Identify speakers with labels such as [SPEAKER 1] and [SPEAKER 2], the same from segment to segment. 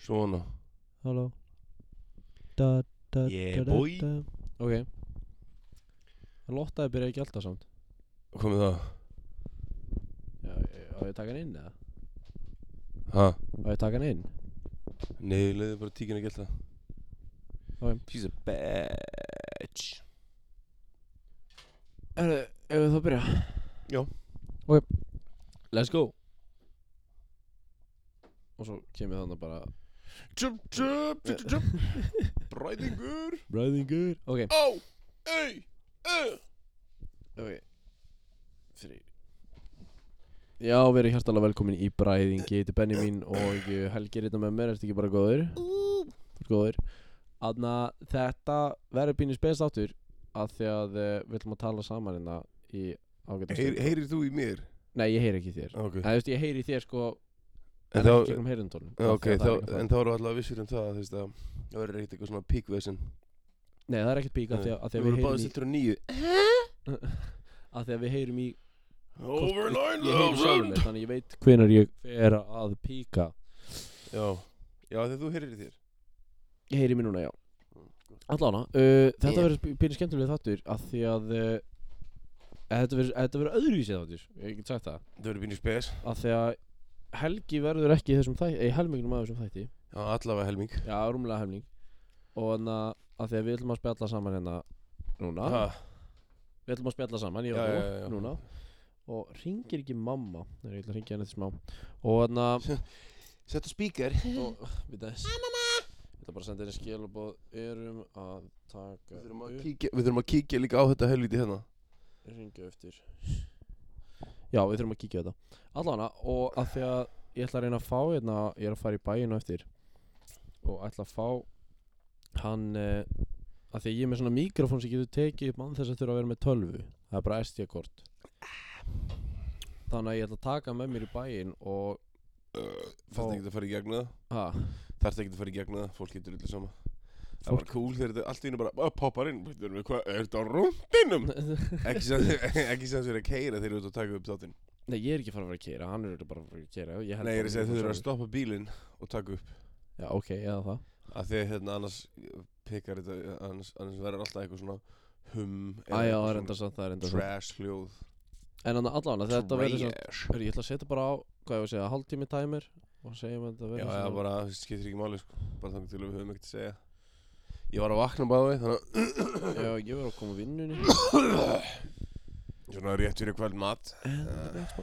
[SPEAKER 1] Svona
[SPEAKER 2] Halló da, da,
[SPEAKER 1] Yeah,
[SPEAKER 2] da, da,
[SPEAKER 1] boy.
[SPEAKER 2] da. Ok Lottaði byrjaði ekki alltaf samt
[SPEAKER 1] Komið það
[SPEAKER 2] Já, ég- á ég að taka hann inn eða?
[SPEAKER 1] Ha
[SPEAKER 2] Á ég að taka hann inn?
[SPEAKER 1] Nei, leiði bara tíkinu að geta
[SPEAKER 2] Ok.
[SPEAKER 1] She's a bitch
[SPEAKER 2] Herðu, ef við þá byrja
[SPEAKER 1] Já.
[SPEAKER 2] Ok Let's go Og svo kemur þannig bara
[SPEAKER 1] Jump, jump, jump, jump, jump Bræðingur
[SPEAKER 2] Bræðingur Ok,
[SPEAKER 1] Á Ei Ei
[SPEAKER 2] ok Þrý Já, við erum hjartalega velkomin í Bræðingi Ég heiti Benni mín og eh, Helgi er hérna með mér Ertu ekki bara góður? Þú ert góður Þannig að þetta verður býnir spes áttur að því að uh, við ætlum að tala saman hérna í ágæta
[SPEAKER 1] Heyr, Heyrir þú í mér?
[SPEAKER 2] Nei, ég heyri ekki í þér
[SPEAKER 1] Ok
[SPEAKER 2] Það þú veist, ég heyri í þér sko
[SPEAKER 1] En
[SPEAKER 2] en
[SPEAKER 1] þá
[SPEAKER 2] ekki gegnum heyrundunum
[SPEAKER 1] Já, Ok, þá, en þá erum við allavega vissir um það þú veist að Það verður ekkert eitthvað svona píkvesen
[SPEAKER 2] Nei, það er ekkert pík að því að, að, því að, við,
[SPEAKER 1] vorum báðið
[SPEAKER 2] heyrum í,
[SPEAKER 1] sittur á nýju
[SPEAKER 2] að því að við heyrum í
[SPEAKER 1] Over
[SPEAKER 2] Ég heyri
[SPEAKER 1] 9000
[SPEAKER 2] sjálfum mig, þannig ég veit hvenar ég fer að píka
[SPEAKER 1] Já Já, þegar þú heyrir í þér
[SPEAKER 2] Ég heyri mér núna, já Allána, uh, þetta yeah. verður býnir skemmtilega þáttur að því að uh, Þetta verður- þetta verður öðruvísið þáttur Ég get sagt það
[SPEAKER 1] Það verður býnir spes
[SPEAKER 2] að því að Helgi verður ekki í þessum þætti, í helmingnum af þessum þætti
[SPEAKER 1] Já, allavega helming
[SPEAKER 2] Já, rúmlega helming Og þannig að- að því að við ætlum að spjalla saman hérna núna
[SPEAKER 1] Ha,
[SPEAKER 2] Við ætlum að spjalla saman, ég
[SPEAKER 1] Já, já,
[SPEAKER 2] og
[SPEAKER 1] já, já.
[SPEAKER 2] þú, núna Og ringir ekki mamma Nei, ég ætla að ringja henni eftir smá Og þannig að
[SPEAKER 1] Sett á spíker
[SPEAKER 2] og, Við þess Ég ætla bara að senda henni skilabóð Erum að taka
[SPEAKER 1] Við þurfum að
[SPEAKER 2] upp-
[SPEAKER 1] kíkja- við þurfum að kíkja líka á þetta helviti hérna
[SPEAKER 2] ringja eftir Já, við þurfum að kíkja á þetta Allana, og að því að ég ætla að reyna að fá hérna, ég er að fara í bæinu eftir og ætla að fá hann uh, að því að ég er með svona mikrofón sem getur tekið upp mann þess að þurfa að vera með tölvu það er bara SD-kort þannig að ég ætla að taka hann með mér í bæin og
[SPEAKER 1] Þarfst ekki Uh, að fara í gegn það
[SPEAKER 2] ha,
[SPEAKER 1] Þarfst ekki að fara í gegn það Fólk getur yllu sama Það var cool þegar þetta allt í einu bara að poppar inn Bíddu, erum við Hvað er þetta á rúndinum? Ekki sem þeir eru að keira þegar þú ert að taka upp þáttinn
[SPEAKER 2] nei, ég er ekki að fara að vera að keira hann er auðvitað bara að fara að keira ég held
[SPEAKER 1] Nei, ég er að
[SPEAKER 2] bara
[SPEAKER 1] segja þau
[SPEAKER 2] að hann
[SPEAKER 1] eru
[SPEAKER 2] er
[SPEAKER 1] að stoppa bílinn og taka upp
[SPEAKER 2] Já, ok, eða það
[SPEAKER 1] Af því að hérna annars Pikkar þetta Annars, annars verður alltaf eitthvað svona Hum eða
[SPEAKER 2] Æja,
[SPEAKER 1] eitthvað
[SPEAKER 2] það
[SPEAKER 1] svona
[SPEAKER 2] er enda samt, það er enda samt
[SPEAKER 1] Trash hljóð
[SPEAKER 2] En allan, þetta verður sem
[SPEAKER 1] Trash.
[SPEAKER 2] Hörru, ég ætla að setja bara á, hvað ég var að segja, hálftími tæmir og segja mér
[SPEAKER 1] Já,
[SPEAKER 2] þetta verður
[SPEAKER 1] já,
[SPEAKER 2] svona-
[SPEAKER 1] bara það skiptir ekki máli sko. Bara þannig til að við höfum ekkert að segja Ég var að vakna báði Þannig
[SPEAKER 2] Já, ég verður að koma úr vinnunni
[SPEAKER 1] að Svona rétt fyrir kvöld mat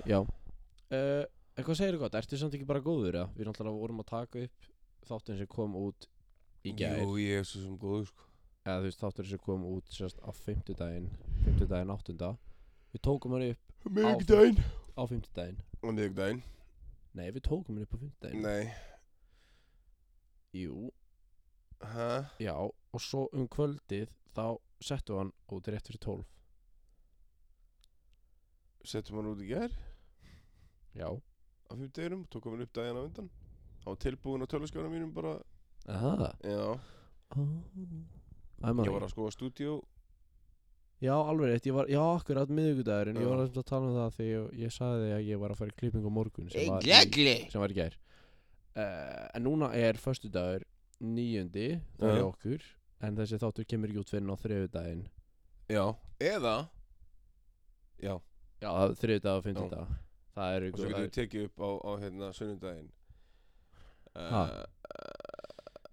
[SPEAKER 2] Já uh, En hvað segirðu gott, ertu samt ekki bara góður eða? Við náttúrulega vorum að taka upp þáttin sem kom út í gær
[SPEAKER 1] Jú, ég er svo sem góður sko.
[SPEAKER 2] Eða þú veist, þáttur sem kom út sérst á fimmtudaginn Fimmtudaginn áttunda Við tókum hann upp
[SPEAKER 1] Miðvikudaginn
[SPEAKER 2] á fimmtudaginn
[SPEAKER 1] Og miðvikudaginn
[SPEAKER 2] Nei, við tókum hann upp á fimmtudaginn
[SPEAKER 1] Nei
[SPEAKER 2] Jú,
[SPEAKER 1] Hæ?
[SPEAKER 2] já, og svo um kvöldið þá settum við hann út rétt fyrir tólf
[SPEAKER 1] Settum hann út í gær
[SPEAKER 2] Já
[SPEAKER 1] Á fimm deginum Tókum hann upp daginn á undan Á tilbúin á töluskjóna mínum bara
[SPEAKER 2] Aha
[SPEAKER 1] Já
[SPEAKER 2] I'm
[SPEAKER 1] Ég var að skoða stúdíó
[SPEAKER 2] Já, alveg rétt, ég var, já, akkurat miðvikudagurinn, ég
[SPEAKER 1] Já.
[SPEAKER 2] var að tala um það þegar ég, ég sagði því að ég var að fara í klippingu á morgun sem var í, sem var í gær. Uh, en núna er föstudagur nýjöndi, það
[SPEAKER 1] Já.
[SPEAKER 2] er okkur, en þessi þáttur kemur ekki út fyrir á þriðudaginn.
[SPEAKER 1] Já Eða Já Og
[SPEAKER 2] Já, það er þriðudag og fymtudag. Það
[SPEAKER 1] svo
[SPEAKER 2] eru ykkur,
[SPEAKER 1] getum
[SPEAKER 2] svo,
[SPEAKER 1] við tekið upp á, á hérna sunnudaginn Eh,
[SPEAKER 2] Ha.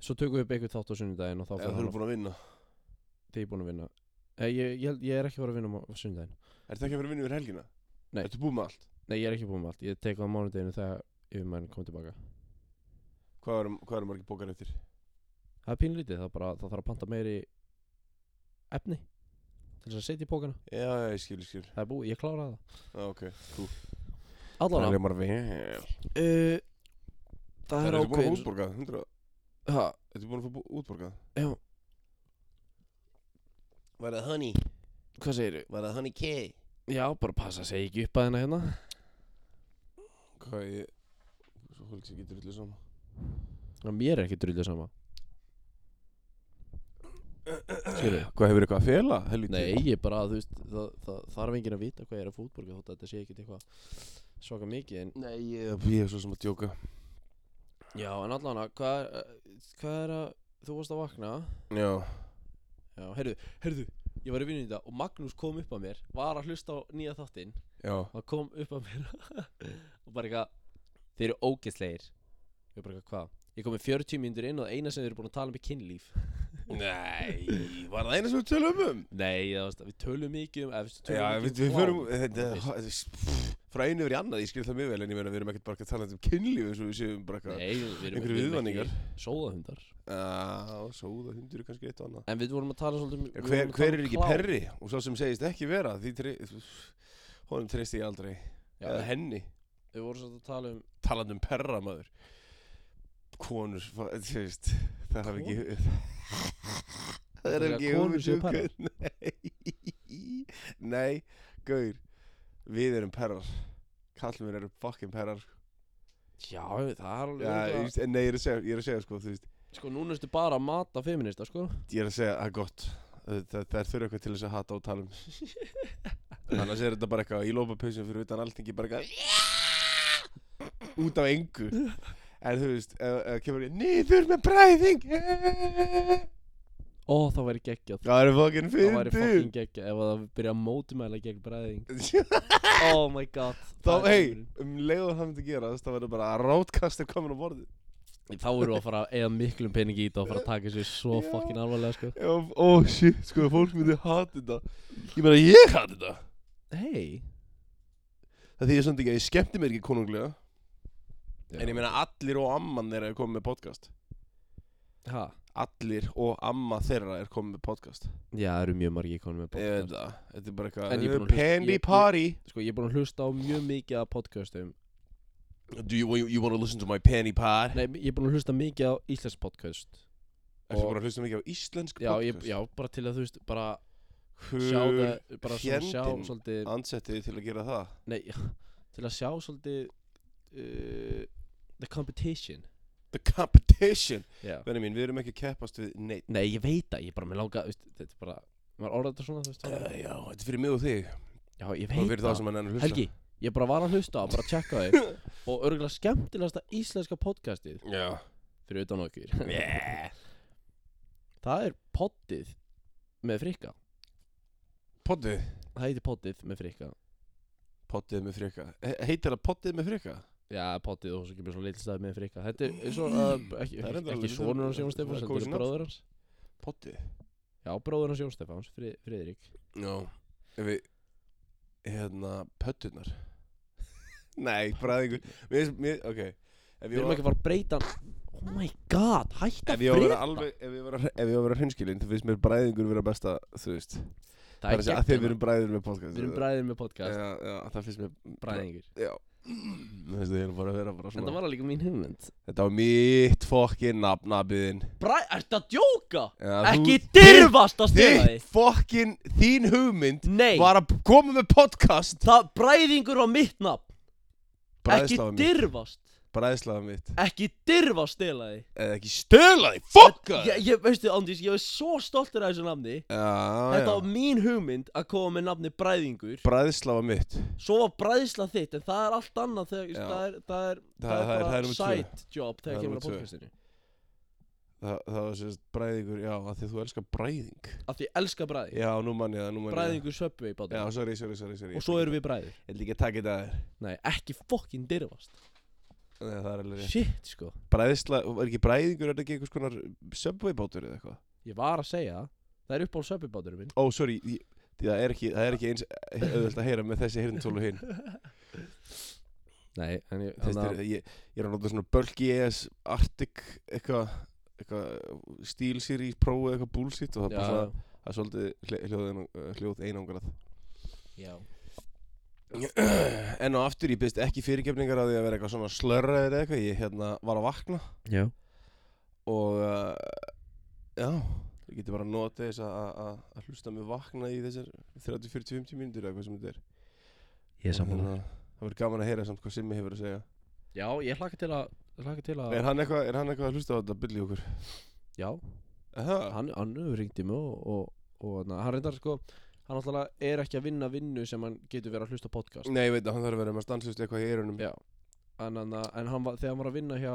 [SPEAKER 2] svo tökum við upp einhver þátt á sunnudaginn og þá
[SPEAKER 1] Eða
[SPEAKER 2] fyrir
[SPEAKER 1] þú
[SPEAKER 2] hann
[SPEAKER 1] eru
[SPEAKER 2] að
[SPEAKER 1] búin að vinna
[SPEAKER 2] þegar ég búin að vinna. Eh, ég, ég, held- ég er ekki að fara að vinna á sunnudaginn.
[SPEAKER 1] Er þetta ekki að vera vinnu yfir helgina?
[SPEAKER 2] Nei.
[SPEAKER 1] Ertu búið með allt?
[SPEAKER 2] Nei, ég er ekki búin með allt, ég tek það á mánudaginu þegar yfirmann kom tilbaka.
[SPEAKER 1] Hvað eru, hvað eru margir bókar eftir?
[SPEAKER 2] Það er pínlítið, það, er bara, það þarf að panta meiri efni til þess að setja í pókana.
[SPEAKER 1] Já, já, ég skil, ég skil
[SPEAKER 2] Það er búið, ég kláraði það.
[SPEAKER 1] Já, Ah, ok Cool
[SPEAKER 2] Allan
[SPEAKER 1] Það er margir vel
[SPEAKER 2] uh, það
[SPEAKER 1] Það er
[SPEAKER 2] er
[SPEAKER 1] búin að
[SPEAKER 2] ákveðin
[SPEAKER 1] útborga 100
[SPEAKER 2] Ha,
[SPEAKER 1] Ertu búin að fá bú- útborgað?
[SPEAKER 2] Já.
[SPEAKER 1] Var það honey?
[SPEAKER 2] Hvað segirðu?
[SPEAKER 1] Var það honey K?
[SPEAKER 2] Já, bara passa að segja ekki upp að hérna hérna.
[SPEAKER 1] Hvað ég Svo fólk sem getur yllu saman
[SPEAKER 2] Já, Mér er ekki drullið sama Skilurðu?
[SPEAKER 1] Hvað hefur eitthvað að fela? Helviti
[SPEAKER 2] Nei, ég bara, þú veist, það, það þarf enginn að vita hvað ég er að fútborga þótt að þetta sé ekkert eitthvað svaka mikið en
[SPEAKER 1] Nei, ég Ég er svo sem að djóka
[SPEAKER 2] Já, en allan að, hvað er, eh, hvað er að, þú varst að vakna
[SPEAKER 1] Já
[SPEAKER 2] Já, heyrðu, heyrðu, ég var í vinnu í dag og Magnús kom upp að mér Var að hlusta á nýja þáttinn
[SPEAKER 1] Já
[SPEAKER 2] og kom upp að mér og bara eitthvað þeir eru ógeðslegir ég bara eitthvað hvað ég kom með 40 mínútur inn og það eina sem þeir eru búin að tala um er kynlíf
[SPEAKER 1] Nei, var það eina sem við tölum um?
[SPEAKER 2] nei það varst við tölum mikið um eða, við
[SPEAKER 1] Já, við,
[SPEAKER 2] tölum mikið um
[SPEAKER 1] við
[SPEAKER 2] klám.
[SPEAKER 1] förum þetta,
[SPEAKER 2] Þú veist.
[SPEAKER 1] pff, Frá einu yfir í annað, ég skil það mjög vel En ég meina, við erum ekkert bara að tala um kynlíf eins og við séum bara eitthvað
[SPEAKER 2] nei við erum
[SPEAKER 1] Einhverju
[SPEAKER 2] við erum
[SPEAKER 1] viðvaningar.
[SPEAKER 2] sóðahundar
[SPEAKER 1] Já, sóða hundur er kannski eitt og annað
[SPEAKER 2] en við vorum að tala svolítið um-
[SPEAKER 1] Já,
[SPEAKER 2] við
[SPEAKER 1] hver,
[SPEAKER 2] vorum að
[SPEAKER 1] hver
[SPEAKER 2] tala
[SPEAKER 1] er
[SPEAKER 2] um
[SPEAKER 1] ekki
[SPEAKER 2] klám.
[SPEAKER 1] perri og sá sem segist ekki vera því tre, honum treysti ég aldrei
[SPEAKER 2] já,
[SPEAKER 1] eða henni
[SPEAKER 2] við vorum svolítið að tala um
[SPEAKER 1] talandi um perra maður konur fa- þú veist, það hafði ekki það er
[SPEAKER 2] Þegar
[SPEAKER 1] ekki
[SPEAKER 2] konur séu
[SPEAKER 1] hugmynd um nei nei, gaur við erum perrar kallmenn eru fucking perrar
[SPEAKER 2] já það er alveg
[SPEAKER 1] ja,
[SPEAKER 2] örugglega-
[SPEAKER 1] just, nei, ég er að segja, ég er að segja sko, þú veist,
[SPEAKER 2] sko núna erstu bara að mata feminista sko
[SPEAKER 1] ég er að segja að gott það, það, það er þurfa eitthvað til þess að hata og tala um annars er þetta bara eitthvað í lópapausin fyrir utan alltingi bara eitthvað út af engu en þú veist, ef ef kemur ég niður með bræðing það
[SPEAKER 2] ó það væri geggjað
[SPEAKER 1] er fokkin
[SPEAKER 2] það væri
[SPEAKER 1] fyndið
[SPEAKER 2] fucking geggjað ef það byrja að mótumæla gegn bræðing oh my god
[SPEAKER 1] þá,
[SPEAKER 2] það er
[SPEAKER 1] hei,
[SPEAKER 2] draumurinn.
[SPEAKER 1] um leiður það myndi gera þá verður bara að rótkast er komin á borðið
[SPEAKER 2] Þá erum við að fara að eða miklum pening í þetta og fara að taka þessu svo
[SPEAKER 1] Já.
[SPEAKER 2] fucking alvarlega sko
[SPEAKER 1] Já, ó, shit, sko, fólk myndi hata þetta ég meina, ég hata þetta
[SPEAKER 2] Hei
[SPEAKER 1] það því ég samt ekki að ég skemmti mér ekki konunglega en ég meina allir og amman þeirra er komið með podcast
[SPEAKER 2] Ha?
[SPEAKER 1] allir og amma þeirra er komið með podcast
[SPEAKER 2] Já, það eru mjög margir konum með
[SPEAKER 1] Ég veit
[SPEAKER 2] podcast
[SPEAKER 1] það, þetta er bara
[SPEAKER 2] En ég
[SPEAKER 1] eitthvað
[SPEAKER 2] er búinn að hlusta-
[SPEAKER 1] Penny
[SPEAKER 2] ég- ég-
[SPEAKER 1] Party
[SPEAKER 2] Sko, ég er búin að hlusta á mjög mikið af podcastum
[SPEAKER 1] Do you, you want to listen to my Penny Party?
[SPEAKER 2] Nei, ég er búin að hlusta mikið á íslensk podcast
[SPEAKER 1] Ertu
[SPEAKER 2] og-
[SPEAKER 1] bara að hlusta mikið á íslensk
[SPEAKER 2] Já, ég,
[SPEAKER 1] podcast?
[SPEAKER 2] já, bara til að þú veist, bara
[SPEAKER 1] Hul
[SPEAKER 2] sjá það Bara svona sjá
[SPEAKER 1] fjandinn.
[SPEAKER 2] svolítið
[SPEAKER 1] Ansettið þið til að gera það
[SPEAKER 2] Nei, til að sjá svolítið uh, The competition
[SPEAKER 1] The competition
[SPEAKER 2] Já
[SPEAKER 1] Venni mín, við erum ekki að keppast við neitt
[SPEAKER 2] Nei, ég veit það, ég bara með langa, þú veist, þetta er bara Maður orðað þetta svona, þú veist
[SPEAKER 1] uh,
[SPEAKER 2] þannig.
[SPEAKER 1] Já, þetta er fyrir mig og þig
[SPEAKER 2] Já, ég
[SPEAKER 1] Og
[SPEAKER 2] veit
[SPEAKER 1] fyrir það sem hann er að hlusta
[SPEAKER 2] Helgi, ég bara var að hlusta og bara að tjekka þig og örgulega skemmtilegasta íslenska podcastið
[SPEAKER 1] Já
[SPEAKER 2] fyrir utan okkur það er poddið með frikka
[SPEAKER 1] Poddið
[SPEAKER 2] það heitir poddið með frikka
[SPEAKER 1] Poddið með freka He Heitir það poddið með freka?
[SPEAKER 2] já, poddið og svo kemur svo litl stað með frikka þetta er- er svo, uh, ekki,
[SPEAKER 1] Það er
[SPEAKER 2] ekki,
[SPEAKER 1] reyndar
[SPEAKER 2] ekki
[SPEAKER 1] alveg-
[SPEAKER 2] sonur hans Jón
[SPEAKER 1] það er
[SPEAKER 2] Stefáns
[SPEAKER 1] kósí
[SPEAKER 2] þetta er
[SPEAKER 1] nafn.
[SPEAKER 2] bróður hans
[SPEAKER 1] Poddið
[SPEAKER 2] já, bróður hans Jón Stefáns, Frið- Friðrik
[SPEAKER 1] Já Ef við Hérna Pöttunar Nei, bræðingur Mér, mér, ok Ef
[SPEAKER 2] við
[SPEAKER 1] ég
[SPEAKER 2] erum
[SPEAKER 1] var-
[SPEAKER 2] ekki að fara að breyta oh my god,
[SPEAKER 1] Ef
[SPEAKER 2] hætta að
[SPEAKER 1] ég á að vera
[SPEAKER 2] breyta
[SPEAKER 1] alveg, ef ég á að vera- ef ég á að vera hreinskilinn, þú finnst mér bræðingur vera besta, þú veist
[SPEAKER 2] það er
[SPEAKER 1] að segja að því að við
[SPEAKER 2] geggjana
[SPEAKER 1] erum bræðir með podcast
[SPEAKER 2] við erum bræðir með podcast,
[SPEAKER 1] Já, já, það finnst mér
[SPEAKER 2] bræðingur
[SPEAKER 1] Já Þú veist, ég er bara að vera bara
[SPEAKER 2] en það
[SPEAKER 1] svona
[SPEAKER 2] var líka mín hugmynd
[SPEAKER 1] Þetta var mitt fokkin nafnabiðin
[SPEAKER 2] Bræ, ertu að djóka?
[SPEAKER 1] já,
[SPEAKER 2] Ekki
[SPEAKER 1] þú-
[SPEAKER 2] dyrfast að stela
[SPEAKER 1] Þitt
[SPEAKER 2] þið
[SPEAKER 1] fokkin, þín hugmynd
[SPEAKER 2] Nei,
[SPEAKER 1] var að koma með podcast
[SPEAKER 2] það bræðingur var mitt nafn Ekki
[SPEAKER 1] Bræðslaða mitt,
[SPEAKER 2] dyrfast
[SPEAKER 1] bræðslaða mitt
[SPEAKER 2] Ekki dyrfast stela þið
[SPEAKER 1] Eða ekki stöla því, fokka
[SPEAKER 2] Ég, ég veistu Andís, ég var svo stoltur af þessu nafni Þetta
[SPEAKER 1] Ah, Já,
[SPEAKER 2] var mín hugmynd að koma með nafni bræðingur
[SPEAKER 1] bræðslaða mitt
[SPEAKER 2] Svo var bræðsla þitt, en það er allt annað þegar,
[SPEAKER 1] Já.
[SPEAKER 2] það, er, það, er,
[SPEAKER 1] Það- það er- það er
[SPEAKER 2] bara
[SPEAKER 1] númer tvö.
[SPEAKER 2] side job
[SPEAKER 1] Það er
[SPEAKER 2] þegar kemur
[SPEAKER 1] númer
[SPEAKER 2] að
[SPEAKER 1] tvö.
[SPEAKER 2] podcastinu
[SPEAKER 1] Það, það var sérst bræðingur, já, að því að þú elskar bræðing
[SPEAKER 2] Af því ég elska bræðing
[SPEAKER 1] Já, nú mann ég það, nú mann ég það
[SPEAKER 2] Bræðingur söpvi í
[SPEAKER 1] Já,
[SPEAKER 2] bátum
[SPEAKER 1] sorry, sorry, sorry, sorry.
[SPEAKER 2] Og svo erum við bræðir
[SPEAKER 1] Ég ætla ekki að taka þetta að þér
[SPEAKER 2] Nei, ekki fokkin dyrfast
[SPEAKER 1] Nei, það er alveg rétt
[SPEAKER 2] Shit, sko
[SPEAKER 1] Bræðisla, er ekki bræðingur, er þetta ekki einhvers konar Subway bátur eða eitthvað?
[SPEAKER 2] Ég var að segja það Það er upp á söpvi báturum minn
[SPEAKER 1] Ó, sorry, ég, því það er ekki, það er ekki eins auðvöld að heyra með þessi hirntól og hinn
[SPEAKER 2] Nei, en ég,
[SPEAKER 1] Þetta er, ég, ég er að nota svona bulky ES Arctic eitthvað eitthvað Steel Series Pro eða eitthvað bullshit og það er bara svona, það er svolítið hlj- hljóð, einang- eh, hljóð einangrað
[SPEAKER 2] Já
[SPEAKER 1] En á aftur, ég byrst ekki fyrirgefningar á því að vera eitthvað svona slörraðir eða eitthvað, ég hérna var að vakna
[SPEAKER 2] Já
[SPEAKER 1] og uh, já, þú getur bara að nota þess að- að að- að hlusta mig vakna í þessar 30-40-50 mínútur eða hvað sem þetta er
[SPEAKER 2] Ég
[SPEAKER 1] Þannig að Það verður gaman að heyra samt hvað Simmi hefur að segja
[SPEAKER 2] Já, ég hlakka til að Hlakka til að
[SPEAKER 1] er hann, eitthvað, er hann eitthvað að hlusta á þetta byrli okkur?
[SPEAKER 2] Já,
[SPEAKER 1] Aha,
[SPEAKER 2] hann, hann ringdi mig og, og, og na, hann reyndar sko Hann alltaf er ekki að vinna vinnu sem hann getur verið að hlusta á podcast
[SPEAKER 1] Nei, ég veit að hann þarf að vera með stanslust eitthvað í eyrunum
[SPEAKER 2] Já En, en, en hann var, þegar hann var að vinna hjá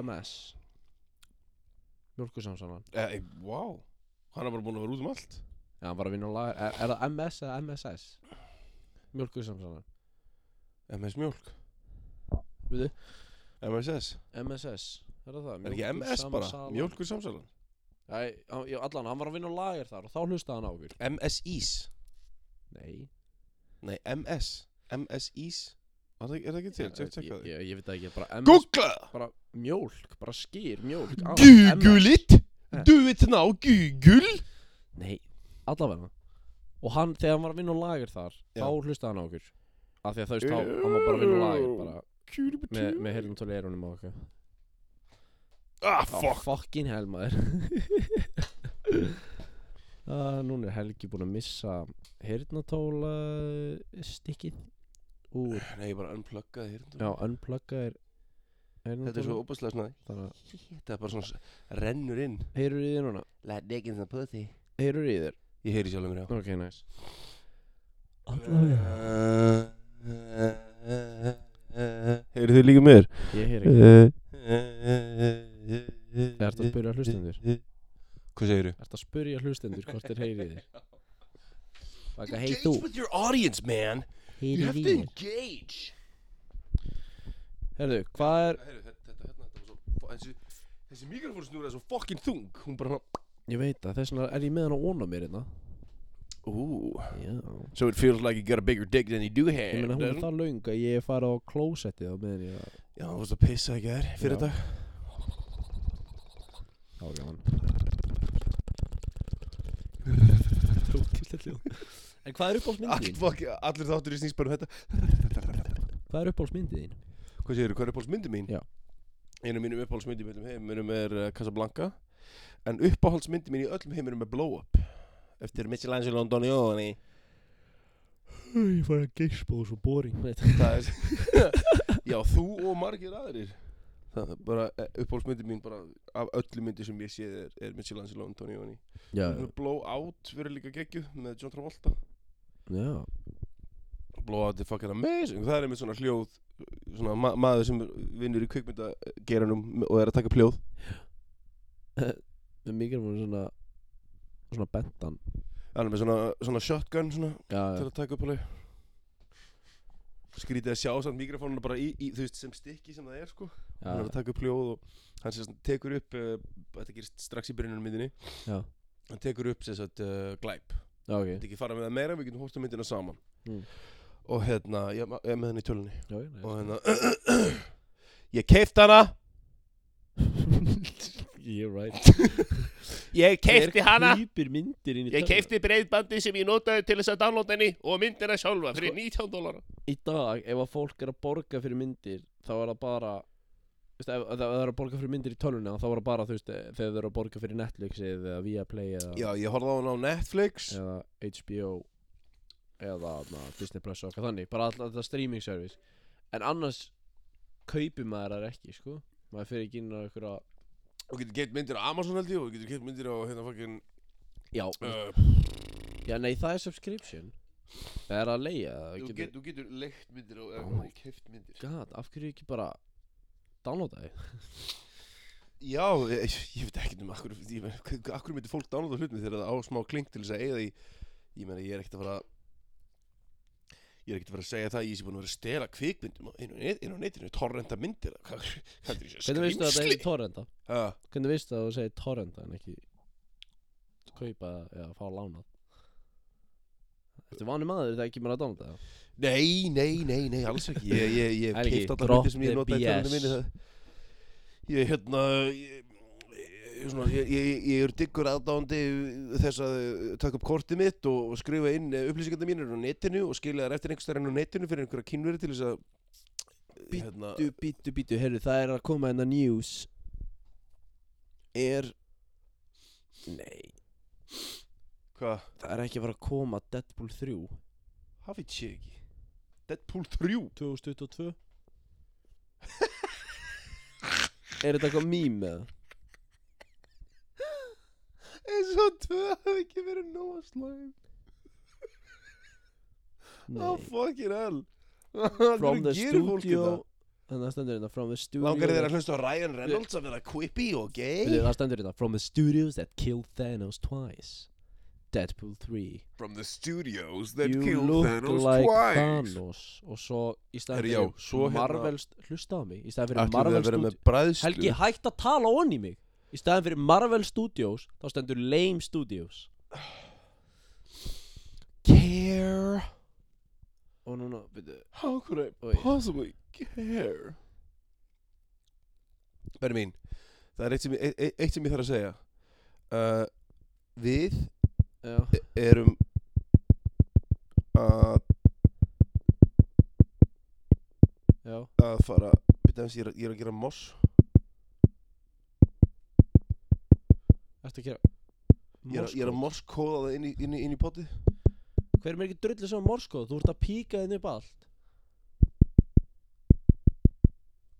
[SPEAKER 2] MS Mjölkusamsalan
[SPEAKER 1] Eh, eh, wow, hann er bara búin að vera út um allt
[SPEAKER 2] Já, hann var að vinna á lagar Er, er það MS eða MSS? Mjölkusamsalan
[SPEAKER 1] MS Mjölk
[SPEAKER 2] Við
[SPEAKER 1] MSS,
[SPEAKER 2] MSS Er það það?
[SPEAKER 1] er ekki MS bara,
[SPEAKER 2] Mjólkursamsalan.
[SPEAKER 1] Mjölkur samsalan
[SPEAKER 2] Æ, hann- já, allan, hann var að vinna á lagar þar og þá hlustaði hann á okkur
[SPEAKER 1] MSIs,
[SPEAKER 2] Nei
[SPEAKER 1] nei MS MSIs, er það er það ekki til, tjekk tjekk
[SPEAKER 2] ég,
[SPEAKER 1] að því
[SPEAKER 2] ég, ég veit það ekki, bara MS
[SPEAKER 1] Google,
[SPEAKER 2] Bara mjólk, bara skýr, mjólk
[SPEAKER 1] Ah,
[SPEAKER 2] á,
[SPEAKER 1] Google
[SPEAKER 2] MS.
[SPEAKER 1] it
[SPEAKER 2] Ja.
[SPEAKER 1] Do it now, Google
[SPEAKER 2] Nei, allavega Og hann, þegar hann var að vinna á lagar þar
[SPEAKER 1] Já.
[SPEAKER 2] Þá hlustaði hann á okkur Af því að þú veist, þá, hann var bara að vinna á lagar bara Með,
[SPEAKER 1] Kjúlubutjú
[SPEAKER 2] með heyrðum tóli eyrunum á okkur
[SPEAKER 1] Ah,
[SPEAKER 2] Á,
[SPEAKER 1] fuck
[SPEAKER 2] Fucking hell, maður uh, Núna er Helgi búinn að missa heyrnatóla stikkið úr
[SPEAKER 1] Nei, ég bara unpluggaði hérna
[SPEAKER 2] Já, unplugga er
[SPEAKER 1] Þetta er svo óbúslega svona
[SPEAKER 2] Þannig að
[SPEAKER 1] Þetta er bara svona s- rennur inn
[SPEAKER 2] heyrur í þér núna
[SPEAKER 1] Let dick in the pussy
[SPEAKER 2] Heyrur í þér
[SPEAKER 1] Ég heyri sjálfum mér á
[SPEAKER 2] Ok, nice
[SPEAKER 1] Heyrðu þið líka mér?
[SPEAKER 2] Ég heyr ekki
[SPEAKER 1] Er
[SPEAKER 2] Ertu að spyrja hlustendur?
[SPEAKER 1] Hvað segirðu?
[SPEAKER 2] Ertu að spurja hlustendur hvort þeir heyri í þér? Baka, hey þú
[SPEAKER 1] Engage with your audience, man You
[SPEAKER 2] Heyri
[SPEAKER 1] have
[SPEAKER 2] í
[SPEAKER 1] to
[SPEAKER 2] þér
[SPEAKER 1] engage
[SPEAKER 2] Herðu, hvað er
[SPEAKER 1] Heyrðu, þetta, þetta, hérna, þetta var svo fo- Þessi, þessi mikrofónsnúra er svo fucking þung Hún bara hann
[SPEAKER 2] Ég veit það, þess vegna er ég með hann að óna mér hérna
[SPEAKER 1] Ooh
[SPEAKER 2] Já
[SPEAKER 1] So it feels like you got a bigger dick than you do have
[SPEAKER 2] Ég meina hún er
[SPEAKER 1] doesn't it?
[SPEAKER 2] það laung að ég er farið á klósettið á meðan ég að
[SPEAKER 1] Já, þú varst að pissa ekki þær fyrir
[SPEAKER 2] Já.
[SPEAKER 1] dag
[SPEAKER 2] Það var gaman Ógeðslegt hljóð. En hvað er uppáhaldsmyndin
[SPEAKER 1] Allt
[SPEAKER 2] þín?
[SPEAKER 1] fuck, allir þáttur í snýst bara um þetta
[SPEAKER 2] Hvað er uppáhaldsmyndin þín?
[SPEAKER 1] Hvað segirðu, hvað er uppáhaldsmyndi mín?
[SPEAKER 2] Já.
[SPEAKER 1] Einu mínum uppáhaldsmyndi mín í heiminum er uh, Casablanca En uppáhaldsmyndi mín í öllum heiminum er Blow Up Eftir Michelangelo Antonioni
[SPEAKER 2] Ég fær að geispa og svo boring
[SPEAKER 1] Það er Já, þú og margir aðrir Það er bara eh, uppáhaldsmyndi mín bara af öllum myndi sem ég séð er, er Michelangelo Antonioni
[SPEAKER 2] Já,
[SPEAKER 1] Blow Out verður líka geggju með John Travolta
[SPEAKER 2] já
[SPEAKER 1] Blowout er fucking amazing Það er einmitt svona hljóð Svona ma maður sem vinnur í kvikmyndageranum Og er að taka pljóð
[SPEAKER 2] Við mikið erum svona Svona bentan
[SPEAKER 1] Hann er með svona, svona shotgun svona,
[SPEAKER 2] Já,
[SPEAKER 1] Til að taka upp alveg Skrítið að sjá samt mikrofónuna bara í, í Þú veist sem stykki sem það er sko Hann er að taka upp hljóð og Hann sem sagt tekur upp uh, Þetta gerist strax í byrjunum myndinni
[SPEAKER 2] Já.
[SPEAKER 1] Hann tekur upp sem sagt uh, glæp Þetta
[SPEAKER 2] já, ok
[SPEAKER 1] ekki fara með það meira Við getum hórt á myndina saman
[SPEAKER 2] Mm.
[SPEAKER 1] Og hérna Ég ég er með hann í tölunni
[SPEAKER 2] Já,
[SPEAKER 1] Og
[SPEAKER 2] já,
[SPEAKER 1] hérna Ég keift hana
[SPEAKER 2] You're right
[SPEAKER 1] Ég
[SPEAKER 2] Hver Klýpir myndir inn í tölvuna?
[SPEAKER 1] breiðbandi sem ég notaði til þess að downloada henni og myndina sjálfa
[SPEAKER 2] fyrir
[SPEAKER 1] 19 dólar
[SPEAKER 2] Í dag, ef að fólk er að borga fyrir myndir Þá er það bara Veistu, ef ef það er að borga fyrir myndir í tölvuna Þá er það bara, þú veist, eh, þegar þau eru að borga fyrir Netflix Eða Viaplay eða,
[SPEAKER 1] Já, ég horfði á hann á Netflix
[SPEAKER 2] eða HBO Eða na, Disney Plus og eitthvað þannig Bara alltaf þetta streaming service En annars kaupir maður það ekki, sko Maður fyrir ekki inn á einhverja
[SPEAKER 1] Þú getur keipt myndir á Amazon held ég og þú getur keipt myndir á hérna fucking
[SPEAKER 2] Já,
[SPEAKER 1] uh,
[SPEAKER 2] já nei, það er subscription Það er að leia það
[SPEAKER 1] Þú
[SPEAKER 2] getur-
[SPEAKER 1] getur, getur leikt myndir og
[SPEAKER 2] Oh my
[SPEAKER 1] uh, keipt myndir
[SPEAKER 2] God, af hverju ekki bara downloada þig?
[SPEAKER 1] Já, ég, ég veit ekki um akkur ég, meina, hva- akkur myndir fólk downloada hlutni þegar það á smá kling til þess að eiga því ég meina, ég er ekkert að fara ég er ekkert að fara að segja það ég sé búin að vera að stela kvikmyndum á- inn á net- inn á netinu, torrenta myndir hvað hvað er þessi
[SPEAKER 2] Hvernig veistu að þetta
[SPEAKER 1] skrimsli?
[SPEAKER 2] heitir torrenta?
[SPEAKER 1] Ha?
[SPEAKER 2] Hvernig veistu að þú segir torrenta en ekki kaupa eða fá lánað? Ertu vanið maður þetta er ekki meira að downloada það?
[SPEAKER 1] Nei, nei, nei, nei, alls ekki Ég, ég, ég hef
[SPEAKER 2] Helgi,
[SPEAKER 1] keipt alla
[SPEAKER 2] drop
[SPEAKER 1] hluti sem ég
[SPEAKER 2] the
[SPEAKER 1] notaði í tölunum minni
[SPEAKER 2] BS.
[SPEAKER 1] það. Ég, hérna Ég, ég, svona, ég, ég, ég er diggur aðdándi þess að eh, taka upp kortið mitt og, og skrifa inn eh, upplýsingarnar mínir á netinu og skilja þær eftir einhvers staðar inn á netinu fyrir einhverja kynveri til þess að eh,
[SPEAKER 2] Bíddu,
[SPEAKER 1] hérna,
[SPEAKER 2] Bítu, bítu, bítu, heyrðu, það er að koma enna news
[SPEAKER 1] er
[SPEAKER 2] Nei,
[SPEAKER 1] Hvað?
[SPEAKER 2] það er ekki að fara að koma Deadpool 3
[SPEAKER 1] Hafið sé ekki Deadpool 3
[SPEAKER 2] 2022 Er þetta eitthvað mím eða?
[SPEAKER 1] Eins og tvö hafi ekki verið nóga slæm
[SPEAKER 2] Nei
[SPEAKER 1] Oh fucking hell
[SPEAKER 2] From the
[SPEAKER 1] Af hverju gerir fólk
[SPEAKER 2] studio
[SPEAKER 1] þetta?
[SPEAKER 2] Þannig að það stendur hérna From the studios
[SPEAKER 1] Langar þér að hlusta á Ryan Reynolds að vera quippy og
[SPEAKER 2] Bíddu,
[SPEAKER 1] gay
[SPEAKER 2] Það stendur hérna From the studios that killed Thanos twice Deadpool 3
[SPEAKER 1] From the studios that
[SPEAKER 2] You
[SPEAKER 1] killed
[SPEAKER 2] look
[SPEAKER 1] Thanos
[SPEAKER 2] like
[SPEAKER 1] twice
[SPEAKER 2] Thanos Og svo í staðan
[SPEAKER 1] Herri, já,
[SPEAKER 2] fyrir
[SPEAKER 1] svo hérna-
[SPEAKER 2] Marvel hérna... Hlusta á mig Í staðan fyrir
[SPEAKER 1] Ætlum við
[SPEAKER 2] Marvel
[SPEAKER 1] að vera með
[SPEAKER 2] Studios
[SPEAKER 1] bræðslu
[SPEAKER 2] Helgi, hætt að tala onni í mig Í staðan fyrir Marvel Studios Þá stendur Lame Studios
[SPEAKER 1] Care
[SPEAKER 2] Og núna, byrju
[SPEAKER 1] How could I
[SPEAKER 2] Oj.
[SPEAKER 1] possibly care Benni mín Það er eitt sem, eitt, eitt- eitt sem ég þarf að segja uh, Við
[SPEAKER 2] Já
[SPEAKER 1] Eh. erum að,
[SPEAKER 2] Já,
[SPEAKER 1] að fara Býtum þess, ég er, að- ég er að gera moss
[SPEAKER 2] ertu að gera
[SPEAKER 1] Ég er, að- ég er að
[SPEAKER 2] Morsekóð?
[SPEAKER 1] moss kóða það inn í, inn í, inn í potið
[SPEAKER 2] Hver er mér ekki drullið sem morskóð? Þú ert að píka þinn upp allt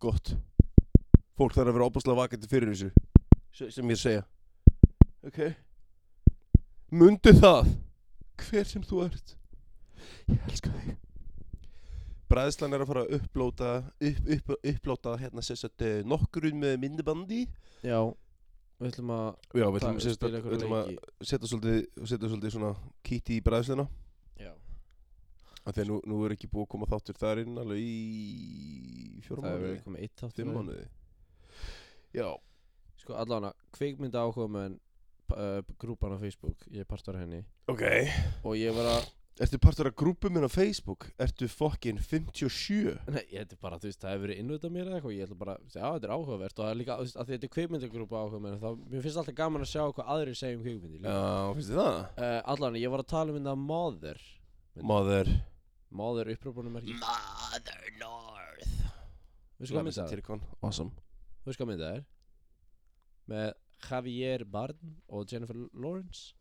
[SPEAKER 1] Gott Fólk þarf að vera óbúslega vakandi fyrir þessu se- sem ég er að segja Ok Mundu það Hver sem þú ert Ég elska þig Bræðslan er að fara að upplóta upp, upp, upplóta hérna sem sagt eh, nokkurinn með myndibandi
[SPEAKER 2] Já Við ætlum að
[SPEAKER 1] Já, við
[SPEAKER 2] ta-
[SPEAKER 1] ætlum sem sagt
[SPEAKER 2] spila
[SPEAKER 1] að- við
[SPEAKER 2] einhverja
[SPEAKER 1] ætlum að
[SPEAKER 2] leiki.
[SPEAKER 1] setja svolítið, setja svolítið svona kíti í bræðsluna
[SPEAKER 2] Já
[SPEAKER 1] af því að nú, nú er ekki búið að koma þáttur þar inn alveg í fjórum
[SPEAKER 2] Það hefur
[SPEAKER 1] mánuði,
[SPEAKER 2] komið eitt þáttur
[SPEAKER 1] fimm mánuði Já,
[SPEAKER 2] Sko allavega, kvikmynda áhuga með uh, grúpan á Facebook Ég partur henni
[SPEAKER 1] ok
[SPEAKER 2] Og ég var að
[SPEAKER 1] Ertu partur af grúpum minn á Facebook? Ertu fokkin 57?
[SPEAKER 2] Nei, ég þetta er bara, þú veist, það hefur verið innvitað mér eða eitthvað Ég ætla bara, þú veist, já, þetta er áhugavert Og það er líka, þú veist, að því þetta er kvikmyndagrúpa áhuga með Þá, mér finnst alltaf gaman að sjá hvað aðrir segja um kvikmyndi uh,
[SPEAKER 1] finnst þið það?
[SPEAKER 2] Allavega, ég var að tala um þetta Mother
[SPEAKER 1] Mother
[SPEAKER 2] Mother uppröpunum er ekki
[SPEAKER 1] Mother North
[SPEAKER 2] Veistu hvað mynda það Mm. er?
[SPEAKER 1] Awesome
[SPEAKER 2] Þú veist hvað mynda það er? Með Javier Bardem og Jennifer Lawrence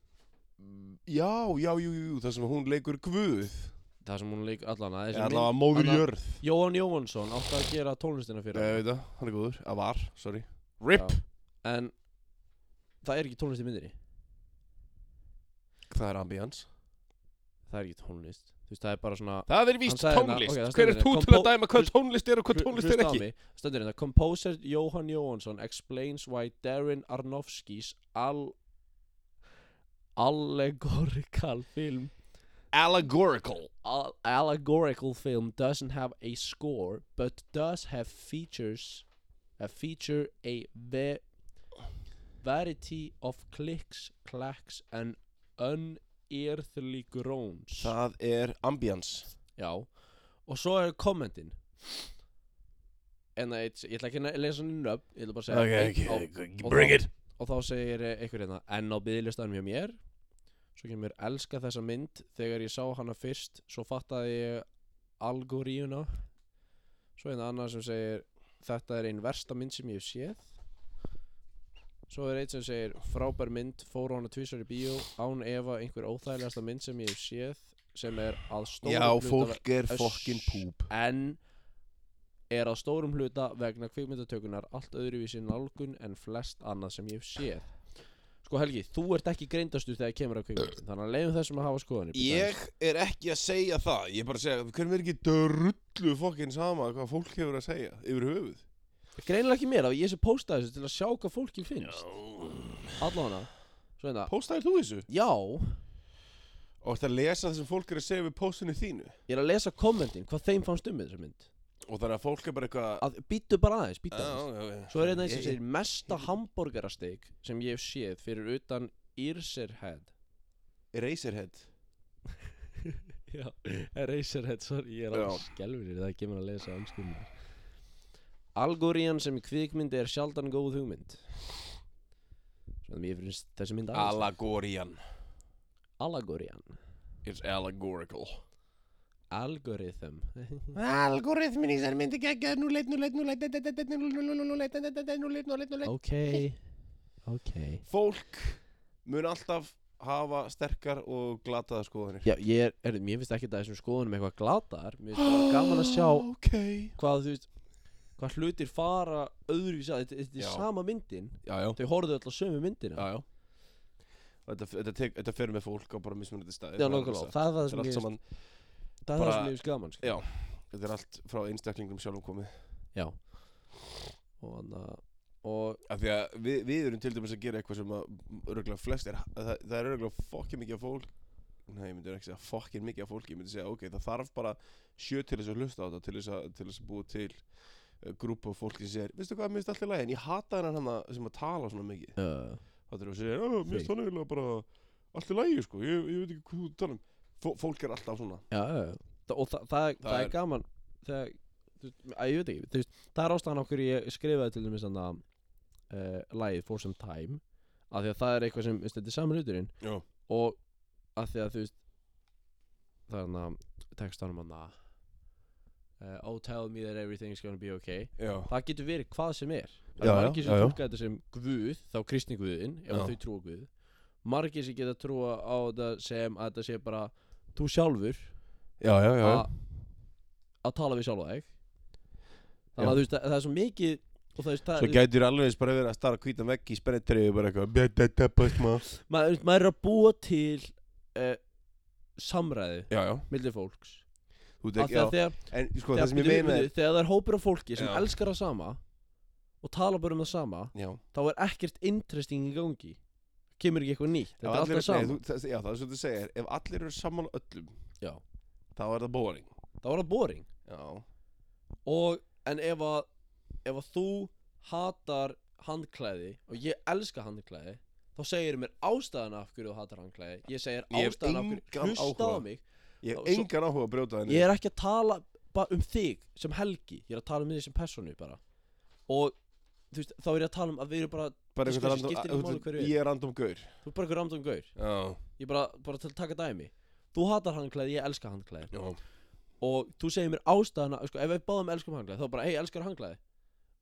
[SPEAKER 2] Mm.
[SPEAKER 1] Já, já, jú, jú, jú, það sem hún leikur guð
[SPEAKER 2] Það sem hún leik allan að
[SPEAKER 1] Eða allavega móður
[SPEAKER 2] Anna-
[SPEAKER 1] jörð
[SPEAKER 2] Jóhann Jóhannsson átti að gera tónlistina fyrir
[SPEAKER 1] Ég
[SPEAKER 2] hana.
[SPEAKER 1] veit það, hann er góður Að var, sorry RIP
[SPEAKER 2] Já. En það er ekki tónlist í myndinni
[SPEAKER 1] Það er ambience
[SPEAKER 2] Það er ekki tónlist Þú veist, það er bara svona
[SPEAKER 1] Það er
[SPEAKER 2] víst
[SPEAKER 1] víst
[SPEAKER 2] Hann sagði hérna,
[SPEAKER 1] tónlist
[SPEAKER 2] tónlist. ok,
[SPEAKER 1] Hver
[SPEAKER 2] það Hver
[SPEAKER 1] er
[SPEAKER 2] stendur er þú
[SPEAKER 1] þú
[SPEAKER 2] hérna,
[SPEAKER 1] til að
[SPEAKER 2] til að kompo-
[SPEAKER 1] dæma hvað tónlist er og hvað
[SPEAKER 2] Hlu-
[SPEAKER 1] tónlist er
[SPEAKER 2] hlustaðu á
[SPEAKER 1] ekki?
[SPEAKER 2] mig. Stendur hérna Composer Jóhann Jóhannsson explains why Darren Aronofskys al allegorical film
[SPEAKER 1] Allegorical
[SPEAKER 2] al allegorical film doesn't have a score but does have features a feature a ve variety of clicks, clacks and unearthly groans
[SPEAKER 1] Það er ambience
[SPEAKER 2] Já Og svo er kommentin En það eitt, ég ætla ekki að lesa henni upp Ég ætla bara að segja einn á- og þá- Og þá segir eh, einhver hérna Enn á byðlistanum hjá mér Svo kemur elska þessa mynd Þegar ég sá hana fyrst Svo fattaði ég algoríuna Svo hérna annar sem segir Þetta er einn versta mynd sem ég hef séð Svo er einn sem segir Frábær mynd, fór á hana tvísar í bíó Án efa einhver óþægilegasta mynd sem ég hef séð Sem er að stóra
[SPEAKER 1] Já, fólk er
[SPEAKER 2] Öss.
[SPEAKER 1] fokkin púp
[SPEAKER 2] en er að stórum hluta vegna kvikmyndatökunar allt öðruvísi nálgun en flest annað sem ég hef séð Sko Helgi, þú ert ekki greindastur þegar kemur að kvikmyndin þannig að leiðum þessum að hafa skoðanir
[SPEAKER 1] Ég er ekki að segja það Ég er bara að segja, hvernig er ekki drullu fokkin sama hvað fólk hefur að segja yfir höfuð
[SPEAKER 2] Greinilega ekki mér, að ég sé postaði þessu til að sjá hvað fólki finnst Allána, svo þetta
[SPEAKER 1] Póstaðir þú þessu?
[SPEAKER 2] Já,
[SPEAKER 1] Og ert að lesa það sem fólk er að segja við póstinu þínu
[SPEAKER 2] ég er að lesa kommentin, hvað þeim fannst um þessa mynd
[SPEAKER 1] Og þannig að fólk er bara eitthvað
[SPEAKER 2] að, Býttu bara aðeins, býttu aðeins
[SPEAKER 1] Já,
[SPEAKER 2] Svo er þetta eins og
[SPEAKER 1] Ég-
[SPEAKER 2] segir mesta hambúrgarasteg sem ég hef séð fyrir utan Irserhead
[SPEAKER 1] Eraserhead
[SPEAKER 2] Já, Eraserhead, sorry, ég er
[SPEAKER 1] Já.
[SPEAKER 2] alveg skelfinir það kemur að lesa önskunni Algorían sem í kvikmynd er sjaldan góð hugmynd Svona mér finnst þessi mynd aðeins
[SPEAKER 1] Alagorian
[SPEAKER 2] Alagorían
[SPEAKER 1] It's allegorical
[SPEAKER 2] Algorithm
[SPEAKER 1] Algoritmin í þessar myndi geggja Nú leit, nú leit, nú leit, nú leit, nú leit, nú leit, nú leit, nú leit, nú leit, nú leit
[SPEAKER 2] Ok, ok
[SPEAKER 1] Fólk mun alltaf hafa sterkar og glataða skoðanir
[SPEAKER 2] Já, ég er, er mér finnst ekki það þessum skoðunum eitthvað glatar Mér finnst bara gaman að sjá
[SPEAKER 1] Ok
[SPEAKER 2] hvað þú veist Hvað hlutir fara öðru í sá Þetta þetta
[SPEAKER 1] Já.
[SPEAKER 2] er sama myndin
[SPEAKER 1] Já, já
[SPEAKER 2] Þau horfðu öll á sömu myndina
[SPEAKER 1] já, já. Þetta, þetta, tek- þetta fer með fólk á bara mismunandi staði
[SPEAKER 2] Já, nákvæmlega, það er
[SPEAKER 1] Þetta
[SPEAKER 2] það sem
[SPEAKER 1] er allt
[SPEAKER 2] ég finnst-
[SPEAKER 1] saman
[SPEAKER 2] það er það
[SPEAKER 1] bara-
[SPEAKER 2] sem ég finnst gaman sko.
[SPEAKER 1] Já. Þetta er allt frá einstaklingum sjálfum komið
[SPEAKER 2] Já, Já Og þannig að Og
[SPEAKER 1] Af því að við, við erum til dæmis að gera eitthvað sem að örgulega flest er það, það er örgulega fokkin mikið af fólk Nei, ég myndi ekki segja fokkin mikið af fólki Ég myndi segja, ok, það þarf bara sjö til þess að hlusta á þetta Til þess að, til þess að búa til uh, grúpa af fólki sem segir Veistu hvað, mér finnst allt í lagi En ég hata hennan hann að- sem að tala svona mikið
[SPEAKER 2] uh,
[SPEAKER 1] Það er að segja, "Já, mér finnst hann eiginlega bara allt í lagi, sko Ég, ég veit ekki hvað þú tala um Fó, Fólk er alltaf svona
[SPEAKER 2] Já, já, já. Þa- og það, það, það,
[SPEAKER 1] Það
[SPEAKER 2] er,
[SPEAKER 1] er-
[SPEAKER 2] gaman þegar, þú veist, að ég veit ekki þú veist, það er ástæðan okkur ég skrifaði til dæmis þannig að lagið For Some Time af því að það er eitthvað sem, þú veist, þetta er saman hluturinn
[SPEAKER 1] Já,
[SPEAKER 2] og af því að þú veist það er hann að textanum hann að uh, Oh tell me that everything's gonna be okay
[SPEAKER 1] já,
[SPEAKER 2] það getur verið hvað sem er
[SPEAKER 1] Já,
[SPEAKER 2] það
[SPEAKER 1] já,
[SPEAKER 2] er margir sem
[SPEAKER 1] já, já.
[SPEAKER 2] tólka þetta sem guð þá kristni guðin, ef
[SPEAKER 1] Já.
[SPEAKER 2] þau trúa guð margir sem geta trúa á þetta sem að þetta sé bara þú sjálfur
[SPEAKER 1] já, já, já.
[SPEAKER 2] að að tala við sjálfa þig þannig
[SPEAKER 1] Já.
[SPEAKER 2] að þú veist að, það er svo mikið og það, það,
[SPEAKER 1] Svo gætur alveg eins bara verið að starra hvítan vegg í spennitreyju bara eitthvað "Bæ, bæ, bæ, bæ, smá."
[SPEAKER 2] maður, þú veist, maður er að búa til uh, samræði
[SPEAKER 1] Já, já,
[SPEAKER 2] millir fólks
[SPEAKER 1] þú
[SPEAKER 2] Af
[SPEAKER 1] tek,
[SPEAKER 2] því
[SPEAKER 1] já
[SPEAKER 2] að þegar,
[SPEAKER 1] En sko,
[SPEAKER 2] þegar,
[SPEAKER 1] það sem ég
[SPEAKER 2] bíddu,
[SPEAKER 1] meina
[SPEAKER 2] bíddu,
[SPEAKER 1] er
[SPEAKER 2] þegar það er hópur af fólki sem
[SPEAKER 1] Já.
[SPEAKER 2] elskar það sama og tala bara um það sama
[SPEAKER 1] Já,
[SPEAKER 2] þá er ekkert interesting í gangi kemur ekki eitthvað nýtt
[SPEAKER 1] Ef
[SPEAKER 2] þetta er
[SPEAKER 1] allir-
[SPEAKER 2] alltaf sama
[SPEAKER 1] nei, þú- það, já, það er svo þú segir Ef allir eru saman öllum
[SPEAKER 2] Já.
[SPEAKER 1] Þá er það boring
[SPEAKER 2] það var það boring
[SPEAKER 1] Já,
[SPEAKER 2] og en ef að ef að þú hatar handklæði og ég elska handklæði þá segir mér ástæðan af hverju þú hatar handklæði ég segir
[SPEAKER 1] Ég hef
[SPEAKER 2] ástæðan af
[SPEAKER 1] engan
[SPEAKER 2] hverju hlusta á
[SPEAKER 1] áhuga.
[SPEAKER 2] mig
[SPEAKER 1] ég hef
[SPEAKER 2] Og svo-
[SPEAKER 1] engan áhuga að brjóta henni
[SPEAKER 2] ég er ekki að tala bara um þig sem helgi ég er að tala um þig sem personu bara og þú veist þá er ég að tala um að við erum bara
[SPEAKER 1] bara
[SPEAKER 2] sko,
[SPEAKER 1] einhvern
[SPEAKER 2] sem skiptir ekki
[SPEAKER 1] random
[SPEAKER 2] máli
[SPEAKER 1] að-
[SPEAKER 2] hver
[SPEAKER 1] þú-
[SPEAKER 2] við.
[SPEAKER 1] Ég er random gaur
[SPEAKER 2] þú er bara eitthvað random gaur
[SPEAKER 1] Já,
[SPEAKER 2] ég er bara bara til að taka dæmi þú hatar handklæði ég elska handklæði
[SPEAKER 1] já
[SPEAKER 2] og þú segir mér ástæðana sko, ef við báðum elskum hanglaði þá bara hei elskar hanglaði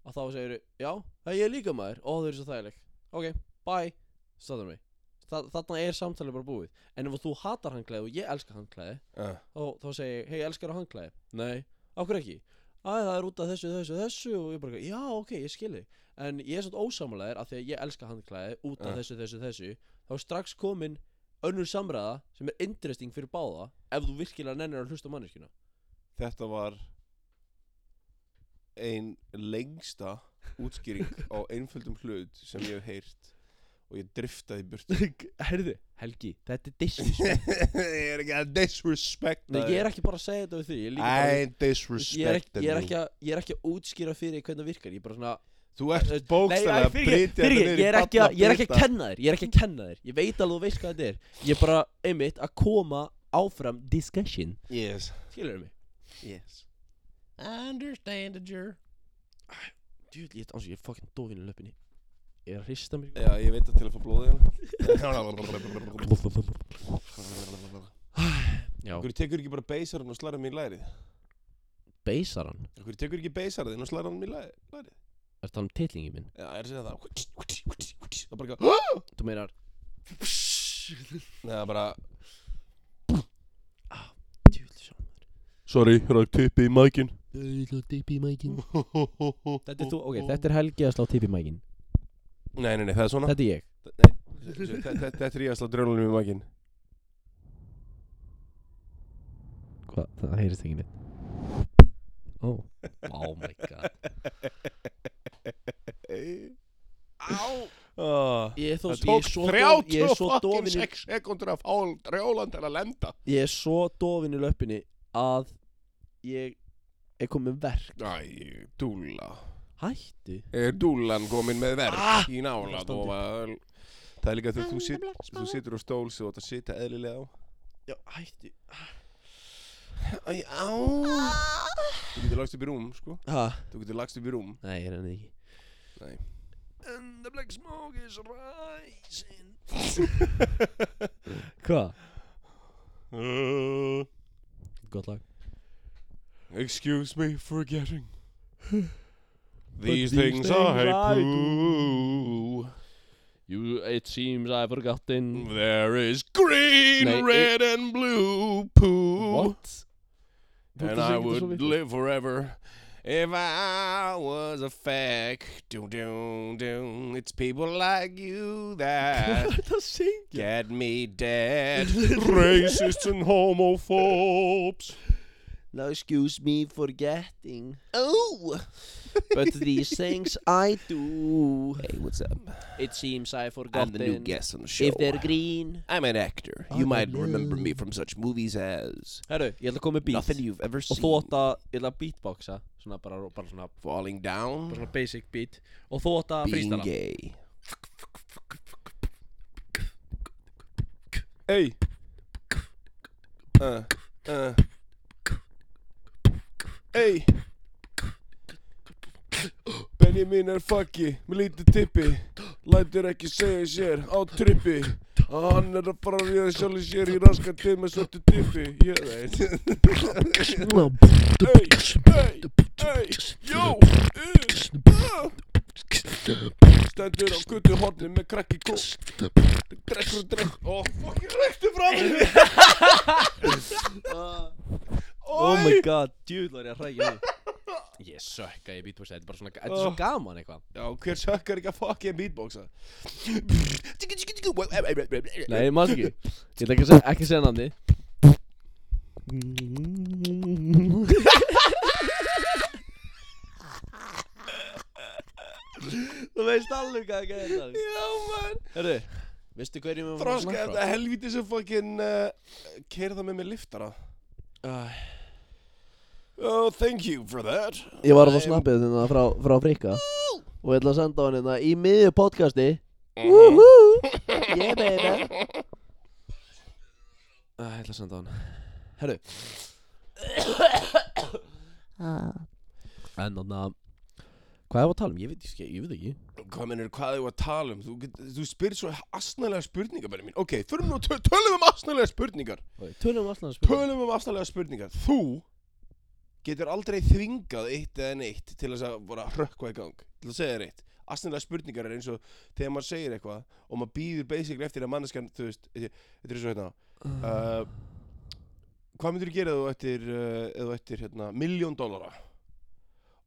[SPEAKER 2] og þá segir þú já hei, ég er líka maður og þau eru svo þægileg ok bye staður mig Þa, þarna er samtalið bara búið en ef þú hatar hanglaði og ég elskar hanglaði
[SPEAKER 1] Já,
[SPEAKER 2] þá, þá segir ég hei elskar hanglaði nei okkur ekki Æ, það er út af þessu, þessu, þessu og ég bara, já, ok, ég skil þig en ég er svona ósamlegaðir af því að ég elska handklæði út af
[SPEAKER 1] Ja.
[SPEAKER 2] þessu, þessu, þessu þá er strax komin önnur samræða sem er interesting fyrir báða ef þú virkilega nennir að hlusta á manneskjuna
[SPEAKER 1] Þetta var Ein lengsta útskýring á einföldum hlut sem ég hef heyrt og ég driftaði í burtu
[SPEAKER 2] Herðu, Helgi, þetta er disrespect
[SPEAKER 1] Ég er ekki að disrespekta
[SPEAKER 2] Nei, ég er ekki bara að segja þetta við því Ég er, líka bara,
[SPEAKER 1] I'm
[SPEAKER 2] ég er, ekki,
[SPEAKER 1] disrespecting
[SPEAKER 2] ég, er ekki að, ég er ekki að útskýra fyrir þér hvernig það virkar Ég er bara svona
[SPEAKER 1] Þú ert
[SPEAKER 2] Nei,
[SPEAKER 1] bókstæðlega
[SPEAKER 2] æ,
[SPEAKER 1] að
[SPEAKER 2] fyrir ekki,
[SPEAKER 1] brytja
[SPEAKER 2] fyrir ekki, ég er ekki að, ég er ekki að
[SPEAKER 1] kenna
[SPEAKER 2] kenna þér Ég er ekki að kenna þér Ég veit alveg að þú veist hvað þetta er Ég er bara, einmitt, að koma áfram discussion
[SPEAKER 1] Yes,
[SPEAKER 2] Skilur mig
[SPEAKER 1] yes I understand that you're
[SPEAKER 2] Djúl, ég, ánsum, ég er fucking dofinn í löpunni Ég er að hrista mig
[SPEAKER 1] Já, ég veit að til að fá blóðið hérna
[SPEAKER 2] Já,
[SPEAKER 1] Akkur tekur ekki bara beisarinn og slæra mér í lærið
[SPEAKER 2] beisar hann
[SPEAKER 1] Akkur tekur ekki beisarinn og slæra mér í læri- lærið
[SPEAKER 2] Er það um titlingi minn?
[SPEAKER 1] Já, ég er að segja það Það bara ekki
[SPEAKER 2] Þú meinar
[SPEAKER 1] Nei, það bara
[SPEAKER 2] Ah, Djúl, sjá
[SPEAKER 1] Sorry, ræk tippi í mækin
[SPEAKER 2] Þetta
[SPEAKER 1] Þetta
[SPEAKER 2] er þú, ok, þetta er Helgi að slá tipi mækin
[SPEAKER 1] Nei, nei, nei, það er svona
[SPEAKER 2] Þetta er ég
[SPEAKER 1] Nei, þetta- þetta þetta er ég að slá drjólunum í mækin
[SPEAKER 2] Hvað? Það heyrist ekki neitt Oh Oh my god
[SPEAKER 1] Á
[SPEAKER 2] Ég er þó
[SPEAKER 1] Það
[SPEAKER 2] Ah. ég er
[SPEAKER 1] tók
[SPEAKER 2] svo dof- Ég er svo
[SPEAKER 1] 36
[SPEAKER 2] dofin í-
[SPEAKER 1] í... sekundur að fá drjólan til að lenda
[SPEAKER 2] Ég er svo dofin í löppinni Að Ég Er komið með verk
[SPEAKER 1] Æ, dúla
[SPEAKER 2] Hættu
[SPEAKER 1] Er dúlan komin með verk
[SPEAKER 2] Ah!
[SPEAKER 1] í nála
[SPEAKER 2] Það standi.
[SPEAKER 1] Það er líka þegar þú, sit, þú situr á stól sem þú átt að sita eðlilega á
[SPEAKER 2] Já, hættu
[SPEAKER 1] Æ, á Þú getur lagst upp í rúm, sko
[SPEAKER 2] Ha?
[SPEAKER 1] Þú getur lagst upp í rúm
[SPEAKER 2] Nei, ég er henni ekki
[SPEAKER 1] Nei.
[SPEAKER 2] And the black smoke is rising Hva?
[SPEAKER 1] uh,
[SPEAKER 2] Gott lag
[SPEAKER 1] Excuse me for getting
[SPEAKER 2] these
[SPEAKER 1] These things,
[SPEAKER 2] things I
[SPEAKER 1] I
[SPEAKER 2] do.
[SPEAKER 1] do
[SPEAKER 2] you, It seems I've forgotten
[SPEAKER 1] There is green,
[SPEAKER 2] Nei,
[SPEAKER 1] red and blue poo
[SPEAKER 2] What? Þú ert
[SPEAKER 1] And I
[SPEAKER 2] að syngja þetta svo
[SPEAKER 1] would
[SPEAKER 2] vitlaust.
[SPEAKER 1] live forever if I was a fag. Doom, doom, doom. It's people like you
[SPEAKER 2] Hvað
[SPEAKER 1] that
[SPEAKER 2] er þetta að syngja?
[SPEAKER 1] get me dead. Racists and homophobes.
[SPEAKER 3] Now excuse me for getting Oh But these things I do
[SPEAKER 1] Hey, what's up?
[SPEAKER 3] It seems I forgotten
[SPEAKER 1] I'm the new guest on the show.
[SPEAKER 3] If they're green
[SPEAKER 1] I'm an actor.
[SPEAKER 3] I'm
[SPEAKER 1] you
[SPEAKER 3] a
[SPEAKER 1] might remember
[SPEAKER 3] blue.
[SPEAKER 1] me from such movies as
[SPEAKER 2] Herru, ég ætla að koma með beat
[SPEAKER 1] Nothing You've Ever
[SPEAKER 2] Og
[SPEAKER 1] Seen,
[SPEAKER 2] þú átt að, ég ætla að beatboxa Svona bara, bara svona,
[SPEAKER 1] Falling
[SPEAKER 2] bara
[SPEAKER 1] Down,
[SPEAKER 2] svona basic beat Og þú átt að
[SPEAKER 1] Being
[SPEAKER 2] freestala
[SPEAKER 1] Gay. Hey. Uh, uh. Hey. Benjamin er fucki, með lítið tippi Lætur ekki segja sér á trippi Að hann er að fara að ríða sjálf sér í raskan til með svörtu tippi Ég veit Hey, hey, hey, yo uh, uh. Stendur á guttu hornin með krakki kó Drekkur og drekk Ó, fucking rektu frá mér
[SPEAKER 2] Oh my god, djúð var ég að hrækja nú Ég sökka í beatboxa, þetta er bara svona Þetta er svo
[SPEAKER 1] Oh.
[SPEAKER 2] gaman eitthvað
[SPEAKER 1] Já, hver sökkar ekki að fucking beatboxa
[SPEAKER 2] Nei, ég maður ekki Ég ætla ekki að segja, ekki að segja nafni
[SPEAKER 3] Þú veist alveg hvað það gerði
[SPEAKER 1] Já, man
[SPEAKER 2] Herru, veistu hverjum við
[SPEAKER 1] Þroska þetta helvíti sem fucking uh, Keirða með mér liftara
[SPEAKER 2] Uh,
[SPEAKER 1] Oh, thank you for that
[SPEAKER 3] Ég var að
[SPEAKER 1] Æ,
[SPEAKER 3] fá snappið þarna frá, frá Frikka og ég ætla að senda á hann hérna í miðju podcasti
[SPEAKER 1] Mhm.
[SPEAKER 3] Woohoo Yeah baby
[SPEAKER 2] ég ætla að senda á hann Herru En þannig að Hvað er að tala um? Ég veit, ég, ég veit ekki
[SPEAKER 1] Hvað mennir, hvað þau að tala um? Þú, get- þú spyrir svo asnalega spurningar, Benjamin Ok, förum nú, að töl- tölum um asnalega spurningar
[SPEAKER 2] Ok, Tölum um Aslan
[SPEAKER 1] Tölum um afstæðlega spurningar Þú getur aldrei þvingað eitt eða neitt til þess að bara hrökkva í gang til að segja þér eitt Afstæðlega spurningar er eins og þegar maður segir eitthvað og maður býður basically eftir að manneskjan þú veist, þetta þetta er svo hérna uh, Hvað myndir þú gera ef þú eftir, uh, ef þú eftir hérna, miljón dollara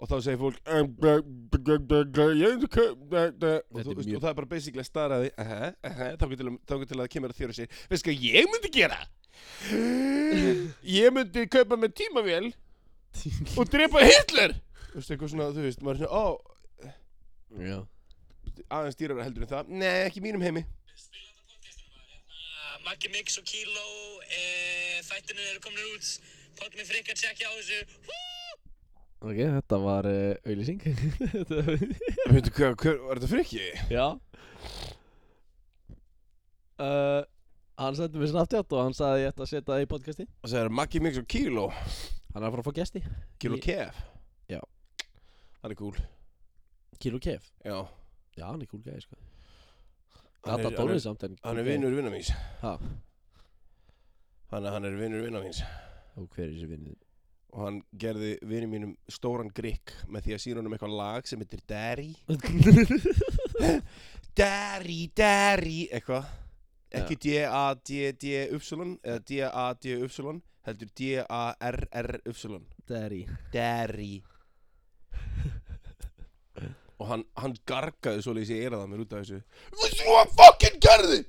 [SPEAKER 1] og þá segir fólk "Um, bla, bla, bla, bla, bla, ég veit ekki, bla, bla." og þú
[SPEAKER 2] Þetta er
[SPEAKER 1] veist,
[SPEAKER 2] mjög-
[SPEAKER 1] og það er bara basically að stara því "Aha, aha," þá getur til, þá getur til að það kemur að þér og segir veistu hvað ég myndi gera Ég myndi kaupa með tímavél og drepa Hitler Þú veist, eitthvað svona, þú veist, maður er svona, ó,
[SPEAKER 2] Já
[SPEAKER 1] aðeins dýrar heldur en það Nei, ekki í mínum heimi
[SPEAKER 4] Maggi Mix og Kíló e, Þættinir eru komin út Pátt með frikka tjekkja á þessu Hú!
[SPEAKER 2] Ok, þetta var uh, auðlýsing
[SPEAKER 1] Veitu hvað, hver, var þetta frikki?
[SPEAKER 2] Já uh, Hann sendi mér snabbt og hann sagði ég ætti að setja það í podcasti
[SPEAKER 1] Og það er Maggi Mix og Kilo
[SPEAKER 2] Hann er að fara að fá gesti
[SPEAKER 1] Kilo
[SPEAKER 2] Ég-
[SPEAKER 1] Kef
[SPEAKER 2] Já.
[SPEAKER 1] Það er cool
[SPEAKER 2] Kilo Kef
[SPEAKER 1] Já
[SPEAKER 2] Já, hann er cool gæði sko
[SPEAKER 1] Hann
[SPEAKER 2] Gata
[SPEAKER 1] er- hann
[SPEAKER 2] dónið
[SPEAKER 1] er-
[SPEAKER 2] samt
[SPEAKER 1] Hann
[SPEAKER 2] en
[SPEAKER 1] er
[SPEAKER 2] cool gæi.
[SPEAKER 1] vinnur vinnar míns
[SPEAKER 2] Ha,
[SPEAKER 1] Hann er, hann er vinnur vinnar míns
[SPEAKER 2] og hver er þessi vinnur?
[SPEAKER 1] Og hann gerði vinnur mínum stóran grikk með því að sína honum eitthvað lag sem heitir Derry Derry, Derry Eitthvað Ekki D-A-D-D-Y eða D-A-D-Y heldur D-A-R-R-Y
[SPEAKER 2] Derry
[SPEAKER 1] Derry Og hann, hann gargaði svo lýsi eirað að mér út af þessu Vistu hvað hann fucking gerði?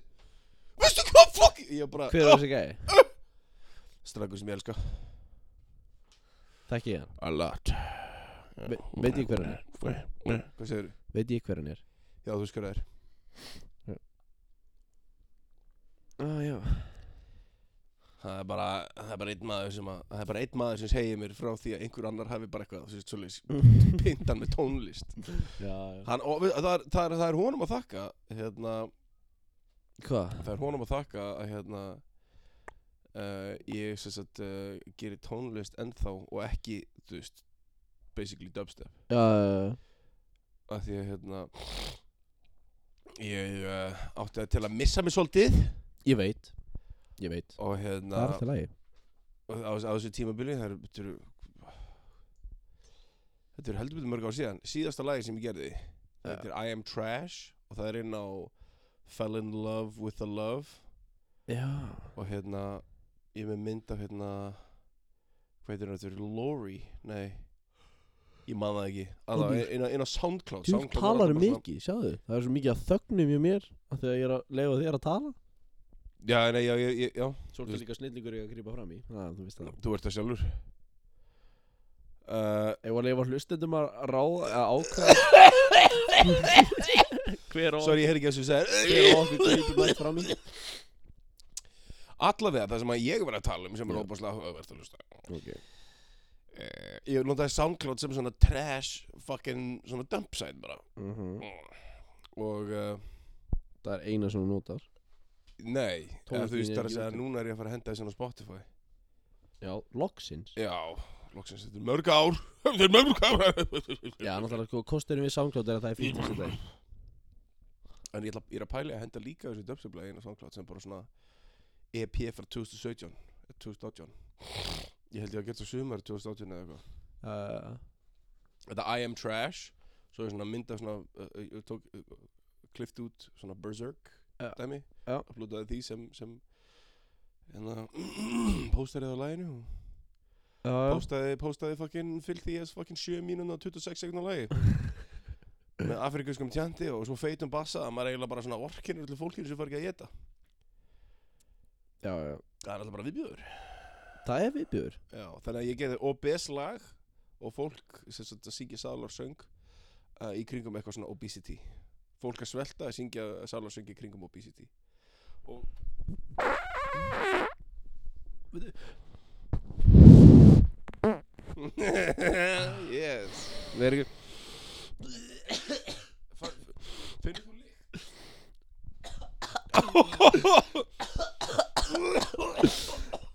[SPEAKER 1] Vistu hvað hann fucking Ég bara
[SPEAKER 2] Hver er þessi gæði?
[SPEAKER 1] Strækur sem ég elska
[SPEAKER 2] Þekki ég hann
[SPEAKER 1] A lot
[SPEAKER 2] Ve Veit ég hver hann er?
[SPEAKER 1] Hvað segir þú?
[SPEAKER 2] Veit ég hver hann er?
[SPEAKER 1] Já, þú skur það er
[SPEAKER 2] Ah, já
[SPEAKER 1] Það er bara, það er bara einn maður sem að Það er bara einn maður sem segir mér frá því að einhver annar hafi bara eitthvað Þú veist, svo lýs Pintan með tónlist
[SPEAKER 2] Já, já
[SPEAKER 1] hann, og, við- það, er, það, er, það er honum að þakka Hérna
[SPEAKER 2] Hvað?
[SPEAKER 1] Það er honum að þakka að hérna uh, ég sem sagt uh, gerir tónlist ennþá og ekki, þú veist, basically dubstep
[SPEAKER 2] Já, já, já.
[SPEAKER 1] af því að hérna ég uh, átti að til að missa mig svolítið
[SPEAKER 2] ég veit Ég veit
[SPEAKER 1] og
[SPEAKER 2] Það
[SPEAKER 1] hérna
[SPEAKER 2] er alltaf lagi
[SPEAKER 1] og á, á þessu tímabili það eru þetta eru þetta eru heldur betur mörg ár síðan síðasta lagi sem ég gerði þetta er I Am Trash og það er inn á Fell in Love with the Love
[SPEAKER 2] Já
[SPEAKER 1] og hérna ég er með mynd af hérna hvað heitir hún aftur, Lori nei, ég man það ekki allavega inn, á- inn á Soundcloud
[SPEAKER 2] Þú
[SPEAKER 1] Soundcloud var
[SPEAKER 2] talar
[SPEAKER 1] alltaf
[SPEAKER 2] um
[SPEAKER 1] bara svona-
[SPEAKER 2] mikið, sjáðu Það er svo mikið að þögnum í mér af Þegar ég er að leifa þér að tala
[SPEAKER 1] já, nei, já, já, já, já,
[SPEAKER 2] Svolítið líka snillingur ég að grípa fram í Já, þú veist það
[SPEAKER 1] þú ert það sjálfur uh,
[SPEAKER 2] Ég var að lifa hlustendum að ráða að ákvæða Hver og
[SPEAKER 1] Sorry, ég heyrði ekki að þessu segir
[SPEAKER 2] Hver og okkur grýtum að fram í
[SPEAKER 1] Allavega það sem að ég var að tala um sem er óbúslega áhugavert að hlusta
[SPEAKER 2] okay.
[SPEAKER 1] uh, Ég notaði SoundCloud sem svona trash fucking svona dump site bara
[SPEAKER 2] mm
[SPEAKER 1] og uh,
[SPEAKER 2] Það er eina sem hún notar
[SPEAKER 1] nei, eða, þú
[SPEAKER 2] Tónlistin
[SPEAKER 1] veist þar að
[SPEAKER 2] er ekki
[SPEAKER 1] segja
[SPEAKER 2] úti.
[SPEAKER 1] núna er ég að fara að henda þessu inn á Spotify
[SPEAKER 2] Já, loksins
[SPEAKER 1] Já, loksins þetta er mörg ár Þetta er mörg ár
[SPEAKER 2] Já, náttúrulega sko, kosturinn við samklátt er að það er fínt að setja í.
[SPEAKER 1] En ég, ætla, ég er að pæli að henda líka þessu döpseflaði inn á SoundCloud sem bara svona EP frá 2017 eh, 2018 Ég held ég að geta sumar 2018 eða eitthvað
[SPEAKER 2] uh,
[SPEAKER 1] þetta I am trash svo er svona mynda svona uh, uh, ég tók uh, klift út svona berserk
[SPEAKER 2] Já.
[SPEAKER 1] dæmi
[SPEAKER 2] Já.
[SPEAKER 1] upplútaði því sem sem hérna póstarið á læginu
[SPEAKER 2] Já,
[SPEAKER 1] póstaði póstaði fucking fyllt því að fucking 7 mínúna og 26 sekundar lægi með afrikuskum tjandi og svo feitum bassa að maður er eiginlega bara svona orkinur til fólkinu sem far ekki að geta
[SPEAKER 2] já, já
[SPEAKER 1] það er alltaf bara viðbjöður
[SPEAKER 2] Það er viðbjör
[SPEAKER 1] já þannig að ég gerði obes lag og fólk sem sagt að syngja sálar söng uh, í kringum eitthvað svona obesity fólk að svelta að syngja sálar söng í kringum obesity og yes
[SPEAKER 2] Það er ekki
[SPEAKER 1] Fa- finnur þú líkt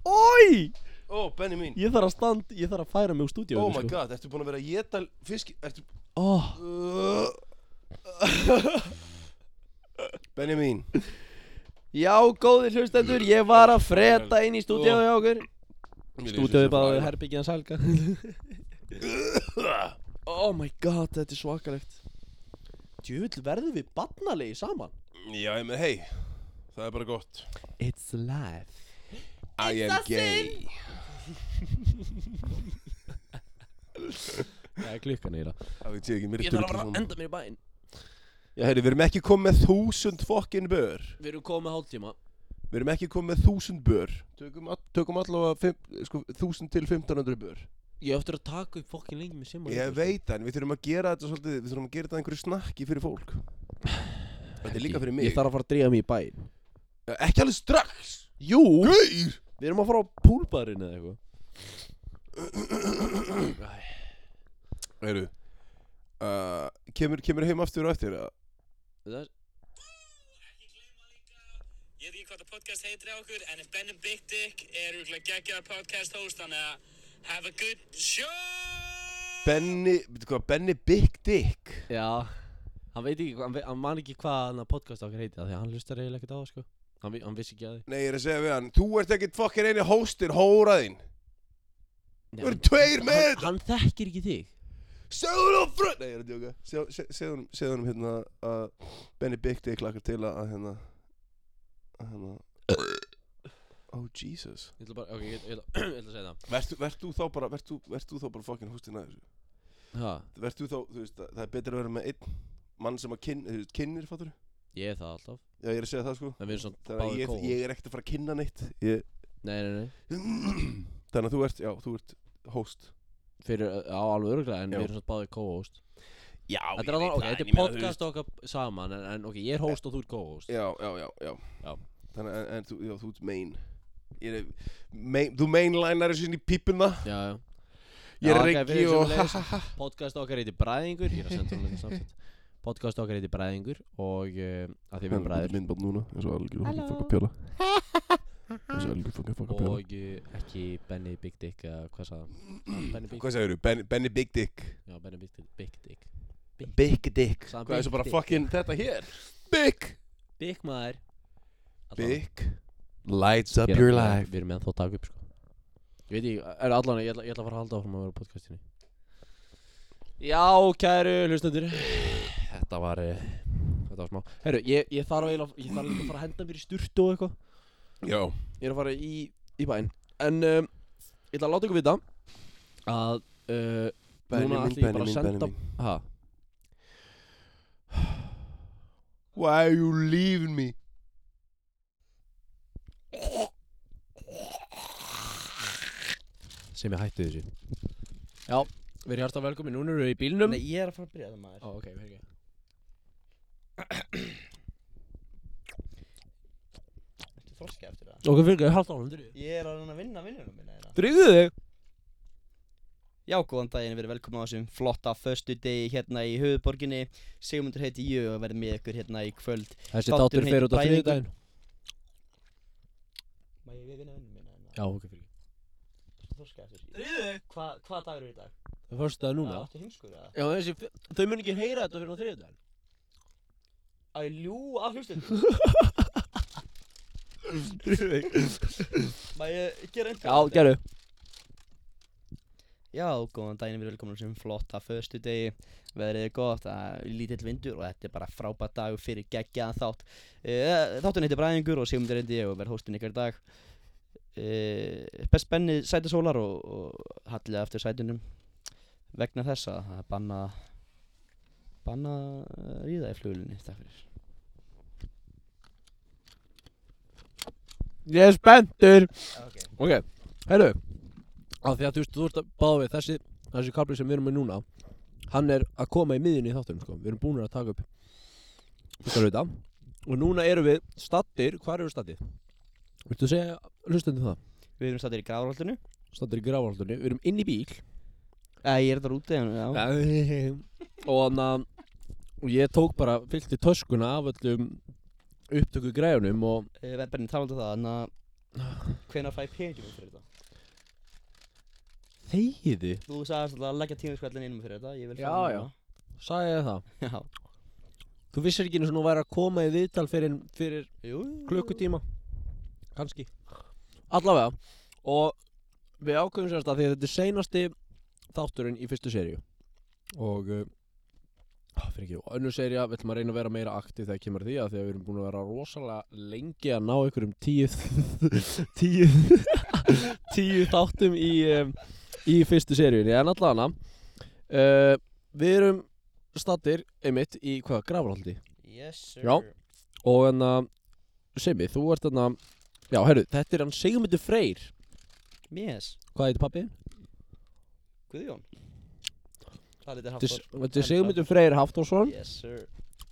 [SPEAKER 2] Ói,
[SPEAKER 1] ó Benny mín
[SPEAKER 2] ég þarf að stand, ég þarf að færa mig úr stúdíu
[SPEAKER 1] oh my god ertu búin að vera að geta fisk ertu
[SPEAKER 2] oh,
[SPEAKER 3] Uh,
[SPEAKER 1] Benny mín
[SPEAKER 3] Já, góðir hlustendur, ég var að freda inn í stúdíu hjá okkur
[SPEAKER 2] Stúdíu Oh. bara herbyggið hans helga Oh my god, þetta er svakalegt Djúvill verðum við barnalegi saman
[SPEAKER 1] já ég með hei það er bara gott
[SPEAKER 2] It's life
[SPEAKER 1] I am gay
[SPEAKER 2] Það er klukkan eira
[SPEAKER 1] Það veit ég ekki, mér er
[SPEAKER 3] Ég þarf að fara að enda mér í bæinn
[SPEAKER 1] Já, heyrðu, við erum ekki komið með þúsund fokkin bör
[SPEAKER 3] Við erum komið með hálftíma
[SPEAKER 1] Við erum ekki komið með þúsund bör Tökum, all, tökum allavega fimm, sko, þúsund til 1500 bör
[SPEAKER 3] Ég á eftir að taka upp fokkin lengi með síma
[SPEAKER 1] Ég veit það, en við þurfum að gera þetta svolítið Við þurfum að gera þetta að einhverju snakki fyrir fólk Þetta er líka fyrir mig
[SPEAKER 2] Ég þarf að fara að dríja mig í bæinn
[SPEAKER 1] Já, Ekki alveg strax
[SPEAKER 2] Jú,
[SPEAKER 1] Gauir
[SPEAKER 2] við erum að fara á púlbarinn eða eitthvað
[SPEAKER 1] Heyrðu uh, kemur, kemur heim aftur og eftir eða?
[SPEAKER 3] Það-
[SPEAKER 4] Ekki gleyma líka, ég veit ekki hvað það podcast heitir á okkur, en Ben and Big Dick er úrlega geggjaðar podcast host, þannig að have a good show!
[SPEAKER 1] Benny, veitu hvað, Benny Big Dick
[SPEAKER 2] Já Hann veit ekki, hann, vei- hann man ekki hvað hann að podcast okkar heiti af Því að hann hlustar eiginlega ekkert á það sko hann, vi- hann vissi ekki að
[SPEAKER 1] Nei, ég er að segja við hann Þú ert ekkit fokkin eini hóstin, hóraðinn
[SPEAKER 2] því
[SPEAKER 1] Þú eru tveir með
[SPEAKER 2] hann,
[SPEAKER 1] þetta
[SPEAKER 2] hann þekkir ekki þig
[SPEAKER 1] Segðu hún á frönd Nei, ég er að djóka Segðu- se- Segðu honum- segðu honum hérna að Benny Big Dick lakar til að að hérna að hérna Oh Jesus
[SPEAKER 2] Ég ætla bara, ok, ég ætla, ég ætla, ég ætla að segja það
[SPEAKER 1] Vert þú- vert þú þá bara Vert þú- vert þú þá bara fucking hústinn að þessu
[SPEAKER 2] Ha,
[SPEAKER 1] Vert þú þá Þú veist það það er betur að vera með einn mann sem að kyn, þú veist, kynnir fattur
[SPEAKER 2] ég er það alltaf
[SPEAKER 1] Já, ég er að segja það sko
[SPEAKER 2] En við erum svona
[SPEAKER 1] Þannig að
[SPEAKER 2] báði
[SPEAKER 1] ég,
[SPEAKER 2] kóð
[SPEAKER 1] ég er ekkert að fara að kynna neitt ég...
[SPEAKER 2] Nei, nei, nei
[SPEAKER 1] Þannig að þú ert Já, þú ert host
[SPEAKER 2] Fyrir, á alveg öruglega
[SPEAKER 1] Já.
[SPEAKER 2] En við erum svona báði kóhost
[SPEAKER 1] Já,
[SPEAKER 2] Þetta er alveg, ok, þetta er podcast okkar saman En, en ok, ég er host og þú er kóhost
[SPEAKER 1] Já, já, já, já.
[SPEAKER 2] Já.
[SPEAKER 1] Þannig að en, en, þú, já, þú ert main. Ég er, main Þú mainlinar þessu inn í pípuna
[SPEAKER 2] Já, já
[SPEAKER 1] Ég
[SPEAKER 2] Já,
[SPEAKER 1] er
[SPEAKER 2] ok, við
[SPEAKER 1] ekki
[SPEAKER 2] erum
[SPEAKER 1] og
[SPEAKER 2] sömuleiðis. Podcast okkar heiti Bræðingur Ég er að senda hún þetta samsett Podcast okkar heiti Bræðingur Og uh, að því við erum bræðir
[SPEAKER 1] myndbátt núna eins og algjör fokkin fokka pjóla eins og algjör fokkin fokka pjóla
[SPEAKER 2] og eh, ekki Benny Big Dick eða hvað sagði hann Benny Big
[SPEAKER 1] Hvað segir þú? Ben, Benny Big Dick
[SPEAKER 2] já Benny Big Dick Big Dick
[SPEAKER 1] Big Dick
[SPEAKER 2] Sagði hann
[SPEAKER 1] Hvað er
[SPEAKER 2] Big
[SPEAKER 1] svo bara
[SPEAKER 2] Dick?
[SPEAKER 1] fokkin þetta hér? Big
[SPEAKER 2] Big maður
[SPEAKER 1] Big Lights up
[SPEAKER 2] Allavega,
[SPEAKER 1] your
[SPEAKER 2] við erum-
[SPEAKER 1] life
[SPEAKER 2] við erum ennþá að taka upp sko ég veit ekki er allan ég ætla, ég ætla að fara að halda áfram að vera á podcastinu já kæru hlustendur þetta var eh, þetta var smá herru ég, ég þarf eiginlega ég þarf líka að fara að henda mér í sturtu og eitthvað
[SPEAKER 1] Já
[SPEAKER 2] ég er að fara í í bæinn en um, ég ætla að láta ykkur vita að uh, núna
[SPEAKER 1] Benjamin,
[SPEAKER 2] ætla ég bara að
[SPEAKER 1] Benjamin,
[SPEAKER 2] senda
[SPEAKER 1] Benjamin.
[SPEAKER 2] ha
[SPEAKER 1] Why are you leaving me?
[SPEAKER 2] sem ég hætti þessu Já, Við erum hjarta velkomin, núna eru við í bílnum
[SPEAKER 3] Nei, ég er að fara að byrja það maður
[SPEAKER 2] Ó, ok, fyrir ekki
[SPEAKER 3] Ertu þroska eftir það?
[SPEAKER 2] Ok, fyrir ekki, halda á hann, dríðu
[SPEAKER 3] Ég er að reyna að vinna hérna. vinnunum minna þeirra
[SPEAKER 2] Dríðu þig
[SPEAKER 3] Já, góðan daginn, við erum velkomin á þessum flotta föstu degi hérna í höfuborginni Sigmundur heiti ég og verð með ykkur hérna í kvöld
[SPEAKER 2] Þessi
[SPEAKER 3] Þátturinn
[SPEAKER 2] dátur
[SPEAKER 3] heitir
[SPEAKER 2] fyrir út á
[SPEAKER 3] Bræðingur.
[SPEAKER 2] þriðdæðin
[SPEAKER 3] Má ég vinna vinnunum minna?
[SPEAKER 2] Já, ok, fyrir ekki
[SPEAKER 3] Ertu þroska eftir því? Ríðu! Hva, hvað dagur er í dag?
[SPEAKER 2] Það fyrst það núna
[SPEAKER 3] Já, áttu heimskur eða?
[SPEAKER 2] Já, þessi, þau mun ekki heyra þetta fyrir á þriðdæðin
[SPEAKER 3] Á ég ljú af hlustundu?
[SPEAKER 2] Dríðu þig
[SPEAKER 3] Má ég gera einhver?
[SPEAKER 2] Já, gerðu
[SPEAKER 3] Já, góðan daginn, við erum velkomin á þessum flotta föstu degi Veðrið er gott, það er lítill vindur og þetta er bara frábært dagur fyrir geggjaðan þátt Eh, Þátturinn heitir Bræðingur og Sigmundur heiti ég og verð hóstinn ykkar í dag Eh, Best benni sætisólar og, og hallið eftir sætunum Vegna þess að það er banna Banna að ríða í flugulinni, takk fyrir
[SPEAKER 2] Ég er spenntur
[SPEAKER 3] Ok
[SPEAKER 2] Ok, herru Af því að þú veist, þú ert að báða við þessi Þessi kapli sem við erum með núna Hann er að koma í miðjunni í þáttunum, sko Við erum búin að taka upp Þetta er þetta Og núna erum við stattir, hvar eru við stattir? Viltu segja, hlustandi það?
[SPEAKER 3] Við erum stættir í gráðarholtinu
[SPEAKER 2] Stattir í grafaldunni, við erum inn í bíl
[SPEAKER 3] Eh, ég er þetta úti, en já
[SPEAKER 2] og hann að og ég tók bara, fyllti töskuna af öllum upptöku græjunum og
[SPEAKER 3] Eh, Verð benni talandi um það, en að Hvenær fæ ég peningum fyrir þetta?
[SPEAKER 2] þegiði
[SPEAKER 3] Þú sagðist alltaf að leggja tímaskvællin innum fyrir þetta, ég vil
[SPEAKER 2] Já, já. sagði ég það
[SPEAKER 3] já. já.
[SPEAKER 2] þú vissir ekki eins og nú væri að koma í viðtal fyrir, fyrir
[SPEAKER 3] Jú,
[SPEAKER 2] klukkutíma kannski allavega og við ákveðum sérst að því að þetta er seinasti þátturinn í fyrstu seríu og uh, fyrir ekki, og önnur seríu við ætlum að reyna að vera meira aktiv þegar kemur að því að því að við erum búin að vera rosalega lengi að ná ykkur um tíu tíu tíu þáttum í um, í fyrstu seríunni, en allavega uh, við erum stattir einmitt í hvað, grafaldi
[SPEAKER 3] Yes sir
[SPEAKER 2] Já. Og en að Simmi, þú ert þarna Já, herru, þetta er hann Sigmundur Freyr
[SPEAKER 3] Yes,
[SPEAKER 2] Hvað heitir pappi?
[SPEAKER 3] Guðjón Það er litið haftur
[SPEAKER 2] Þetta er Sigmundur Freyr Haftórsson
[SPEAKER 3] Yes sir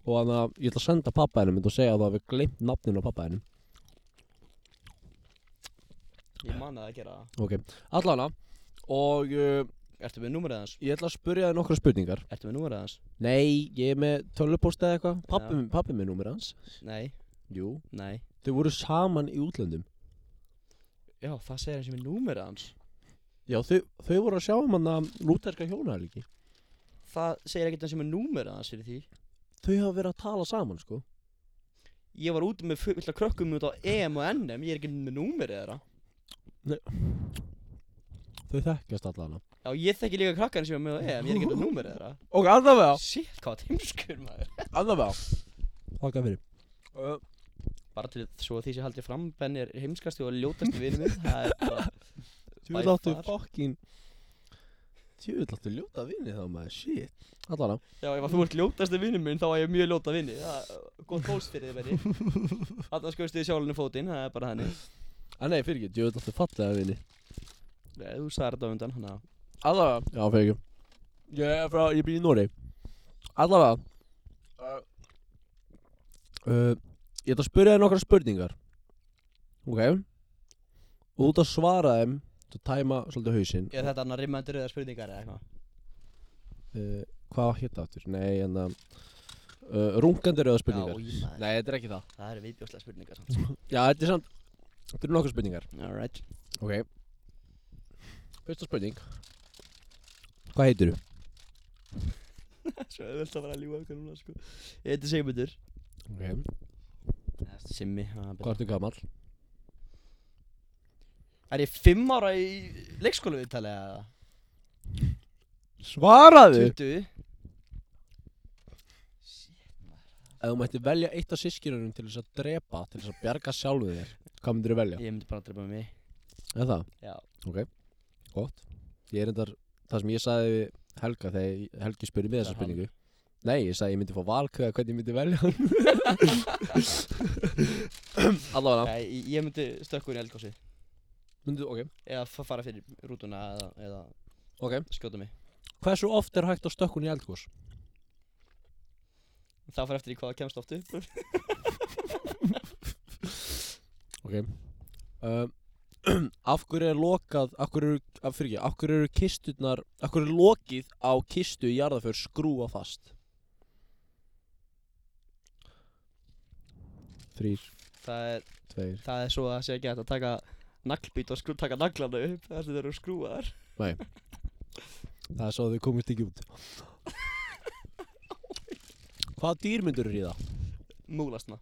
[SPEAKER 2] Og hann að ég ætla að senda pappa hennum og segja að það við gleymt nafninu á pappa hennum
[SPEAKER 3] Ég manna það að gera það
[SPEAKER 2] Ok, allana Og uh,
[SPEAKER 3] Ertu með númerið hans?
[SPEAKER 2] ég ætla að spurja þér nokkra spurningar
[SPEAKER 3] Ertu með númerið hans?
[SPEAKER 2] Nei, ég er með tölvupósta eða eitthvað Pappi, pappi með númer hans
[SPEAKER 3] Nei,
[SPEAKER 2] Jú
[SPEAKER 3] nei
[SPEAKER 2] Þau voru saman í útlöndum
[SPEAKER 3] Já, það segir hans ég með númerið hans
[SPEAKER 2] Já, þau, þau voru að sjá um hann að lúterska hjónahelgi
[SPEAKER 3] Það segir ekkert hans ég með númerið hans fyrir því
[SPEAKER 2] Þau hafa verið að tala saman, sko
[SPEAKER 3] Ég var úti með fullt af krökkum út á EM og NM Ég er ekki með númerið þeirra
[SPEAKER 2] Þau þekkjast allana
[SPEAKER 3] Já, ég þekki líka krakkan sem er með á EM Ég er ekki með númerið þeirra
[SPEAKER 2] Ok, allavega
[SPEAKER 3] Shit, hvað tímskur maður
[SPEAKER 2] Allavega Þakka fyrir uh,
[SPEAKER 3] bara til svo því sem haldið fram Ben er heimskasti og ljótasti vinur minn það er bara
[SPEAKER 2] Þú vil
[SPEAKER 3] By
[SPEAKER 2] áttu
[SPEAKER 3] far.
[SPEAKER 2] fokkin Þú vil áttu ljóta vinni þá maður Shit Allavega
[SPEAKER 3] já ef að þú ert ljótasti vinur minn þá er ég mjög ljóta vinni það er gott fólks fyrir þið Benni alltaf skoðist þið sjálfinu fótinn það er bara henni
[SPEAKER 2] Að Ah, nei, fyrir ekki Þú vil áttu fallega vinni
[SPEAKER 3] þú sagði þetta á undan hann að
[SPEAKER 2] Allavega Já, fyrir ekki Ég er frá Ég býr í Nóri Allavega uh, uh, Ég ætla að spyrja þér nokkra spurningar Ok Og þú ert að svara þeim Þú tæma svolítið hausinn
[SPEAKER 3] er þetta hann að rimma undir rauðar spurningar eða eitthvað
[SPEAKER 2] uh, Hvað hétt aftur? Nei, en að uh, Rungandi rauða spurningar
[SPEAKER 3] já, ég maður
[SPEAKER 2] Nei, þetta er ekki það
[SPEAKER 3] það eru viðbjóðslega spurningar samt sko.
[SPEAKER 2] Já, þetta er samt Þetta eru nokkuð spurningar
[SPEAKER 3] alright
[SPEAKER 2] Ok Fyrsta spurning Hvað heitir þú?
[SPEAKER 3] svo þau vilt að vera að ljúa okkur núna sko ég heiti Sigmundur
[SPEAKER 2] Ok
[SPEAKER 3] Simmi það er
[SPEAKER 2] Hvað
[SPEAKER 3] betra.
[SPEAKER 2] ertu gammal?
[SPEAKER 3] er ég fimm ára í leikskólu viðtali eða
[SPEAKER 2] Svaraðu
[SPEAKER 3] 20
[SPEAKER 2] Ef þú mætti velja eitt af sískinunum til þess að drepa Til þess að bjarga sjálfu þér Hvað myndir þú velja?
[SPEAKER 3] ég myndi bara að drepa mig
[SPEAKER 2] Er það?
[SPEAKER 3] já
[SPEAKER 2] Ok Gott Ég er endar Það sem ég sagði við Helga Þegar Helgi spurði mig þessa
[SPEAKER 3] Það er hann.
[SPEAKER 2] spurningu Nei, ég sagði ég myndi fá valkveða Hvernig ég myndi velja hann Allavega
[SPEAKER 3] Nei, ég- ég myndi stökka úr í eldgósi
[SPEAKER 2] Myndu, ok
[SPEAKER 3] eða fa- fara fyrir rútuna eða, eða
[SPEAKER 2] Ok
[SPEAKER 3] skjóta mig
[SPEAKER 2] Hversu oft er hægt að stökkun í eldgós?
[SPEAKER 3] Það fyrir eftir í hvað kemst oft upp
[SPEAKER 2] Ok uh, Af hverju er lokað Af hverju, eru- af, fyrir ekki, af hverju eru kisturnar Af hverju er lokið á kistu í jarðaför skrúa fast?
[SPEAKER 5] Þrýr,
[SPEAKER 3] Það er,
[SPEAKER 5] tveir
[SPEAKER 3] það er svo að sé ekki hægt að taka naglbít og skrú, taka naglana upp þar sem þeir eru skrúaðar
[SPEAKER 2] Það er svo að þau komist ekki út Hvaða dýr myndur eru í það?
[SPEAKER 3] Múlasna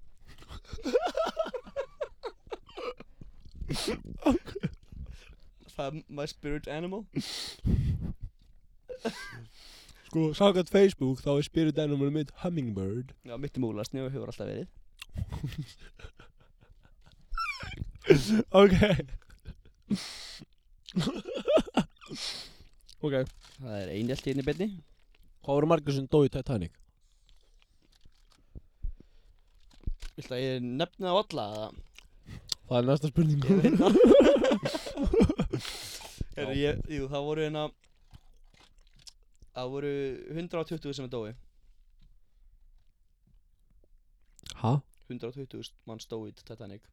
[SPEAKER 3] Það er my spirit animal
[SPEAKER 2] Sko, samkvæmt Facebook þá er spirit animal mitt hummingbird
[SPEAKER 3] Já, mitt er múlasni og hefur alltaf verið
[SPEAKER 2] Ok Ok
[SPEAKER 3] Það er einhjalt í einni beinni
[SPEAKER 2] Hvað voru margir sem dói í Titanic?
[SPEAKER 3] Viltu að ég nefni það á alla eða?
[SPEAKER 2] Það er næsta spurning
[SPEAKER 3] Ég veit það Herru, ég, jú, það voru hérna Það voru 120 sem dói
[SPEAKER 2] Hæ?
[SPEAKER 3] 120 manns dói í Titanic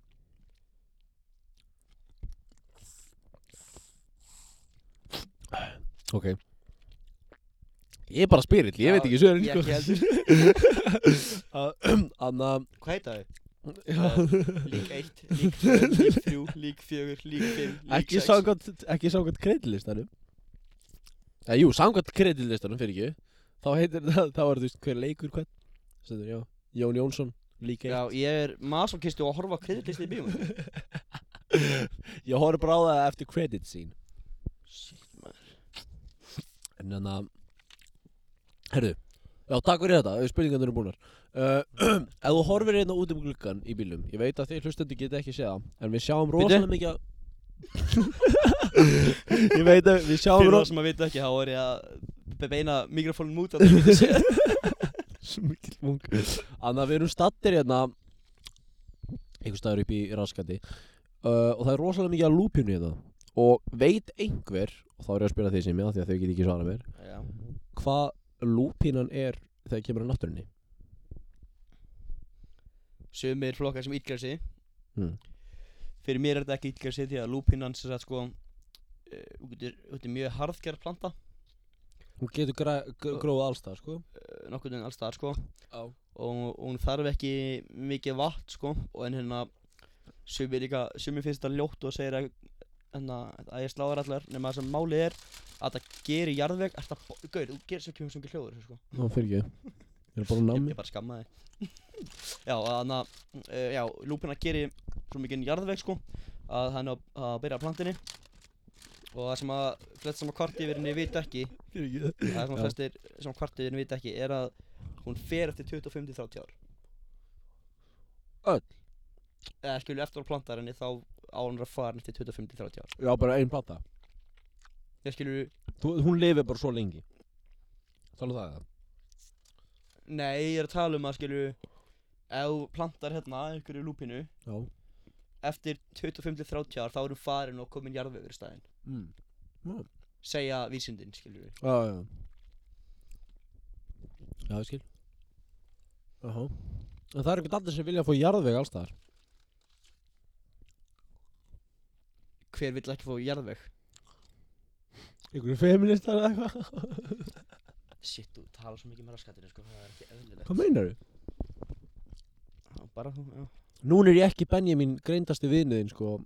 [SPEAKER 2] Ok Ég er bara spyrill, ég veit ekki sko. svörin
[SPEAKER 3] Ég ekki heldur
[SPEAKER 2] Anna
[SPEAKER 3] Hvað heita þau?
[SPEAKER 2] Já.
[SPEAKER 3] Lík 1, lík 2, lík 3, lík 4, lík 5, lík
[SPEAKER 2] Ekki
[SPEAKER 3] 6
[SPEAKER 2] samkvæmt Ekki samkvæmt kreitlistanum Já, jú, samkvæmt kreitlistanum fyrir ekki Þá heitir það, þá er þú veist hver leikur hvern Stendur, já Jón Jónsson Líka
[SPEAKER 3] Já, ég er masokistu og horfa á kreditlist í bíum
[SPEAKER 2] Ég horf bara á það eftir credit scene En þannig að Herðu Já, takk fyrir þetta, spurningarnir eru búnar uh, Ef þú horfir hérna út um gluggan í bílum Ég veit að þið hlustandi geta ekki séð það En við sjáum
[SPEAKER 3] Bíddu.
[SPEAKER 2] rosalega mikið að Ég veit að við sjáum
[SPEAKER 3] Fyrir það
[SPEAKER 2] rosalega
[SPEAKER 3] sem að vita ekki, þá er ég að beina mikrofónum út að það getur séð
[SPEAKER 2] mikið mung Þannig að við erum stattir hérna Einhver staður upp í raskandi uh, Og það er rosalega mikið að lúpjunu hérna Og veit einhver Og þá er ég að spila því sem ég Því að þau geta ekki svarað mér
[SPEAKER 3] Já,
[SPEAKER 2] hvað lúpínan er þegar kemur að náttúrunni
[SPEAKER 3] sumir flokkar sem ítgræsi
[SPEAKER 2] Mm.
[SPEAKER 3] fyrir mér er þetta ekki ítgræsi því að lúpínan sem sagt sko eh, þú getur- þetta er mjög harðgerð planta
[SPEAKER 2] hún getur græ- gr- gróð alls það sko
[SPEAKER 3] nokkur en alls það sko
[SPEAKER 2] Já.
[SPEAKER 3] og og hún þarf ekki mikið vatn sko og en hérna sumir líka sumir finnst þetta ljótt og segir að hérna að ég sláður allar nema það sem málið er að það gerir jarðveg er það gauð þú gerir svo kemur svo ekki hljóður sko
[SPEAKER 2] Ná, fyrir ekki ég er bara
[SPEAKER 3] ég,
[SPEAKER 2] námi
[SPEAKER 3] ég bara skamma þig já, þannig að uh, já, lúpina gerir svo mikinn jarðveg sko að hann á að byrja á plantinni og það sem að flest sem að kvartífyrinni vita ekki
[SPEAKER 2] fyrir ekki
[SPEAKER 3] það sem að
[SPEAKER 2] Já.
[SPEAKER 3] flestir sem að kvartífyrinni vita ekki er að hún fer eftir 25-30 ár
[SPEAKER 2] Öll?
[SPEAKER 3] eða skilju eftir að planta henni þá á hún að fara eftir 25-30 ár
[SPEAKER 2] já bara ein plata
[SPEAKER 3] ég skilju
[SPEAKER 2] Þú, hún lifir bara svo lengi tala um það eða?
[SPEAKER 3] nei, ég er að tala um að skilju ef þú plantar hérna einhverju lúpinu
[SPEAKER 2] já
[SPEAKER 3] eftir 25-30 ár þá er hún farin og komin jarðvegur í staðinn
[SPEAKER 2] mm.
[SPEAKER 3] segja vísindin, skilur við
[SPEAKER 2] já já já ég skil Aha. en það er einhvern allir sem vilja að fá jarðveg alls þar
[SPEAKER 3] hver vill ekki fá jarðveg
[SPEAKER 2] einhverju feministar eða eitthvað
[SPEAKER 3] shit, þú talar svo mikið með raskatinu, sko, það er ekki eðlilegt
[SPEAKER 2] hvað meinar þau?
[SPEAKER 3] Já, bara, þú- já
[SPEAKER 2] núna er ég ekki Benjamin greindasti viðniðin sko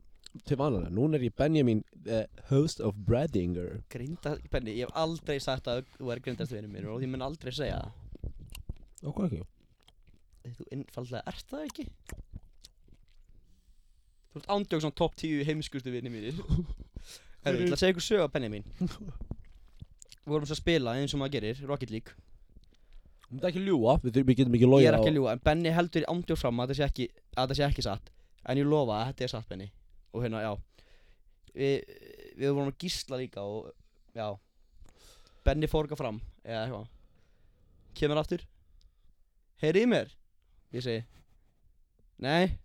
[SPEAKER 2] til vanalega núna er ég Benjamin the host of Bradinger
[SPEAKER 3] grinda, Benni, ég hef aldrei sagt að þú er grindast vinur mér og ég mun aldrei segja það
[SPEAKER 2] og hvað ekki?
[SPEAKER 3] þú innfallega ert það ekki þú ert ándjók svona topp 10 heimskustu vinur mínir herru, ég ætla að segja ykkur sög á Benni mín við vorum svo að spila eins og maður gerir, Rocket League
[SPEAKER 2] Þú ert ekki að ljúa, við, þurfum- við getum ekki logið
[SPEAKER 3] ég er ekki að ljúga, en Benni heldur ándjóð fram að það sé ekki, að það sé ekki satt en ég lofa að þetta er satt Benni og hérna, já við, við vorum að gísla líka og já Benni fórga fram eða eitthvað kemur aftur heyri í mér ég segi nei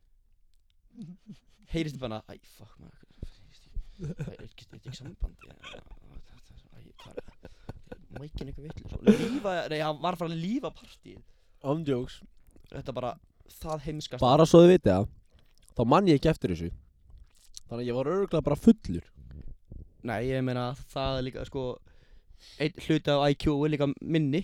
[SPEAKER 3] heyrist þið bara æ, fuck maður heyrist þið- æ, er ekki- er þetta ekki samband Æ, já, já, já, já, æ, hvað er- Mækin eitthvað vitlega Lífa, nei, hann var að fara að lífa partíð
[SPEAKER 2] Andjóks
[SPEAKER 3] Þetta bara, það heimskast
[SPEAKER 6] Bara svo þið vitið það Þá mann ég ekki eftir þessu Þannig að ég var örgulega bara fullur
[SPEAKER 3] Nei, ég meina, það er líka, sko Einn hluti af IQ er líka minni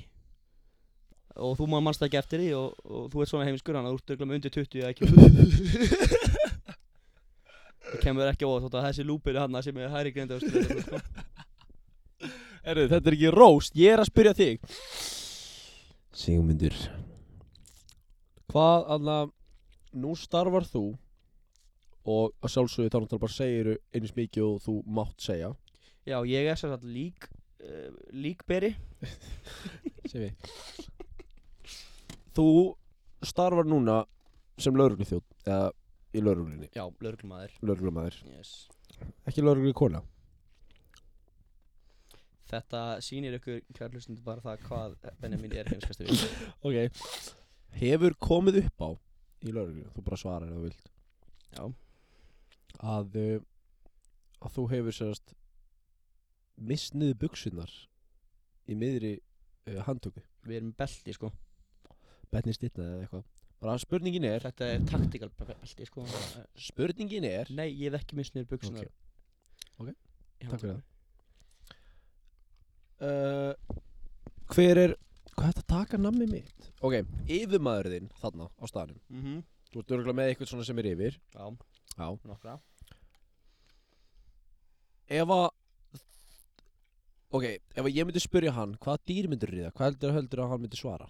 [SPEAKER 3] Og þú maður mannst ekki eftir því og, og þú ert svona heimskur Þannig að þú ert örugglega með undir 20 í IQ Það kemur ekki á óvart þótt að þessi lúpir hann sem er hæri grinda sko.
[SPEAKER 2] Erðu, þetta er ekki róst, ég er að spyrja þig
[SPEAKER 6] Sigmundur
[SPEAKER 2] Hvað, Anna, nú starfar þú Og að sjálfsögðu þá náttúrulega bara segiru eins mikið og þú mátt segja
[SPEAKER 3] Já, ég er sér satt lík uh, Líkberi
[SPEAKER 2] Sifi Þú starfar núna sem lauruglu þjótt Eða í lauruglunni,
[SPEAKER 3] Já, lögreglumæður
[SPEAKER 2] lauruglumæður
[SPEAKER 3] yes.
[SPEAKER 2] Ekki lauruglu kona
[SPEAKER 3] Þetta sýnir ykkur kjærlustundu bara það hvað Benjamin er heimskastu við
[SPEAKER 2] Ok Hefur komið upp á í lauruglu Þú bara svarar ef þú vilt
[SPEAKER 3] Já.
[SPEAKER 2] Að uh, að þú hefur sérst misniðu buksunar í miðri uh, handtöku
[SPEAKER 3] Við erum belti sko
[SPEAKER 2] Benni stilla eða eitthvað Bara spurningin er
[SPEAKER 3] Þetta er taktikal belti sko
[SPEAKER 2] Spurningin er
[SPEAKER 3] Nei, ég hef ekki misnir buksunar
[SPEAKER 2] Ok.
[SPEAKER 3] Já,
[SPEAKER 2] Takk fyrir eh, Hver er Hvað er þetta að taka nammi mitt? Ok, yfirmaður þinn þarna á staðnum
[SPEAKER 3] Mhm.
[SPEAKER 2] Þú ert örgulega með eitthvað svona sem er yfir
[SPEAKER 3] Já,
[SPEAKER 2] Já
[SPEAKER 3] nokkra
[SPEAKER 2] ef að ok, ef að ég myndi spyrja hann hvaða dýr myndir ríða, hvað heldur, heldur að hann myndi svara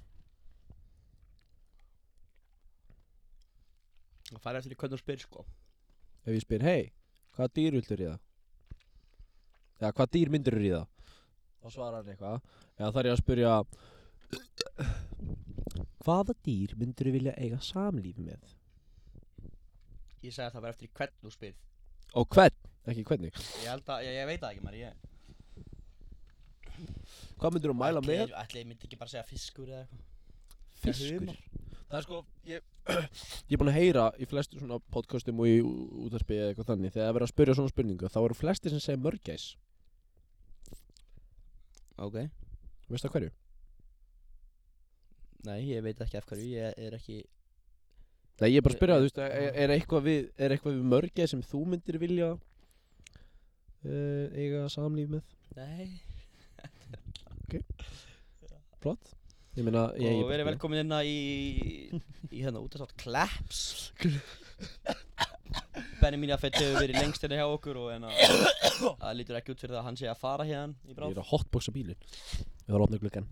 [SPEAKER 3] Það fær eftir í hvernig þú spyr sko
[SPEAKER 2] ef ég spyr, hei, hvaða dýr vildur ríða eða hvaða dýr myndir ríða þá svarar hann eitthvað eða þarf ég að spyrja hvaða dýr myndir vilja eiga samlífi með
[SPEAKER 3] Ég segi að það fær eftir í hvernig þú spyr
[SPEAKER 2] og hvern, ekki hvernig
[SPEAKER 3] Ég held að, ég, ég veit það ekki maður Ég
[SPEAKER 2] hvað myndir þú mæla
[SPEAKER 3] Ætli-
[SPEAKER 2] með
[SPEAKER 3] Ætli ég myndi ekki bara segja fiskur eða eitthvað
[SPEAKER 2] fiskur
[SPEAKER 3] humar.
[SPEAKER 2] það er sko ég, ég er búin að heyra í flestu svona podcastum og í útarpi eða eitthvað þannig þegar það er verið að spyrja svona spurningu þá eru flesti sem segja mörgæs
[SPEAKER 3] Ok
[SPEAKER 2] veist það hverju?
[SPEAKER 3] Nei, ég veit ekki af hverju Ég er ekki
[SPEAKER 2] Nei ég er bara að spyrja
[SPEAKER 3] Eh,
[SPEAKER 2] þú veist er, er, eitthvað við, er eitthvað við mörgæs sem þú myndir vilja uh, eiga samlíf með
[SPEAKER 3] Nei
[SPEAKER 2] flott ég meina ég,
[SPEAKER 3] Og verið velkomin inna í Í hérna út af sátt Claps Benni mín að fett hefur verið lengst hérna hjá okkur Og hérna Það lítur ekki út fyrir það að hann sé að fara hérna Í
[SPEAKER 2] ég
[SPEAKER 3] bráð
[SPEAKER 2] er að hotboxa bílin ég þarf að opna gluggan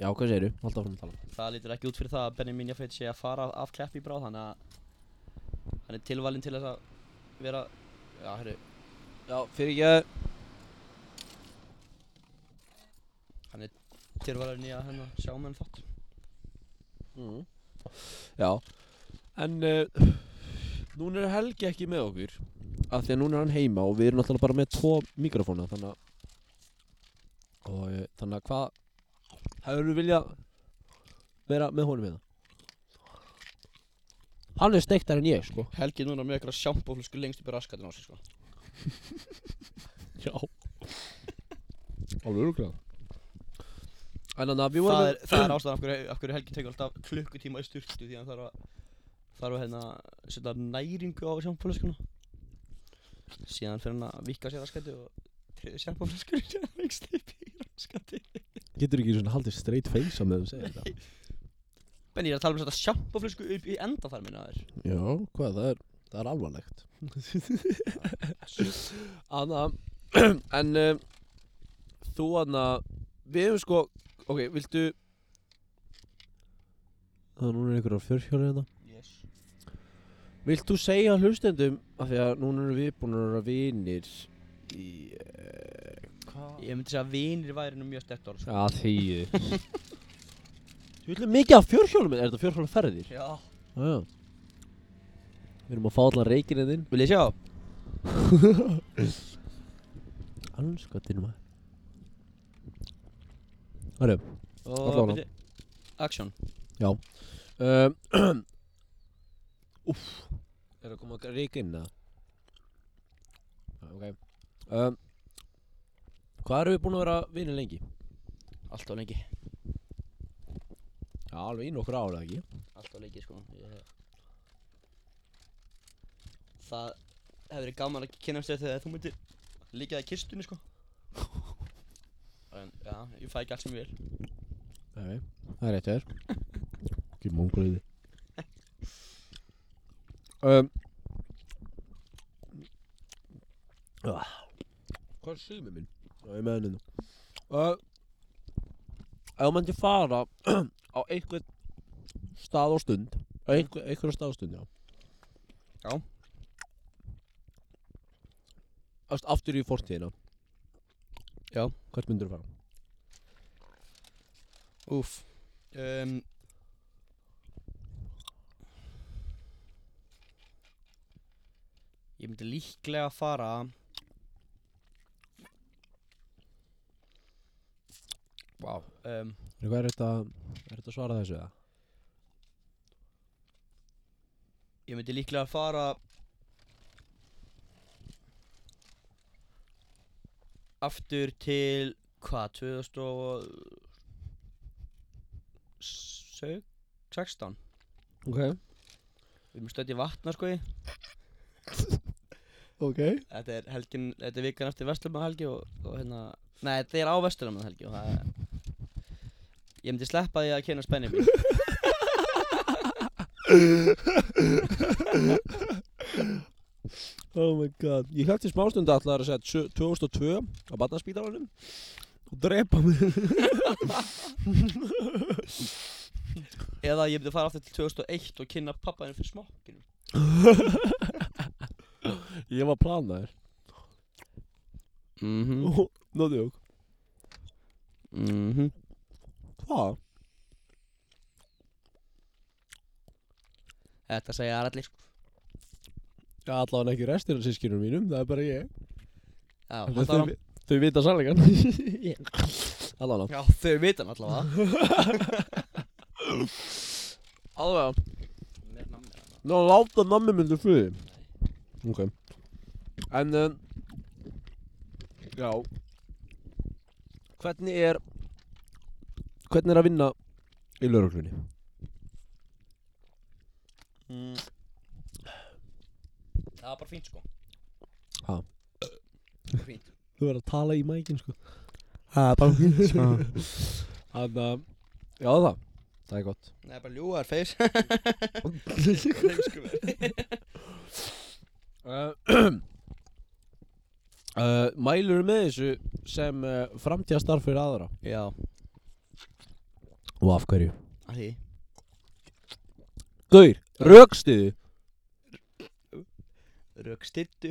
[SPEAKER 2] já hvað segir þú? Halda áfram að tala
[SPEAKER 3] Það lítur ekki út fyrir það að Benni mín að fett sé að fara af- af Clap í bráð Þannig að Hann er tilvalinn til þess að Vera Já, hérru
[SPEAKER 2] já fyrir ég
[SPEAKER 3] Hann er tilvalinn í að hérna sjá með hann þátt
[SPEAKER 2] mm. já en uh, núna er Helgi ekki með okkur af því að núna er hann heima og við erum náttúrulega bara með tvo mikrofóna þannig að og eh, þannig að hvað hefur við vilja vera með honum hérna hann er steiktar en ég sko
[SPEAKER 3] Helgi er núna með eitthvað sjampóflösku lengst upp í raskatinn á sig sko
[SPEAKER 2] já alveg öruglega en þannig að við vorum
[SPEAKER 3] það er, það er ástæðan af hverju, af hverju Helgi tekur alltaf klukkutíma í styrtu því að hann þarf að þarf að hérna setja næringu á sjampóflöskuna síðan fyrir hann að vika sér raskætti og treður sjampóflöskunni sér lengst upp í raskætti
[SPEAKER 6] Getur ekki svona haldið straight face á með þú segir þetta
[SPEAKER 3] Benni, ég er að tala um að setja sjampóflösku upp í endaþarmina þér
[SPEAKER 6] Já, hvað, það er, það er alvarlegt
[SPEAKER 2] Anna, en uh, þú Anna, við hefum sko, ok, viltu,
[SPEAKER 6] Það er núna einhverjar fjörhjóli hérna
[SPEAKER 3] yes.
[SPEAKER 2] vilt þú segja hlustendum, af því að núna erum við búin að vera vinir í, eh,
[SPEAKER 3] Ég myndi segja að vinir væri nú mjög stert orð sko.
[SPEAKER 2] að þýðu. Þú viljum mikið af fjörhjólum, er þetta fjörhjóla ferðir?
[SPEAKER 3] Já
[SPEAKER 2] Já, já. Við erum að fá allan reikinn en þinn.
[SPEAKER 3] Vil ég sjá?
[SPEAKER 2] Anskotinn maður.
[SPEAKER 3] Og
[SPEAKER 2] Allavega.
[SPEAKER 3] byrju Action
[SPEAKER 2] Um, Úff Er það komið að reyka inn það? Ok um, Ehm, Hvað erum við búin að vera vinni lengi?
[SPEAKER 3] Allt á lengi
[SPEAKER 2] Já, alveg í nokkur ára, ekki?
[SPEAKER 3] Allt á lengi sko ég... Það hefur verið gaman að kynast þér þegar þú myndir líka það í kistunni sko en, Já, ég fæ ekki allt sem ég vil
[SPEAKER 2] Nei, það er rétt hér Ekki mongoliði um, uh, Hvað er sími minn? Já, ég með henni nú uh, Ef maður ekki fara á einhvern stað og stund á einhver, einhver stað og stund, já
[SPEAKER 3] Já.
[SPEAKER 2] Ást, Aftur í fortíðina
[SPEAKER 3] Já.
[SPEAKER 2] Hvert myndir þú fara?
[SPEAKER 3] Úff um, Ég myndi líklega að fara Vá um,
[SPEAKER 2] Er hvað er þetta, er þetta að svara þessu eða?
[SPEAKER 3] Ég myndi líklega að fara Aftur til Hvað, 2016
[SPEAKER 2] Ok
[SPEAKER 3] Við erum stödd í vatna sko
[SPEAKER 2] Ok
[SPEAKER 3] Þetta er helgin, þetta er vikan eftir Vestlumna helgi og, og hérna Nei, þetta er á Vestlumna helgi og það er Ég myndi sleppa því að kynna spenni mér
[SPEAKER 2] Oh my god Ég hlætti smástund að ætlaði að segja sjö- 2002 á barnaspítalanum og drepa mig
[SPEAKER 3] Eða ég myndi fara aftur til 2001 og kynna pappaðinu fyrir smokkinu
[SPEAKER 2] Ég var planaður
[SPEAKER 3] Mhm,
[SPEAKER 2] Nóðu jók
[SPEAKER 3] mhm
[SPEAKER 2] Hvað?
[SPEAKER 3] Þetta segja allir sko
[SPEAKER 2] Ég ætlaði ekki restir af sískinum mínum, það er bara ég
[SPEAKER 3] Já,
[SPEAKER 2] En
[SPEAKER 3] það þarf
[SPEAKER 2] þau, þau vita sannleikan Allána
[SPEAKER 3] Já, þau vita hann allavega
[SPEAKER 2] Allavega Ná láta nammi myndir fyrir Ok En um, Já Hvernig er Hvernig er að vinna í lauruglunni?
[SPEAKER 3] mm. Það var bara fínt sko
[SPEAKER 2] Ha?
[SPEAKER 3] Bara Fínt
[SPEAKER 2] Þú verður að tala í mækin sko Það er bara fínt sko Þannig að eh, Já það Það er gott
[SPEAKER 3] Nei, bara ljúar feis
[SPEAKER 2] uh, uh, Mælur með þessu sem uh, framtíðastarf fyrir aðra
[SPEAKER 3] Já,
[SPEAKER 2] Og af hverju?
[SPEAKER 3] að því
[SPEAKER 2] Gaur, rökstiðu
[SPEAKER 3] Rökstiddu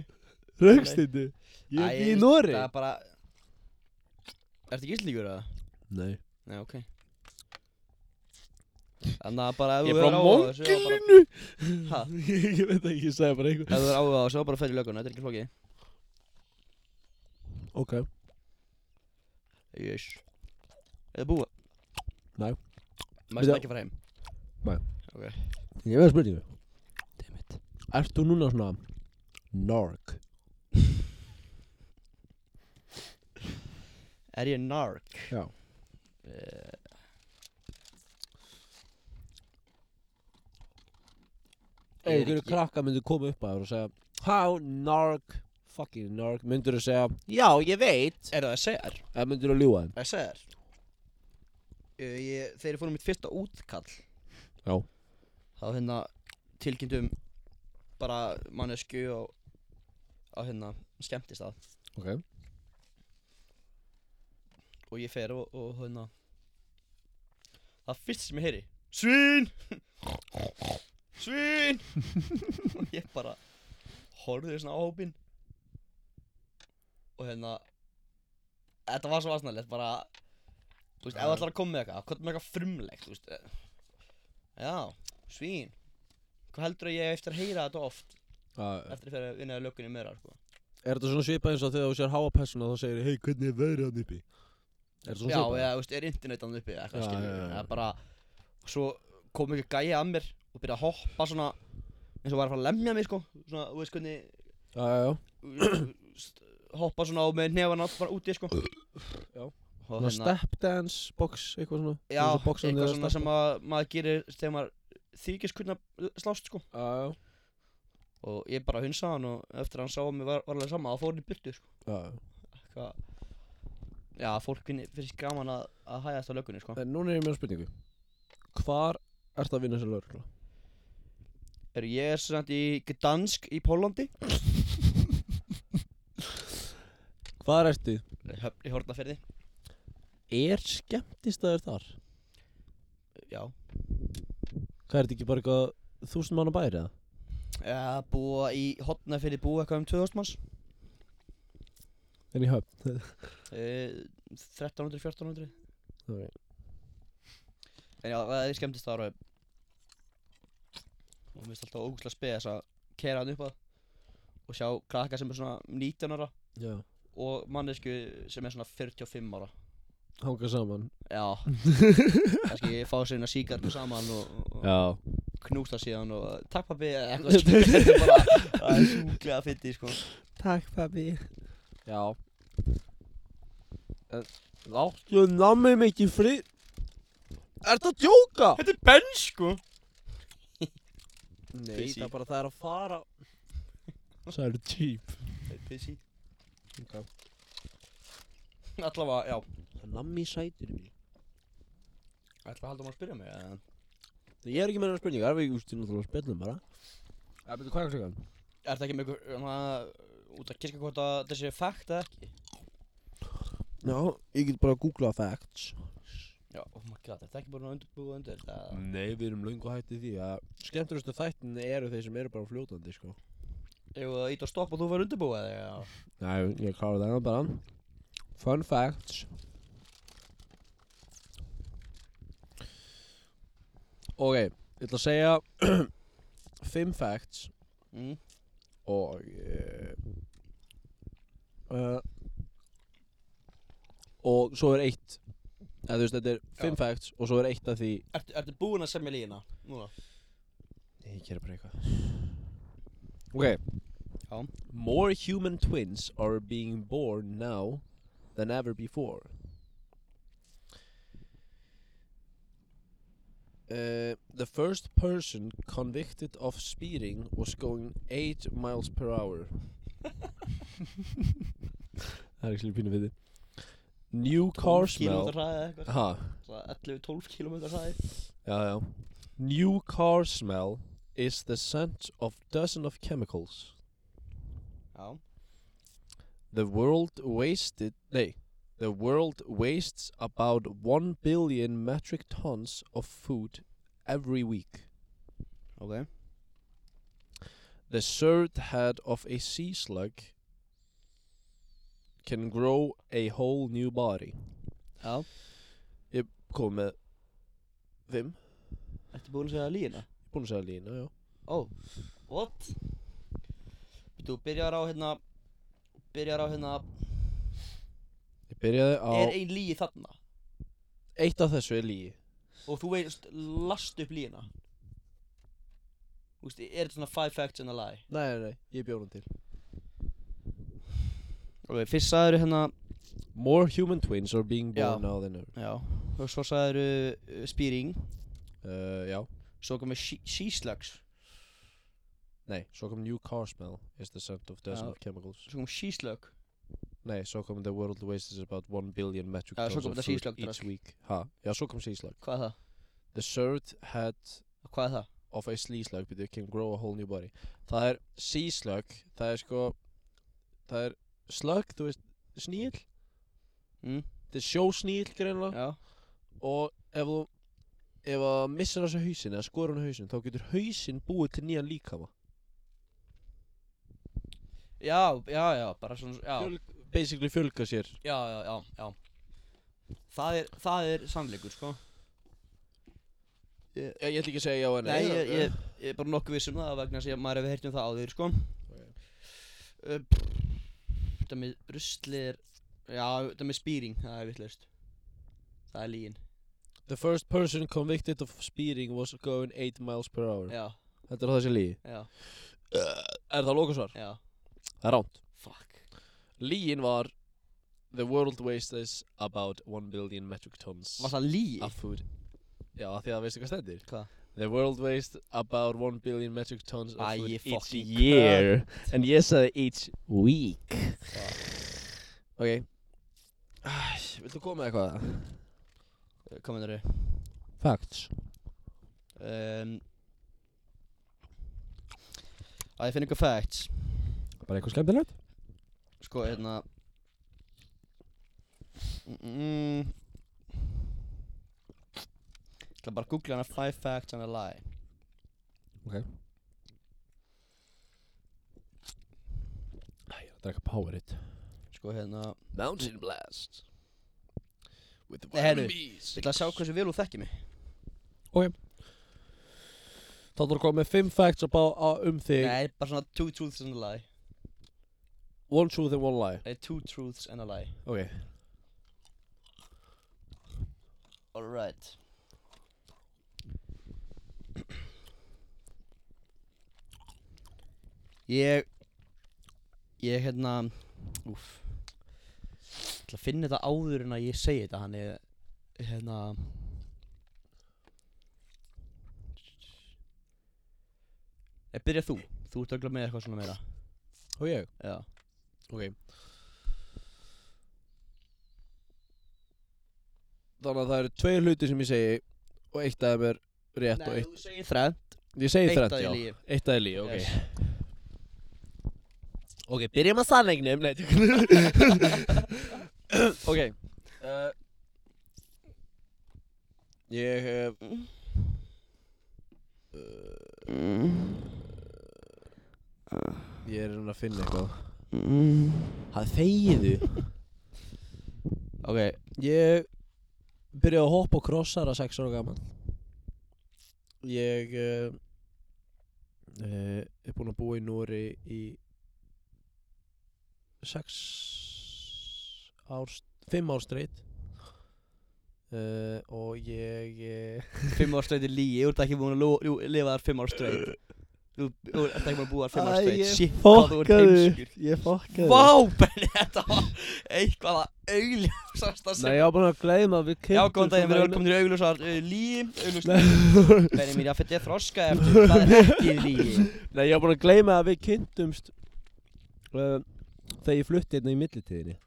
[SPEAKER 2] Rökstiðu Ég
[SPEAKER 3] Æ,
[SPEAKER 2] er ekki í
[SPEAKER 3] veist,
[SPEAKER 2] Nóri
[SPEAKER 3] Það er bara Ertu ekki íslíkur eða?
[SPEAKER 2] Nei
[SPEAKER 3] Nei, ok Þannig að bara ef
[SPEAKER 2] Ég
[SPEAKER 3] þú
[SPEAKER 2] er frá
[SPEAKER 3] er áhuga á þessu þá bara-
[SPEAKER 2] mongilinu
[SPEAKER 3] Ha?
[SPEAKER 2] Ég veit ekki, ég segja bara
[SPEAKER 3] Ef
[SPEAKER 2] eitthvað
[SPEAKER 3] þú er áhuga á þessu þá bara ferð í löguna, þetta er ekki flókið
[SPEAKER 2] Ok
[SPEAKER 3] Jés Eða búa?
[SPEAKER 2] Nei.
[SPEAKER 3] Mæst
[SPEAKER 2] Bíddu.
[SPEAKER 3] ekki fara heim?
[SPEAKER 2] Ég veið spurningu
[SPEAKER 3] Damn it
[SPEAKER 2] Ert þú núna svona Norg
[SPEAKER 3] Er ég nark?
[SPEAKER 2] Já.
[SPEAKER 3] Eh,
[SPEAKER 2] Ef
[SPEAKER 3] Ég er
[SPEAKER 2] ykkur
[SPEAKER 3] ekki-
[SPEAKER 2] krakka myndir koma upp að þér og segja How Norg Fucking Norg Myndir þú segja Já, ég veit
[SPEAKER 3] Er það SR?
[SPEAKER 2] Eða myndir þú ljúga þeim
[SPEAKER 3] SR? Uh, ég, þegar ég fór um mitt fyrsta útkall
[SPEAKER 2] Já.
[SPEAKER 3] Þá hérna tilkynntum bara mannesku á, á hérna skemmtist að
[SPEAKER 2] Ok
[SPEAKER 3] og ég fer og, og hérna það er fyrst sem ég heyri Svín Svín og ég bara horfði svona á hópin og hérna þetta var svo aðsnaðlegt bara þú veist, ef það ætlar að koma með eitthvað hvað er með eitthvað frumlegt, þú veist eh, já, svín hvað heldur að ég eigi eftir að heyra þetta oft
[SPEAKER 2] uh,
[SPEAKER 3] eftir að fyrir að vinna í löggunni meira sko.
[SPEAKER 2] Er þetta svona svipað eins og þegar þú sér háa persóna þá segir Hei, hvernig er veðrið hann uppi? Er þetta svona
[SPEAKER 3] Já,
[SPEAKER 2] svipað?
[SPEAKER 3] eða, þú veist, er internetan uppi eða eitthvað,
[SPEAKER 2] Já, já,
[SPEAKER 3] skilur
[SPEAKER 2] já,
[SPEAKER 3] við,
[SPEAKER 2] já.
[SPEAKER 3] það er bara Svo kom ekki gæja að mér og byrja að hoppa svona eins og var að fara að lemja mig, sko Svona, þú veist hvernig
[SPEAKER 2] Já, já, já
[SPEAKER 3] st- hoppa svona á með nefana bara úti, sko Og og
[SPEAKER 2] Svona Stepdance, box, eitthvað svona
[SPEAKER 3] hérna- já,
[SPEAKER 2] Svona boxandi
[SPEAKER 3] eitthvað
[SPEAKER 2] eða
[SPEAKER 3] svona
[SPEAKER 2] steppa.
[SPEAKER 3] sem að maður gerir þegar maður þykist kunna slást sko
[SPEAKER 2] Já, já,
[SPEAKER 3] og ég bara hunsa hann og eftir að hann sá að mér var, var alveg sama þá fór hann í burtu sko
[SPEAKER 2] já, já
[SPEAKER 3] Eitthvað- já, fólk finni- finnst gaman að, að hæðast á löggunni sko
[SPEAKER 2] En núna er ég með spurningu Hvar ertu að vinna sem lögregla?
[SPEAKER 3] er ég er sem sagt í Gdansk í Pólandi
[SPEAKER 2] Hvar ertu?
[SPEAKER 3] höfn í Hortnaferði
[SPEAKER 2] Er skemmtistæður þar?
[SPEAKER 3] já
[SPEAKER 2] Hvað er þetta ekki bara eitthvað þúsund manna bæri eða?
[SPEAKER 3] Já, búa í Hortnaferði búa eitthvað um 2000 manns
[SPEAKER 2] En í höfn
[SPEAKER 3] Eh, 1300, 1400
[SPEAKER 2] Ok.
[SPEAKER 3] En já, það er skemmtist ára Og mér finnst alltaf ógustlega spes að kera hann upp að Og sjá krakka sem er svona 19 ára
[SPEAKER 2] Já
[SPEAKER 3] Og mannesku sem er svona 45 ára
[SPEAKER 2] Hanga saman
[SPEAKER 3] Já Kannski fá sér eina síkartu saman og, og
[SPEAKER 2] Já
[SPEAKER 3] knústa síðan og eh, Takk pabbi eða eitthvað skilur, Þetta er bara það er sjúklega fyndi sko
[SPEAKER 2] Takk pabbi Já En Láttu nammi mig ekki fri Ertu að djóka?
[SPEAKER 3] Þetta er benn sko
[SPEAKER 2] Nei,
[SPEAKER 3] Pissi.
[SPEAKER 2] það er bara það er að fara Það eru típ
[SPEAKER 3] Pissi
[SPEAKER 2] Ok.
[SPEAKER 3] Allavega, já
[SPEAKER 2] Nammi sætur í mig
[SPEAKER 3] Ætla að halda maður að spyrja mig eða?
[SPEAKER 2] Ég er ekki með einhverja spurningar, við úrstu náttúrulega spjallum bara Það betur hvað er klukkan?
[SPEAKER 3] Er þetta ekki með ykkur, um, að- út að kirkja hvort að þessi er fakt eða ekki?
[SPEAKER 2] Já, ég get bara að googla facts
[SPEAKER 3] Já, oh my god, er þetta ekki bara undirbúið undir þetta?
[SPEAKER 2] Nei, við erum löngu hættið því að Skemmturustu þættin eru þeir sem eru bara fljótandi, sko
[SPEAKER 3] Ef það ít að stoppa og þú verður undirbúið eða já?
[SPEAKER 2] Nei, ég klára það bara Fun facts Ok, ég ætla að segja Fimm facts
[SPEAKER 3] Mm.
[SPEAKER 2] og eh, uh, og svo er eitt eða þú veist þetta er fimm facts og svo er eitt af því
[SPEAKER 3] Ertu, ertu búinn að semja lína? Núna?
[SPEAKER 2] ég gera bara eitthvað ok
[SPEAKER 3] Já.
[SPEAKER 2] more human twins are being born now than ever before Uh, the first person convicted of speeding was going 8 miles per hour. Það er ekki pínu við þið. New car
[SPEAKER 3] 12 Kílómetra
[SPEAKER 2] smell.
[SPEAKER 3] hraði eða eitthvað?
[SPEAKER 2] Ha,
[SPEAKER 3] Svona 11-12 kílómetra hraði?
[SPEAKER 2] já, já. Uh, New car smell is the scent of dozen of chemicals.
[SPEAKER 3] Já.
[SPEAKER 2] The world wasted, nei, the world wastes about 1 billion metric tons of food every week.
[SPEAKER 3] Ok.
[SPEAKER 2] The third head of a sea slug can grow a whole new body.
[SPEAKER 3] Já.
[SPEAKER 2] Kom með Vim,
[SPEAKER 3] Ertu búinn að segja lína?
[SPEAKER 2] búin að segja lína, já.
[SPEAKER 3] Ó. Oh. What? Þú byrjar á hérna, byrjar á hérna,
[SPEAKER 2] Ég byrjaði á,
[SPEAKER 3] er ein líi þarna?
[SPEAKER 2] eitt af þessu er líi.
[SPEAKER 3] og þú veist, last upp lína Þú veist, er þetta svona five facts and a lie
[SPEAKER 2] Nei, nei, nei, ég bjóð hann til.
[SPEAKER 3] Ok, fyrst sagður hérna
[SPEAKER 2] More human twins are being
[SPEAKER 3] Já.
[SPEAKER 2] born now than ever.
[SPEAKER 3] Já, og svo sagður uh, spýring
[SPEAKER 2] Uh, já,
[SPEAKER 3] Svo komið síslags
[SPEAKER 2] nei, svo kom new car smell is the scent of dozen
[SPEAKER 3] Já.
[SPEAKER 2] of chemicals.
[SPEAKER 3] Svo komið síslög
[SPEAKER 2] Nei, svo kom the world wastes about 1 billion metric
[SPEAKER 3] Já, svo
[SPEAKER 2] tons of
[SPEAKER 3] kom þetta
[SPEAKER 2] food
[SPEAKER 3] síslögn
[SPEAKER 2] each
[SPEAKER 3] drasl.
[SPEAKER 2] week. Ha, já, svo kom síslag.
[SPEAKER 3] Hvað er það?
[SPEAKER 2] The third head
[SPEAKER 3] Hvað er það?
[SPEAKER 2] of a sea slug but they can grow a whole new body það er sea slug það er sko það er slug, þú veist, sníl
[SPEAKER 3] Mm.
[SPEAKER 2] það er sjósníl greinlega
[SPEAKER 3] Hm? Já
[SPEAKER 2] og ef þú ef að missar þessu hausin eða skorur hann hausin þá getur hausin búið til nýjan líkama
[SPEAKER 3] Já, já, já, bara svona, já,
[SPEAKER 2] Fjöl, basically fjölga sér
[SPEAKER 3] já, já, já, já. Það er, það er sannleikur, sko
[SPEAKER 2] ég, ég ætla ekki að segja já en
[SPEAKER 3] Nei, ég, ég, ég er bara nokkuð viss um það vegna þess að ég- maður hefur heyrt um það áður, sko Uh, Þetta með ruslir Já, þetta með spýring, það er vitlaust Það er lígin
[SPEAKER 2] the first person convicted of speeding was going 8 miles per hour
[SPEAKER 3] Já,
[SPEAKER 2] þetta er það sem líi
[SPEAKER 3] já,
[SPEAKER 2] Uh, er það lókasvar?
[SPEAKER 3] já
[SPEAKER 2] það er ránt
[SPEAKER 3] Fuck
[SPEAKER 2] Líin var The world wastes about 1 billion metric tons
[SPEAKER 3] Var það lí?
[SPEAKER 2] of food Já, af því að veistu hvað stendur
[SPEAKER 3] Hvað?
[SPEAKER 2] The world wastes about 1 billion metric tons of
[SPEAKER 3] Æ,
[SPEAKER 2] food
[SPEAKER 3] ég
[SPEAKER 2] each
[SPEAKER 3] fucking
[SPEAKER 2] year En ég sagði each week Ok Æ, Viltu koma með eitthvað?
[SPEAKER 3] Kominur
[SPEAKER 2] Facts
[SPEAKER 3] um, Að ég finn ykkur facts
[SPEAKER 2] Bara eitthvað skemmtilegt?
[SPEAKER 3] Sko, hérna mm, Ég ætla bara að googla hana Five facts and a lie
[SPEAKER 2] Æ, ég er að drekka Powerade
[SPEAKER 3] Sko, hérna
[SPEAKER 2] Mountain Blast With
[SPEAKER 3] Nei,
[SPEAKER 1] er
[SPEAKER 3] heyrðu,
[SPEAKER 2] vitamin B's
[SPEAKER 3] Ég ætla að sjá hversu vel þú þekkir mig
[SPEAKER 2] Þá þú komið 5 facts about, uh, um þig
[SPEAKER 3] Nei, bara svona two truths and a lie
[SPEAKER 2] One truth and one lie
[SPEAKER 3] Nei, two truths and a lie
[SPEAKER 2] Ok
[SPEAKER 3] Alright Ég Ég hérna Úf Ég ætla að finna þetta áður en að ég segi þetta Hann er hérna Nei, byrja Eh, þú Þú ert ögla með eitthvað svona meira
[SPEAKER 2] Og ég
[SPEAKER 3] Já
[SPEAKER 2] Þannig að það eru tveir hluti sem ég segi Og eitt af þeim er rétt og eitt
[SPEAKER 3] þú segir þræð
[SPEAKER 2] Ég segi
[SPEAKER 3] eitt
[SPEAKER 2] þrætt,
[SPEAKER 3] af því
[SPEAKER 2] já
[SPEAKER 3] lygi.
[SPEAKER 2] Eitt af því líf, ok
[SPEAKER 3] Yes.
[SPEAKER 2] Ok, byrjum að sannleiknum Nei, tjók. Ok uh, Ég hef Ég er að reyna að finna eitthvað Það þegiðu
[SPEAKER 3] Ok
[SPEAKER 2] Ég byrjaði að hoppa og krossara sex ára gaman Ég uh, uh, er búinn að búa í Nóri í sex ár, fimm ár streitt uh, og ég uh,
[SPEAKER 3] fimm ár straight er lígi, þú ert ekki búin að lo- jú, lifa þar fimm ár straight Þú þú ert ekki búin að búa þar fimm ár straight Shit, hvað þú ert heimskur
[SPEAKER 7] Ég fokkaður
[SPEAKER 3] Vá, Benni, þetta var eitthvað að augljósast að
[SPEAKER 2] Nei,
[SPEAKER 3] segja
[SPEAKER 2] ég var búinn að gleyma við
[SPEAKER 3] Já,
[SPEAKER 2] kynntum
[SPEAKER 3] góðan daginn,
[SPEAKER 2] svo vel.
[SPEAKER 3] velkomin í augljósar uh, lígi Augljósar Benni mín, ég fyrir að þroska eftir, það er ekki lígi
[SPEAKER 2] Nei, ég var búinn að gleyma að við kynntumst uh, þegar ég flutti hérna í millitíðinni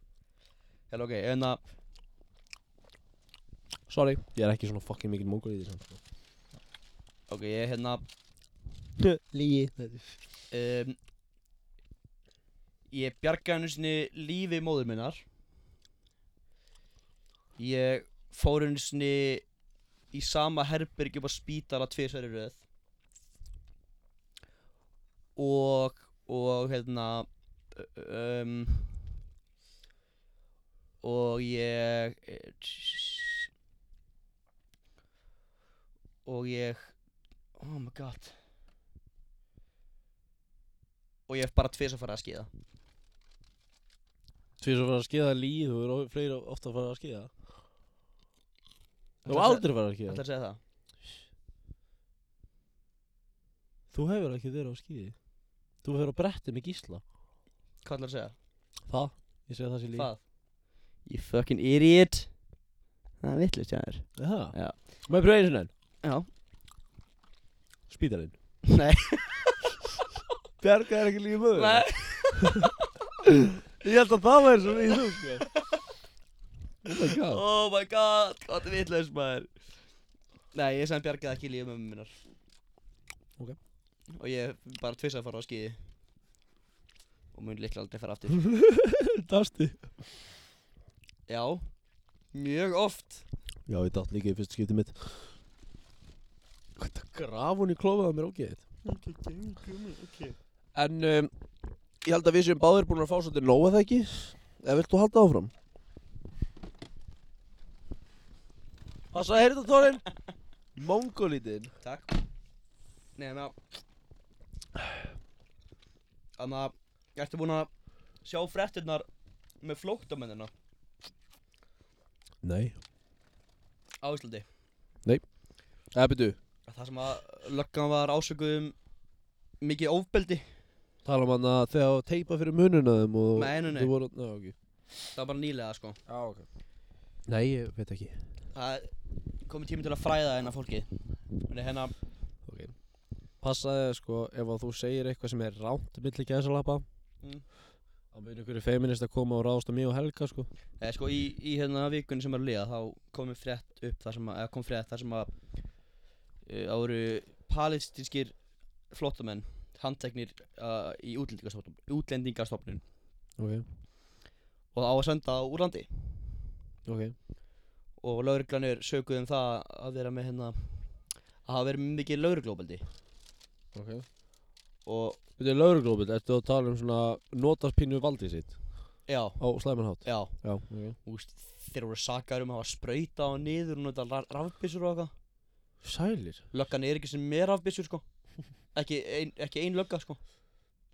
[SPEAKER 3] Hel, ok, en að,
[SPEAKER 2] Sorry, ég er ekki svona fucking mikil mongol í því samt sko.
[SPEAKER 3] ok, ég hérna
[SPEAKER 2] Lígi
[SPEAKER 3] um, Ég bjargaði hennu sinni lífi móður minnar Ég fór hennu sinni í sama herbergi upp á spítala tvisar í röð Og, og hérna um, Og ég Og ég Oh my god Og ég hef bara tvisar farið að skýða
[SPEAKER 2] Tvís að fara að skeiða líð og eru fleiri ofta að fara að skeiða Þú
[SPEAKER 3] Ætlar að
[SPEAKER 2] aldrei fara að
[SPEAKER 3] Ætlar
[SPEAKER 2] skeiða
[SPEAKER 3] að segja það?
[SPEAKER 2] Þú hefur ekki verið á skeiði Þú hefur á bretti með gísla
[SPEAKER 3] Hvað ætlar að segja?
[SPEAKER 2] Það, ég segi það sé líð
[SPEAKER 3] Hvað? You fucking idiot Það er vittlust hjá þér
[SPEAKER 2] Það,
[SPEAKER 3] Já.
[SPEAKER 2] maður pröfa einu sinni enn
[SPEAKER 3] Já
[SPEAKER 2] Spítalinn
[SPEAKER 3] Nei
[SPEAKER 2] Bjarga er ekki líka möður
[SPEAKER 3] Nei
[SPEAKER 2] Ég held að það væri svo í þú sko Oh my god
[SPEAKER 3] Oh my god Hvað þetta er vittlust maður Nei, ég sem bjargaði ekki lífið mömmu minnar
[SPEAKER 2] Ok.
[SPEAKER 3] Og ég hef bara tvisað að fara á skýði Og mun líklega aldrei fara aftur
[SPEAKER 2] Dasti
[SPEAKER 3] Já Mjög oft
[SPEAKER 2] Já, ég datt líka í fyrsta skipti mitt Hvað þetta graf hún í klófaða mér ágeðið? En um, ég held að við séum báðir búin að fá svolítið nóg að það ekki Eða vilt þú halda áfram? Passa að heyrðu þetta tónin Mongolítinn
[SPEAKER 3] Takk Nei, en að Þannig að Ertu búinn að sjá fréttirnar með flóttamennina
[SPEAKER 2] Nei
[SPEAKER 3] á Íslandi
[SPEAKER 2] Eða byrju,
[SPEAKER 3] Það sem að löggan var ásökuð um mikið ofbeldi
[SPEAKER 2] tala um hann að þegar þú teipa fyrir mununa þeim og
[SPEAKER 3] Nei, nei, nei.
[SPEAKER 2] Þú voru, ná, ok
[SPEAKER 3] Það var bara nýlega sko
[SPEAKER 8] Já, ok
[SPEAKER 2] Nei, ég veit ekki
[SPEAKER 3] Það er komið tími til að fræða hennar fólki Þannig hérna
[SPEAKER 2] Passaði sko, ef að þú segir eitthvað sem er rámt milli gæðsalapa
[SPEAKER 3] Mm.
[SPEAKER 2] þá mun ykkur feminist að koma og ráðast á mig og Helga sko
[SPEAKER 3] eða sko í, í hérna vikunni sem er að liða þá komið frétt upp þar sem að, eða kom frétt þar sem að uh, áru palestinskir flottamenn handteknir uh, í útlendingastofnun, útlendingastofnun
[SPEAKER 2] Ok,
[SPEAKER 3] og á að senda á úrlandi
[SPEAKER 2] ok
[SPEAKER 3] og lauruglan er sökuð um það að vera með hérna að hafa verið mikið lauruglóbaldi
[SPEAKER 2] Ok
[SPEAKER 3] og
[SPEAKER 2] Þetta er lauruglófið, ertu að tala um svona notast pínu valdið sitt
[SPEAKER 3] já,
[SPEAKER 2] á slæmanhátt
[SPEAKER 3] já
[SPEAKER 2] Já, ok
[SPEAKER 3] úst, þeir voru sakar um að hafa sprauta á niður og nota rafbissur og eitthvað
[SPEAKER 2] Sælir
[SPEAKER 3] löggan er ekki sem með rafbissur sko ekki ein, ekki ein lögga sko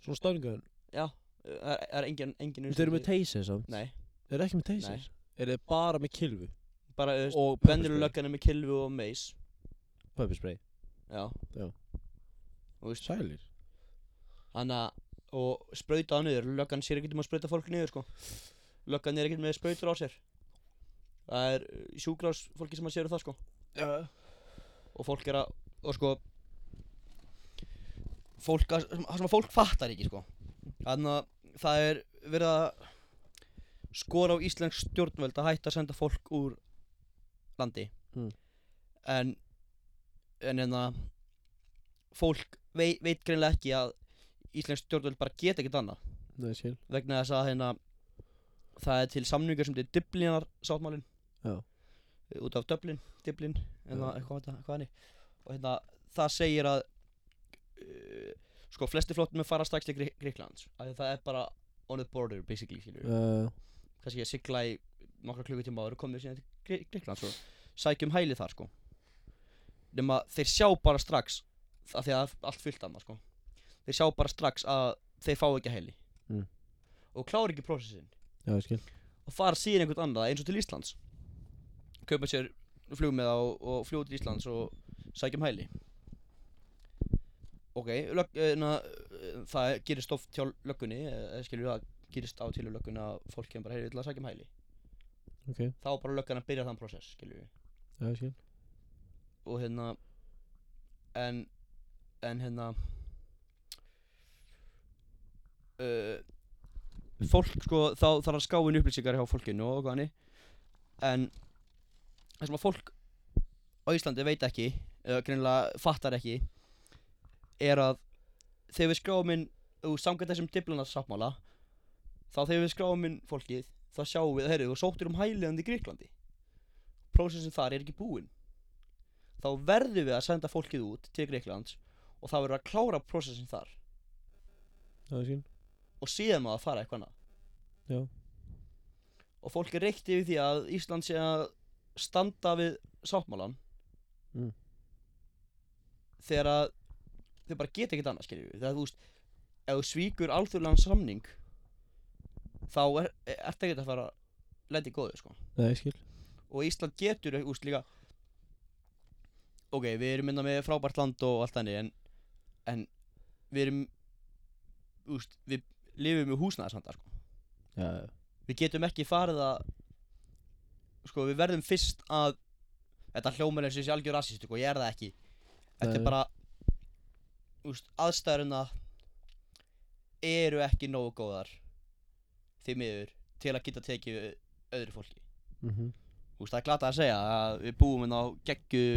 [SPEAKER 2] Svona stöðningaðun
[SPEAKER 3] Já, það er- það er engin, engin
[SPEAKER 2] Þeir eru með teysir samt
[SPEAKER 3] Nei,
[SPEAKER 2] Þeir eru ekki með teysir
[SPEAKER 3] nei
[SPEAKER 2] Eru þeir bara með kilfu
[SPEAKER 3] Bara, þú veist,
[SPEAKER 2] Og
[SPEAKER 3] vennilu löggan er með kilvu og meis
[SPEAKER 2] Pöppispray
[SPEAKER 3] Já
[SPEAKER 2] Já.
[SPEAKER 3] Þú veist,
[SPEAKER 2] Sælir
[SPEAKER 3] hann að Og sprauta á niður, löggan sér ekkert um að sprauta fólk niður, sko Löggan er ekkert með sprautur á sér Það er sjúkrás fólki sem að séu það, sko
[SPEAKER 2] Já
[SPEAKER 3] Og fólk er að, og sko Fólk, að, sem- það sem að fólk fattar ekki, sko Þannig að það er verið að skora á íslensk stjórnvöld að hætta að senda fólk úr landi
[SPEAKER 2] Mm.
[SPEAKER 3] en en hérna fólk veit, veit greinlega ekki að íslensk stjórnvöld bara geta ekkert annað
[SPEAKER 2] Nei, skil
[SPEAKER 3] vegna þess að hérna það er til samningar sem til Dublinar sáttmálin
[SPEAKER 2] Já.
[SPEAKER 3] út af Dublin, Dublin hérna, eitthvað, þetta- hvað hann er og hérna það segir að uh, sko flesti flottum er fara strax til Grí Gríklands af því að það er bara on the border basically skilur
[SPEAKER 2] uh,
[SPEAKER 3] kannski að sigla í nokkra klukkutíma og eru komið síðan til Grikk- Grikklands og sækjum hæli þar sko nema þeir sjá bara strax af því að það er allt fyllt annað sko þeir sjá bara strax að þeir fá ekki hæli
[SPEAKER 2] Mm.
[SPEAKER 3] og klára ekki prósessin
[SPEAKER 2] Já, ég skil
[SPEAKER 3] og fara síðan einhvern annað eins og til Íslands kaupa sér flug með og, og fljóð til Íslands og sækjum hæli ok, lög, na, eh, það gerist oft hjá löggunni eh, skilur það gerist á til löggunni að fólk kemur bara heyri til að sækjum hæli
[SPEAKER 2] Ok.
[SPEAKER 3] þá er bara löggan að byrja þann prosess skilur
[SPEAKER 2] Já, ég skil
[SPEAKER 3] og hérna en en hérna uh, fólk sko þá þarf að skáin upplýsingar hjá fólkinu og hvaðni en það sem að fólk á Íslandi veit ekki eða greinilega fattar ekki er að þegar við skráum inn og samkvæmt þessum diplunarsafmála þá þegar við skráum inn fólkið þá sjáum við, herru, þú sóttir um hæliðandi í Gríklandi prósessin þar er ekki búinn þá verðum við að senda fólkið út til Greiklands og það verður að klára prósessin þar
[SPEAKER 2] Já, ég skil
[SPEAKER 3] og síðan maður að fara eitthvað annað
[SPEAKER 2] Já.
[SPEAKER 3] og fólk er reykt yfir því að Ísland sé að standa við sáttmálan
[SPEAKER 2] Mm.
[SPEAKER 3] þegar að þau bara geta ekkert annað skiljum við þegar þú veist ef þú svíkur alþjóðlegan samning þá er, er, ertu ekkert að fara að lendi góðu sko
[SPEAKER 2] Nei, ég skil
[SPEAKER 3] og Ísland getur úst líka ok, við erum innan með frábært land og allt þannig en, en við erum úst, við lifum með húsnæðarsandar sko.
[SPEAKER 2] Já, já
[SPEAKER 3] við getum ekki farið að sko, við verðum fyrst að þetta hljómar eins og þessi algjör rassist og ég er það ekki þetta
[SPEAKER 2] Nei.
[SPEAKER 3] er bara úst, aðstæðurina eru ekki nógu góðar því miður til að geta tekið við öðru fólki
[SPEAKER 2] Mhm
[SPEAKER 3] Þú veist, það er glata að segja að við búum hérna á geggju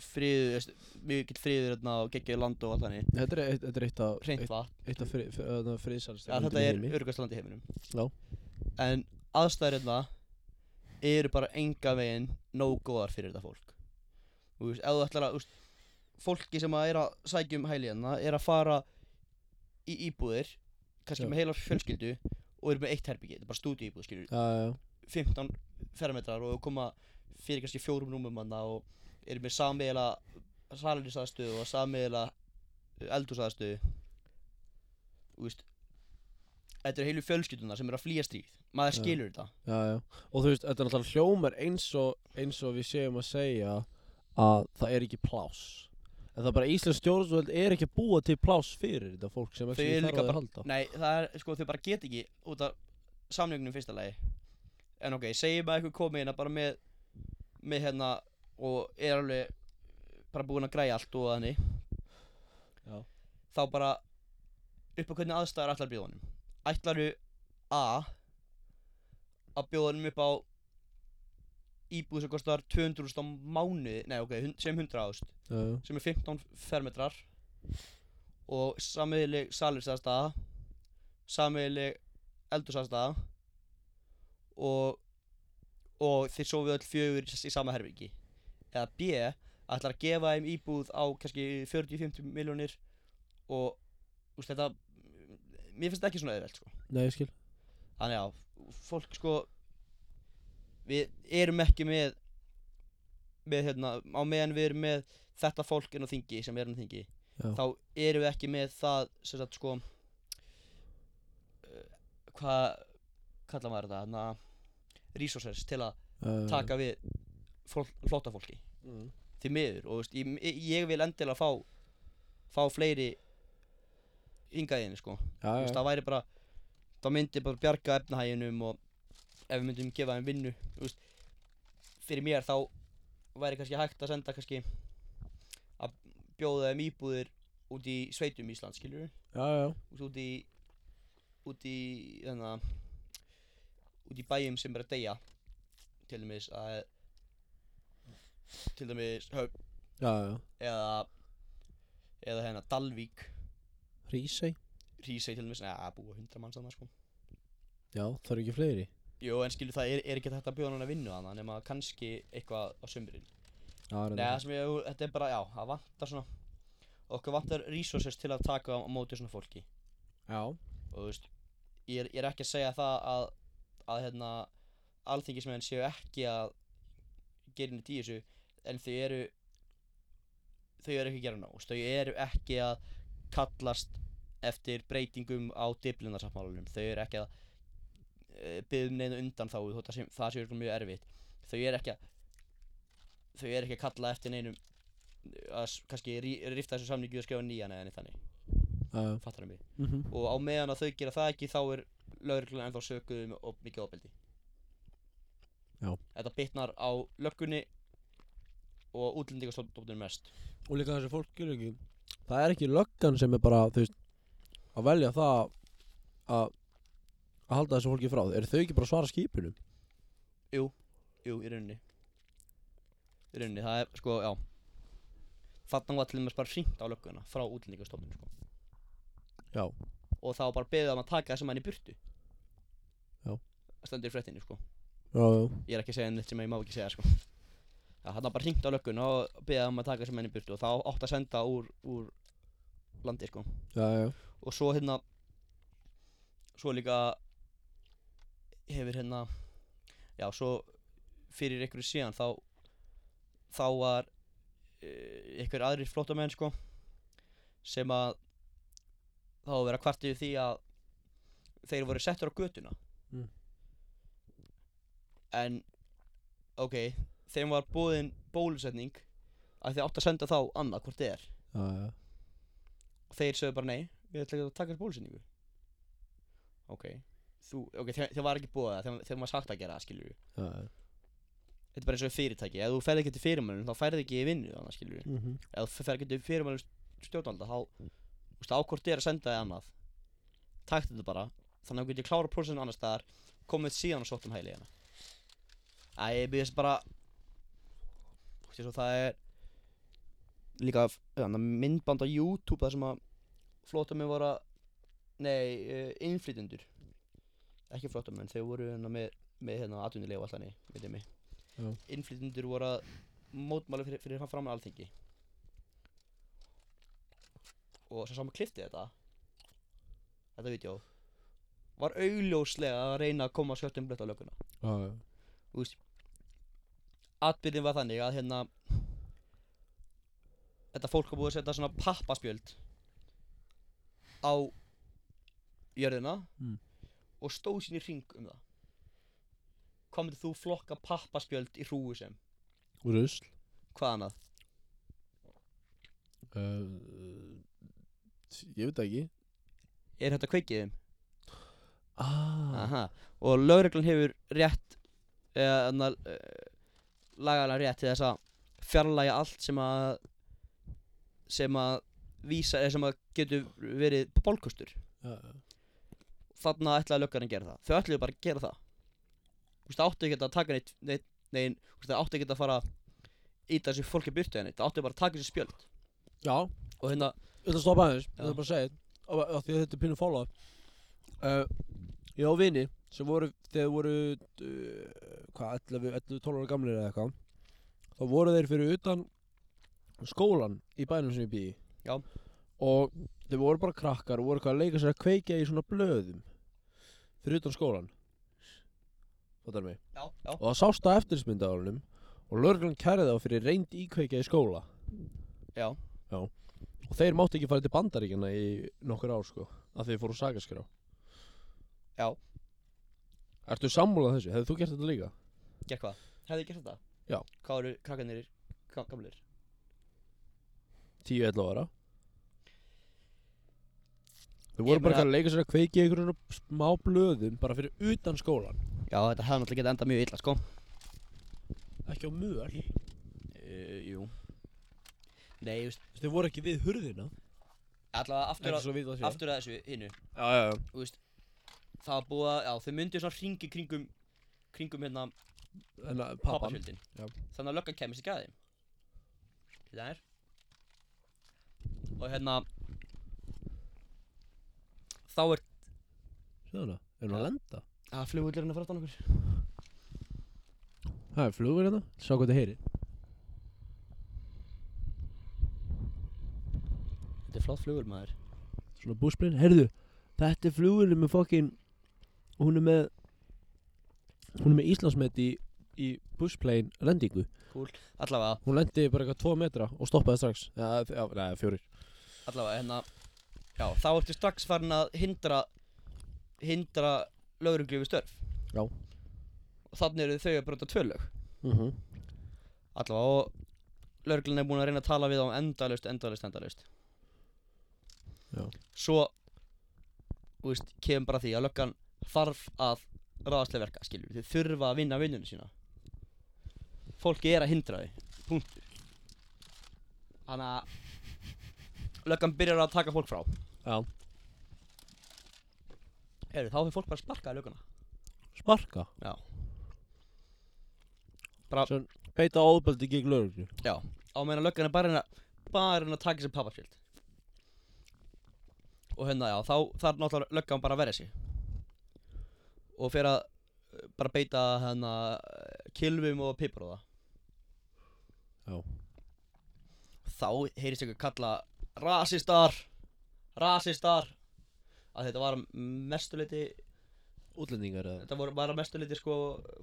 [SPEAKER 3] friður, veist, mikill friður hérna á geggju land og allt þannig
[SPEAKER 2] Þetta er eitt, þetta er eitt af
[SPEAKER 3] Hreint vatn,
[SPEAKER 2] eitt- Eitt af fri- fri- þarna friðsælstu
[SPEAKER 3] ja, þetta er
[SPEAKER 2] löndum í heimi.
[SPEAKER 3] örgast land í heiminum
[SPEAKER 2] Já.
[SPEAKER 3] En aðstæður hérna eru bara enga veginn nóg góðar fyrir þetta fólk Þú veist, ef þú ætlar að, þú veist, fólki sem að er að sækja um hæli hérna er að fara í íbúðir, kannski
[SPEAKER 2] Já.
[SPEAKER 3] með heila fjölskyldu og eru með eitt herbyggi, þetta er bara stúdíu íbúð, skilur
[SPEAKER 2] Já, já, já
[SPEAKER 3] 15 fermetrar og koma fyrir kannski fjórum rúmum manna og eru með sammeila salarisaðstöðu og sammeila eldúsaðstöðu Þú veist Þetta eru heilu fjölskylduna sem eru að flýja stríð Maður
[SPEAKER 2] Já.
[SPEAKER 3] skilur þetta
[SPEAKER 2] Já, já. Og þú veist, þetta er náttúrulega hljómar eins og, eins og við séum að segja að það er ekki pláss. En það er bara Íslands stjórnvöld er ekki að búa til pláss fyrir þetta fólk sem
[SPEAKER 3] Þau
[SPEAKER 2] ekki
[SPEAKER 3] eru
[SPEAKER 2] þarf
[SPEAKER 3] líka
[SPEAKER 2] að
[SPEAKER 3] bara-
[SPEAKER 2] halda.
[SPEAKER 3] Nei, það er, sko, þau bara get ekki út af samningnum í fyrsta lagi en ok, segjum að eitthvað komið hérna bara með með hérna og er alveg bara búinn að græja allt og þannig
[SPEAKER 6] Já.
[SPEAKER 3] þá bara upp á hvernig aðstæður ætlar að bjóða honum ætlaru A að bjóða honum upp á íbúð sem kostar 200.000 á mánuði, nei ok, hun- sem 100.000
[SPEAKER 6] Já,
[SPEAKER 3] sem er 15 fermetrar og samiðileg salinsaðstaða samiðileg eldursaðstaða og og þeir sofið öll fjögur í sama herfingi eða B ætlar að gefa þeim íbúð á kannski 40-50 miljónir og úst, þetta mér finnst þetta ekki svona auðvelt sko.
[SPEAKER 6] nei, ég skil
[SPEAKER 3] þannig að fólk sko við erum ekki með með hérna á meðan við erum með þetta fólk inn á þingi sem er inn á þingi
[SPEAKER 6] Já.
[SPEAKER 3] þá erum við ekki með það sem sagt sko eh, hvað kallar maður þetta hérna resources til að
[SPEAKER 6] uh,
[SPEAKER 3] taka við fólk, flóta fólki
[SPEAKER 6] Mm.
[SPEAKER 3] því miður og veist, ég, ég vil endilega fá fá fleiri hingaðinni sko Þú
[SPEAKER 6] Já,
[SPEAKER 3] veist,
[SPEAKER 6] já,
[SPEAKER 3] það væri bara það myndi bara bjarga efnahæginum og ef við myndum gefa þeim vinnu þú veist, fyrir mér þá væri kannski hægt að senda kannski að bjóða þeim íbúðir út í sveitum Ísland skilur við
[SPEAKER 6] já, já
[SPEAKER 3] út í út í þannig út í bæjum sem er að deyja til dæmis að til dæmis höfn
[SPEAKER 6] Já, já
[SPEAKER 3] eða eða hérna Dalvík
[SPEAKER 6] Rísei
[SPEAKER 3] Rísei til dæmis neða að búa 100 manns þannig sko
[SPEAKER 6] Já, það eru ekki fleiri
[SPEAKER 3] Jú, en skilur það er, er ekki hægt að bjóða hann að vinna þannig nema kannski eitthvað á sömurinn.
[SPEAKER 6] Já,
[SPEAKER 3] Nei,
[SPEAKER 6] reyndar.
[SPEAKER 3] það sem ég, þetta er bara, já, það vantar svona, okkur vantar resources til að taka á móti svona fólki.
[SPEAKER 6] já
[SPEAKER 3] Og þú veist, ég er, ég er ekki að segja það að, að hérna, alþingismenn séu ekki að gera inn í þessu, en þau eru, þau eru ekki að gera nóg, þú veist, þau eru ekki að kallast eftir breytingum á diplinarsáttmálanum, þau eru ekki að eh, biðja um neina undan þá þótt að sem, það sé örugglega mjög erfitt þau eru ekki að þau eru ekki að kalla eftir neinum eh, að s- kannski rí, rifta þessu samningi og skrifa nýjan eða neitt þannig
[SPEAKER 6] Já, já
[SPEAKER 3] fattar mig
[SPEAKER 6] Mhm.
[SPEAKER 3] og á meðan að þau gera það ekki þá er lauruglan ennþá sökuð um of mikið ofbeldi
[SPEAKER 6] Já.
[SPEAKER 3] þetta bitnar á löggunni og útlendingastofnunum mest
[SPEAKER 6] Og líka þessi fólk gilur ekki Það er ekki löggan sem er bara, þú veist Að velja það að Að halda þessu fólki frá Er þau ekki bara að svara skipunum?
[SPEAKER 3] jú, í rauninni í rauninni, það er sko, já þarna var til dæmis bara hringt á lögguna frá útlendingastofnunum sko
[SPEAKER 6] Já
[SPEAKER 3] og þá bara beðið um að taka þessum mann í burtu
[SPEAKER 6] Já.
[SPEAKER 3] það stendur í fréttinni sko
[SPEAKER 6] Já, já
[SPEAKER 3] ég er ekki að segja neitt sem ég má ekki segja sko já, hann bara hringt á löggun og beðið um að taka þessum mann í burtu og þá átt að senda úr, úr landi sko
[SPEAKER 6] Já, já
[SPEAKER 3] og svo hérna svo líka hefur hérna já svo fyrir ykkur síðan þá þá var uh, ykkur aðrir flóttamenn sko sem að þá var verið að kvarta yfir því að þeir voru settur á götuna
[SPEAKER 6] Mm.
[SPEAKER 3] en ok þeim var búin bólusetning að þeir átt að senda þá annað hvort þið er
[SPEAKER 6] Já, já
[SPEAKER 3] og þeir sögðu bara nei, við ætlum ekki að taka þessu bólusetningu ok þú, ok, þeir, þeir var ekki búið það þegar, þegar maður sagt að gera það, skilur við
[SPEAKER 6] Já, já
[SPEAKER 3] þetta er bara eins og fyrirtæki, ef þú ferð ekki til fyrirmælum þá ferð ekki í vinnu þannig, skilur við
[SPEAKER 6] mm -hmm.
[SPEAKER 3] ef þú ferð ekki til fyrirmælum stjórnvalda þá, þú veist, ákvort er að senda þig annað takt þetta bara þannig að þú getur klára prósessinu annars staðar komið síðan og sótt um hæli hérna Æ, ég byrðist bara Þú veist, eins og það er líka þannig, myndband á YouTube þar sem að flótamenn voru að nei, uh, innflytjendur ekki flótamenn, þau voru hérna með, með hérna atvinnilega og allt þannig, veit ég
[SPEAKER 6] Já.
[SPEAKER 3] mig innflytjendur voru að mótmála fyrir, fyrir fram að alþingi og svo saman klifti þetta þetta vídeo var augljóslega að reyna að koma skjöldum blött á lögguna
[SPEAKER 6] Já, já
[SPEAKER 3] Þú veist, atbyrðin var þannig að hérna þetta fólk var búið að setja svona pappaspjöld á jörðina
[SPEAKER 6] Mm.
[SPEAKER 3] og stóð sín í ring um það hvað myndir þú flokka pappaspjöld í hrúi sem
[SPEAKER 6] Rusl
[SPEAKER 3] hvað annað
[SPEAKER 6] uh, Ég veit það ekki
[SPEAKER 3] er þetta kveikið þeim
[SPEAKER 6] ah.
[SPEAKER 3] Aha. og lögreglan hefur rétt eða þarna, eh, lagalega rétt til þess að fjarlæga allt sem að sem að vísa, eða sem að getur verið bólkostur þarna ætlaði löggan að gera það þau ætluðu bara að gera það þú veist, það áttu ekki að taka neitt neitt, nein, þú veist, það áttu ekki að fara ít þessu fólki byrtu henni, það áttu bara að taka þessu spjöld
[SPEAKER 2] Já,
[SPEAKER 3] og hérna,
[SPEAKER 2] Ég ætla að stoppa aðeins, ég
[SPEAKER 3] Já.
[SPEAKER 2] ætla bara að segja þetta af- af Því að þetta er pínu fóla uh, Ég á vini sem voru, þegar voru uh, hvað, 11, 11, 12 ára gamlir eða eitthvað þá voru þeir fyrir utan skólan í bænum sem ég býi
[SPEAKER 3] Já.
[SPEAKER 2] Og þeir voru bara krakkar og voru eitthvað að leika sér að kveikja í svona blöðum fyrir utan skólan Fattar mig
[SPEAKER 3] já, já,
[SPEAKER 2] Og það sást á eftirlitsmynda á honum og lörglann kærði þá fyrir reynd íkveikja í skóla
[SPEAKER 3] já
[SPEAKER 2] Og þeir máttu ekki fara til bandaríkjana í nokkur ár sko Af því þeir fóru sakaskrá
[SPEAKER 3] Já.
[SPEAKER 2] Ertu sammúlað þessu? Hefðu þú gert þetta líka?
[SPEAKER 3] gerð hvað, hefði ég gert þetta?
[SPEAKER 2] Já.
[SPEAKER 3] hvað eru krakkanir ga- gamlir?
[SPEAKER 2] 10-11 ára Þau
[SPEAKER 3] Ég
[SPEAKER 2] voru bara
[SPEAKER 3] meina-
[SPEAKER 2] eitthvað að leika sér að kveiki í einhverjum smá blöðum bara fyrir utan skólan
[SPEAKER 3] já, þetta hefði náttúrulega getað endað mjög illa, sko
[SPEAKER 2] Ekki á möl
[SPEAKER 3] Mhm.
[SPEAKER 2] Eh,
[SPEAKER 3] uh, jú nei, þú veist,
[SPEAKER 2] Þau voru ekki við hurðina
[SPEAKER 3] allavega aftur
[SPEAKER 2] Ekki
[SPEAKER 3] að
[SPEAKER 2] svo við það sé
[SPEAKER 3] aftur að þessu hinnu
[SPEAKER 2] Já, já, já
[SPEAKER 3] þú veist, það var búið að, já, þau myndu svona hringi kringum kringum hérna
[SPEAKER 2] En að pappan
[SPEAKER 3] pappasjöldin
[SPEAKER 2] Já.
[SPEAKER 3] þannig að löggan kemist ekki að þeim þetta er og hérna þá er
[SPEAKER 2] Sjöðuna Er hún að lenda?
[SPEAKER 3] að flugvöldurinn að fara aftan okkur
[SPEAKER 2] Það er flugur hérna Sjá hvað þetta heyri
[SPEAKER 3] þetta er flott flugvöld maður
[SPEAKER 2] Svona búsplinn Heyrðu Þetta er flugurinn með fokkin Hún er með Hún er með Íslandsmet í Í busplein lendingu
[SPEAKER 3] allavega,
[SPEAKER 2] Hún lendi bara eitthvað 2 metra Og stoppaði strax Já, já, já fjórir
[SPEAKER 3] allavega hérna já, þá ertu strax farin að hindra hindra lögreglu við störf
[SPEAKER 2] Já.
[SPEAKER 3] og þannig eru þau að brota tvö lög
[SPEAKER 2] mm -hmm.
[SPEAKER 3] allavega og lögreglan er búin að reyna að tala við þá um endalaust, endalaust, endalaust
[SPEAKER 2] Já.
[SPEAKER 3] svo þú veist, kemur bara að því að löggan þarf að ráðastlega verka skilur, þau þurfa að vinna vinnunum sína fólki er að hindra þau punktur þannig að löggan byrjar að taka fólk frá
[SPEAKER 2] Já.
[SPEAKER 3] Heyrðu, þá fyrir fólk bara að sparka í lögguna
[SPEAKER 2] Sparka
[SPEAKER 3] Já. Bara-
[SPEAKER 2] Svon, Beita óbeldi gegn lögreglu
[SPEAKER 3] á meðan löggan er bara hérna bara hérna að taka sér pappaskjöld og hérna já þá þarf náttúrulega löggan bara að verja sig og fyrir að eh, bara beita hérna eh, kylfum og pipur og
[SPEAKER 2] Já.
[SPEAKER 3] það þá heyrist ykkur kalla rasistar rasistar að þetta var mestuleiti
[SPEAKER 2] Útlendingar eða
[SPEAKER 3] þetta voru bara mestuleiti sko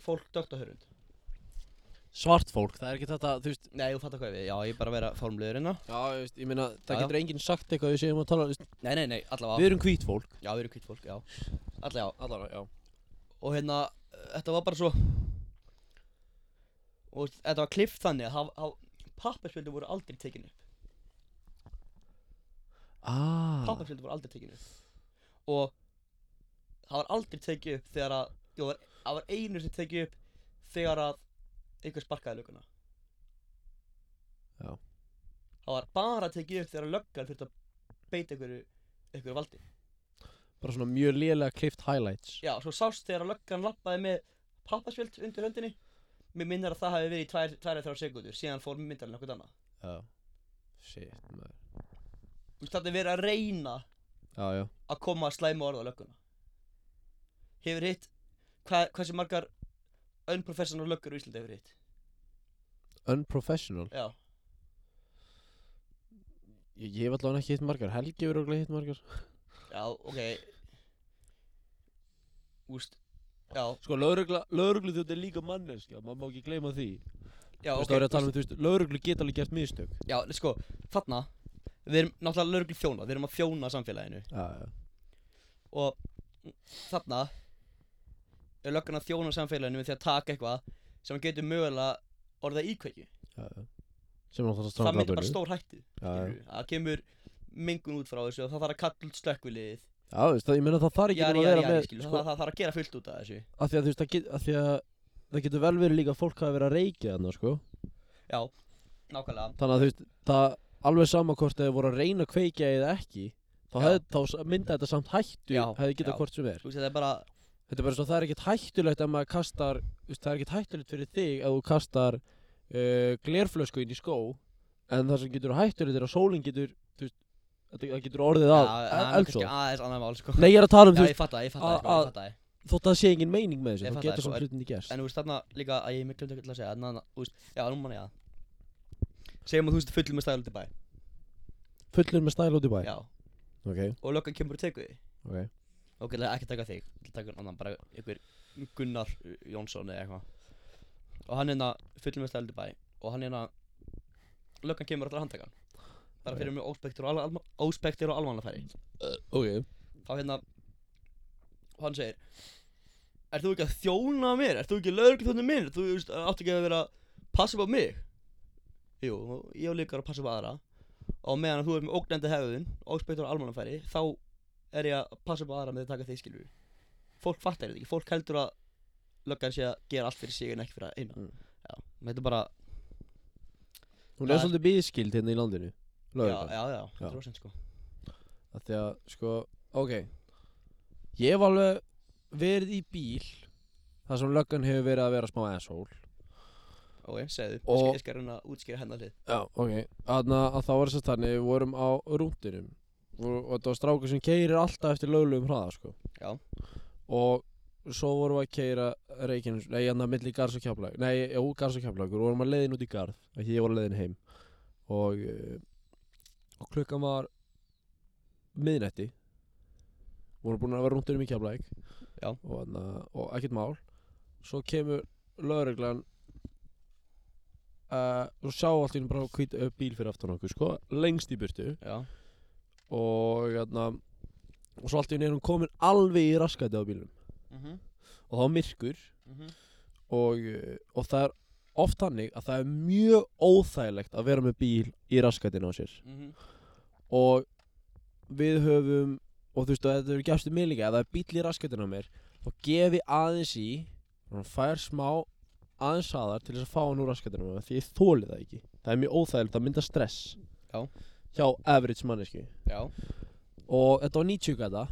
[SPEAKER 3] fólk dögt á hörund
[SPEAKER 2] Svart fólk Það er ekki þetta Þú veist
[SPEAKER 3] nei þú fattar hvað ég við já ég er bara að vera formlegur hérna
[SPEAKER 2] Já, ég, veist, ég meina
[SPEAKER 3] Já,
[SPEAKER 2] Það
[SPEAKER 3] já.
[SPEAKER 2] getur enginn sagt eitthvað Við séum að tala þú veist,
[SPEAKER 3] nei nei nei allavega
[SPEAKER 2] Við erum hvít fólk
[SPEAKER 3] Já, við erum kvitt fólk, já Allega,
[SPEAKER 2] Allara, já
[SPEAKER 3] og hérna, eh, þetta var bara svo Og þetta var klift þannig að það- það- pappaspjöldu voru aldrei tekin upp
[SPEAKER 2] Ah
[SPEAKER 3] Pappaspjöldu voru aldrei tekin upp Og það var aldrei tekið upp þegar að jú, Það var, það var einu sem tekið upp þegar að einhver sparkaði lögguna
[SPEAKER 2] Já.
[SPEAKER 3] Það var bara tekið upp þegar að löggan þurfti að beita einhverju, einhverju valdi
[SPEAKER 2] Bara svona mjög lélega klift highlights
[SPEAKER 3] Já, svo sást þegar að löggan lappaði með pappaspjöld undir höndinni Mér minnir að það hafi verið í tvær, tvær eða þrjár sekundur Síðan fór myndalinn okkur annað
[SPEAKER 2] Já Shit, maður
[SPEAKER 3] Þú veist, þetta er verið að reyna
[SPEAKER 2] Já, já
[SPEAKER 3] að koma að slæma orða á lögguna Hefur hitt hva, Hversu margar unprofessional löggur í Íslandi hefur hitt?
[SPEAKER 2] Unprofessional
[SPEAKER 3] Já,
[SPEAKER 2] Ég, ég hef allavega ekki hitt margar, Helgi verður allavega hitt margar
[SPEAKER 3] já, ok Úst Já,
[SPEAKER 2] Sko, lögregla, lögreglu þetta er líka manneskja, maður má ekki gleyma því
[SPEAKER 3] já,
[SPEAKER 2] Þú
[SPEAKER 3] ok
[SPEAKER 2] veist, það er að tala um, þú veist, lögreglu geta alveg gert mistök
[SPEAKER 3] Já, sko, þarna Við erum náttúrulega lögreglu þjóna, við erum að þjóna samfélaginu
[SPEAKER 2] Já, já
[SPEAKER 3] og þarna er löggan að þjóna samfélaginu með því að taka eitthvað sem getur mögulega orðað íkveikju
[SPEAKER 2] Já, já Sem er náttúrulega
[SPEAKER 3] það
[SPEAKER 2] strafnabölu
[SPEAKER 3] myndir bara stór hættu
[SPEAKER 2] Já, já.
[SPEAKER 3] skilurðu. það kemur mengun út frá þessu og það þarf að kalla út slökkvilið
[SPEAKER 2] Já, þú veist, það, ég meina það þarf ekki
[SPEAKER 3] jari,
[SPEAKER 2] nema að
[SPEAKER 3] jari,
[SPEAKER 2] vera
[SPEAKER 3] jari,
[SPEAKER 2] með
[SPEAKER 3] skilur,
[SPEAKER 2] sko,
[SPEAKER 3] það, það þarf að gera fullt út af þessu
[SPEAKER 2] af því að þú veist, það get, af því að það getur vel verið líka að fólk hafi verið að reykja þarna sko
[SPEAKER 3] Já, nákvæmlega
[SPEAKER 2] þannig að þú veist það alveg sama hvort þau voru að reyna að kveikja eða ekki þá,
[SPEAKER 3] Já.
[SPEAKER 2] hef, þá s- mynda þetta samt hættu
[SPEAKER 3] Já,
[SPEAKER 2] hefði
[SPEAKER 3] já.
[SPEAKER 2] getað hvort sem er
[SPEAKER 3] Þú veist Sko, þetta er bara
[SPEAKER 2] þetta er bara svo það er ekkert hættulegt ef maður kastar þú veist, það er ekkert hættulegt fyrir þig ef þú kastar uh, glerflösku inn í skó en það sem getur hættulegt er að sólinn getur þú veist, þetta- það getur orðið að
[SPEAKER 3] Já,
[SPEAKER 2] ja,
[SPEAKER 3] það er kannski
[SPEAKER 2] eldsóð
[SPEAKER 3] aðeins annað mál sko
[SPEAKER 2] e, nei ég er að tala um
[SPEAKER 3] Já,
[SPEAKER 2] þú
[SPEAKER 3] ég
[SPEAKER 2] veist
[SPEAKER 3] fatt það, ég fatt
[SPEAKER 2] að-
[SPEAKER 3] það, sko,
[SPEAKER 2] að-
[SPEAKER 3] ég fatt það
[SPEAKER 2] þótt það sé engin meining með
[SPEAKER 3] Ég
[SPEAKER 2] þessu þá
[SPEAKER 3] fatta það,
[SPEAKER 2] getur
[SPEAKER 3] sko,
[SPEAKER 2] svona
[SPEAKER 3] en-
[SPEAKER 2] hlutin í gerst
[SPEAKER 3] En þú veist þarna líka að ég miklu til að segja En annað, þú veist, já, nú mann ég það Segjum að þú veist fullur með stæl til bæ
[SPEAKER 2] fullur með stæl út í bæ
[SPEAKER 3] Já,
[SPEAKER 2] ok
[SPEAKER 3] og löggan kemur og tekur því
[SPEAKER 2] ok
[SPEAKER 3] Ok, það er ekki að taka þig, það taka annan bara einhver Gunnar Jónsson eða eitthvað Og hann hérna fullur með stæl til bæ Og hann hérna Löggan kemur alltaf að handtaka hann Bara fyrir mjög óspektir og, alma, óspektir og almanafæri
[SPEAKER 2] ok
[SPEAKER 3] Þá hérna Og hann segir Ert þú ekki að þjóna mér? Ert þú ekki lögur þjóna minn? Ert þú veist, átt ekki að vera að Passa upp á mig? Jú, og ég á líka að passa upp á aðra Og á meðan að þú ert með ógnandi hefðun Óspektur og almanafæri Þá er ég að passa upp á aðra með því að taka þig skilur Fólk fattar þetta ekki Fólk heldur að löggan sé að gera allt fyrir sig en ekki fyrir að eina
[SPEAKER 2] Mm.
[SPEAKER 3] Já, þetta er bara
[SPEAKER 2] Hún er
[SPEAKER 3] Það er-
[SPEAKER 2] svolítið bíðskild hérna í landinu
[SPEAKER 3] Já,
[SPEAKER 2] Lögreglan
[SPEAKER 3] já, já,
[SPEAKER 2] Já.
[SPEAKER 3] 100% sko
[SPEAKER 2] Af Því að sko Ok Ég hef alveg verið í bíl þar sem löggan hefur verið að vera smá asshole
[SPEAKER 3] Ok, segðu,
[SPEAKER 2] Og-
[SPEAKER 3] ég skal reyna að útskýra hennar hlið
[SPEAKER 2] Já Ok Þannig að þá var þess að þannig Við vorum á rúndinum Og, og þetta var strákur sem keirir alltaf eftir löglegum hraða sko
[SPEAKER 3] Já.
[SPEAKER 2] Og svo vorum við að keira Reykjanes Nei, hann að milli Garðs og Keflag Nei, jú, Garðs og Keflag Við vorum að leiðin út í Garð Ekki ég var að leiðin heim Og eh, Og klukkan var Miðnætti Vorum búin að vera rúndinum í Keflag
[SPEAKER 3] Já.
[SPEAKER 2] Og, hana, og ekkert mál Svo kemur lögreglan uh, og sjá allt í einu bara hvít uh, bíl fyrir aftan okkur sko, lengst í burtu
[SPEAKER 3] Já,
[SPEAKER 2] og hérna og svo allt í einu er hún komin alveg í raskæti á bílum
[SPEAKER 3] mhm,
[SPEAKER 2] og þá myrkur
[SPEAKER 3] mhm
[SPEAKER 2] og, uh, og það er oft þannig að það er mjög óþægilegt að vera með bíl í raskætin á sér
[SPEAKER 3] Mhm.
[SPEAKER 2] og við höfum og þú veist að þetta eru gefstu mig líka ef það er bíl í raskætin á mér þá gefi aðeins í og hann fær smá aðeins aðar til þess að fá hann úr raskætin á mér því ég þóli það ekki það er mjög óþægilegt að mynda stress
[SPEAKER 3] Já.
[SPEAKER 2] hjá average manneski
[SPEAKER 3] Já,
[SPEAKER 2] og þetta var 90 gata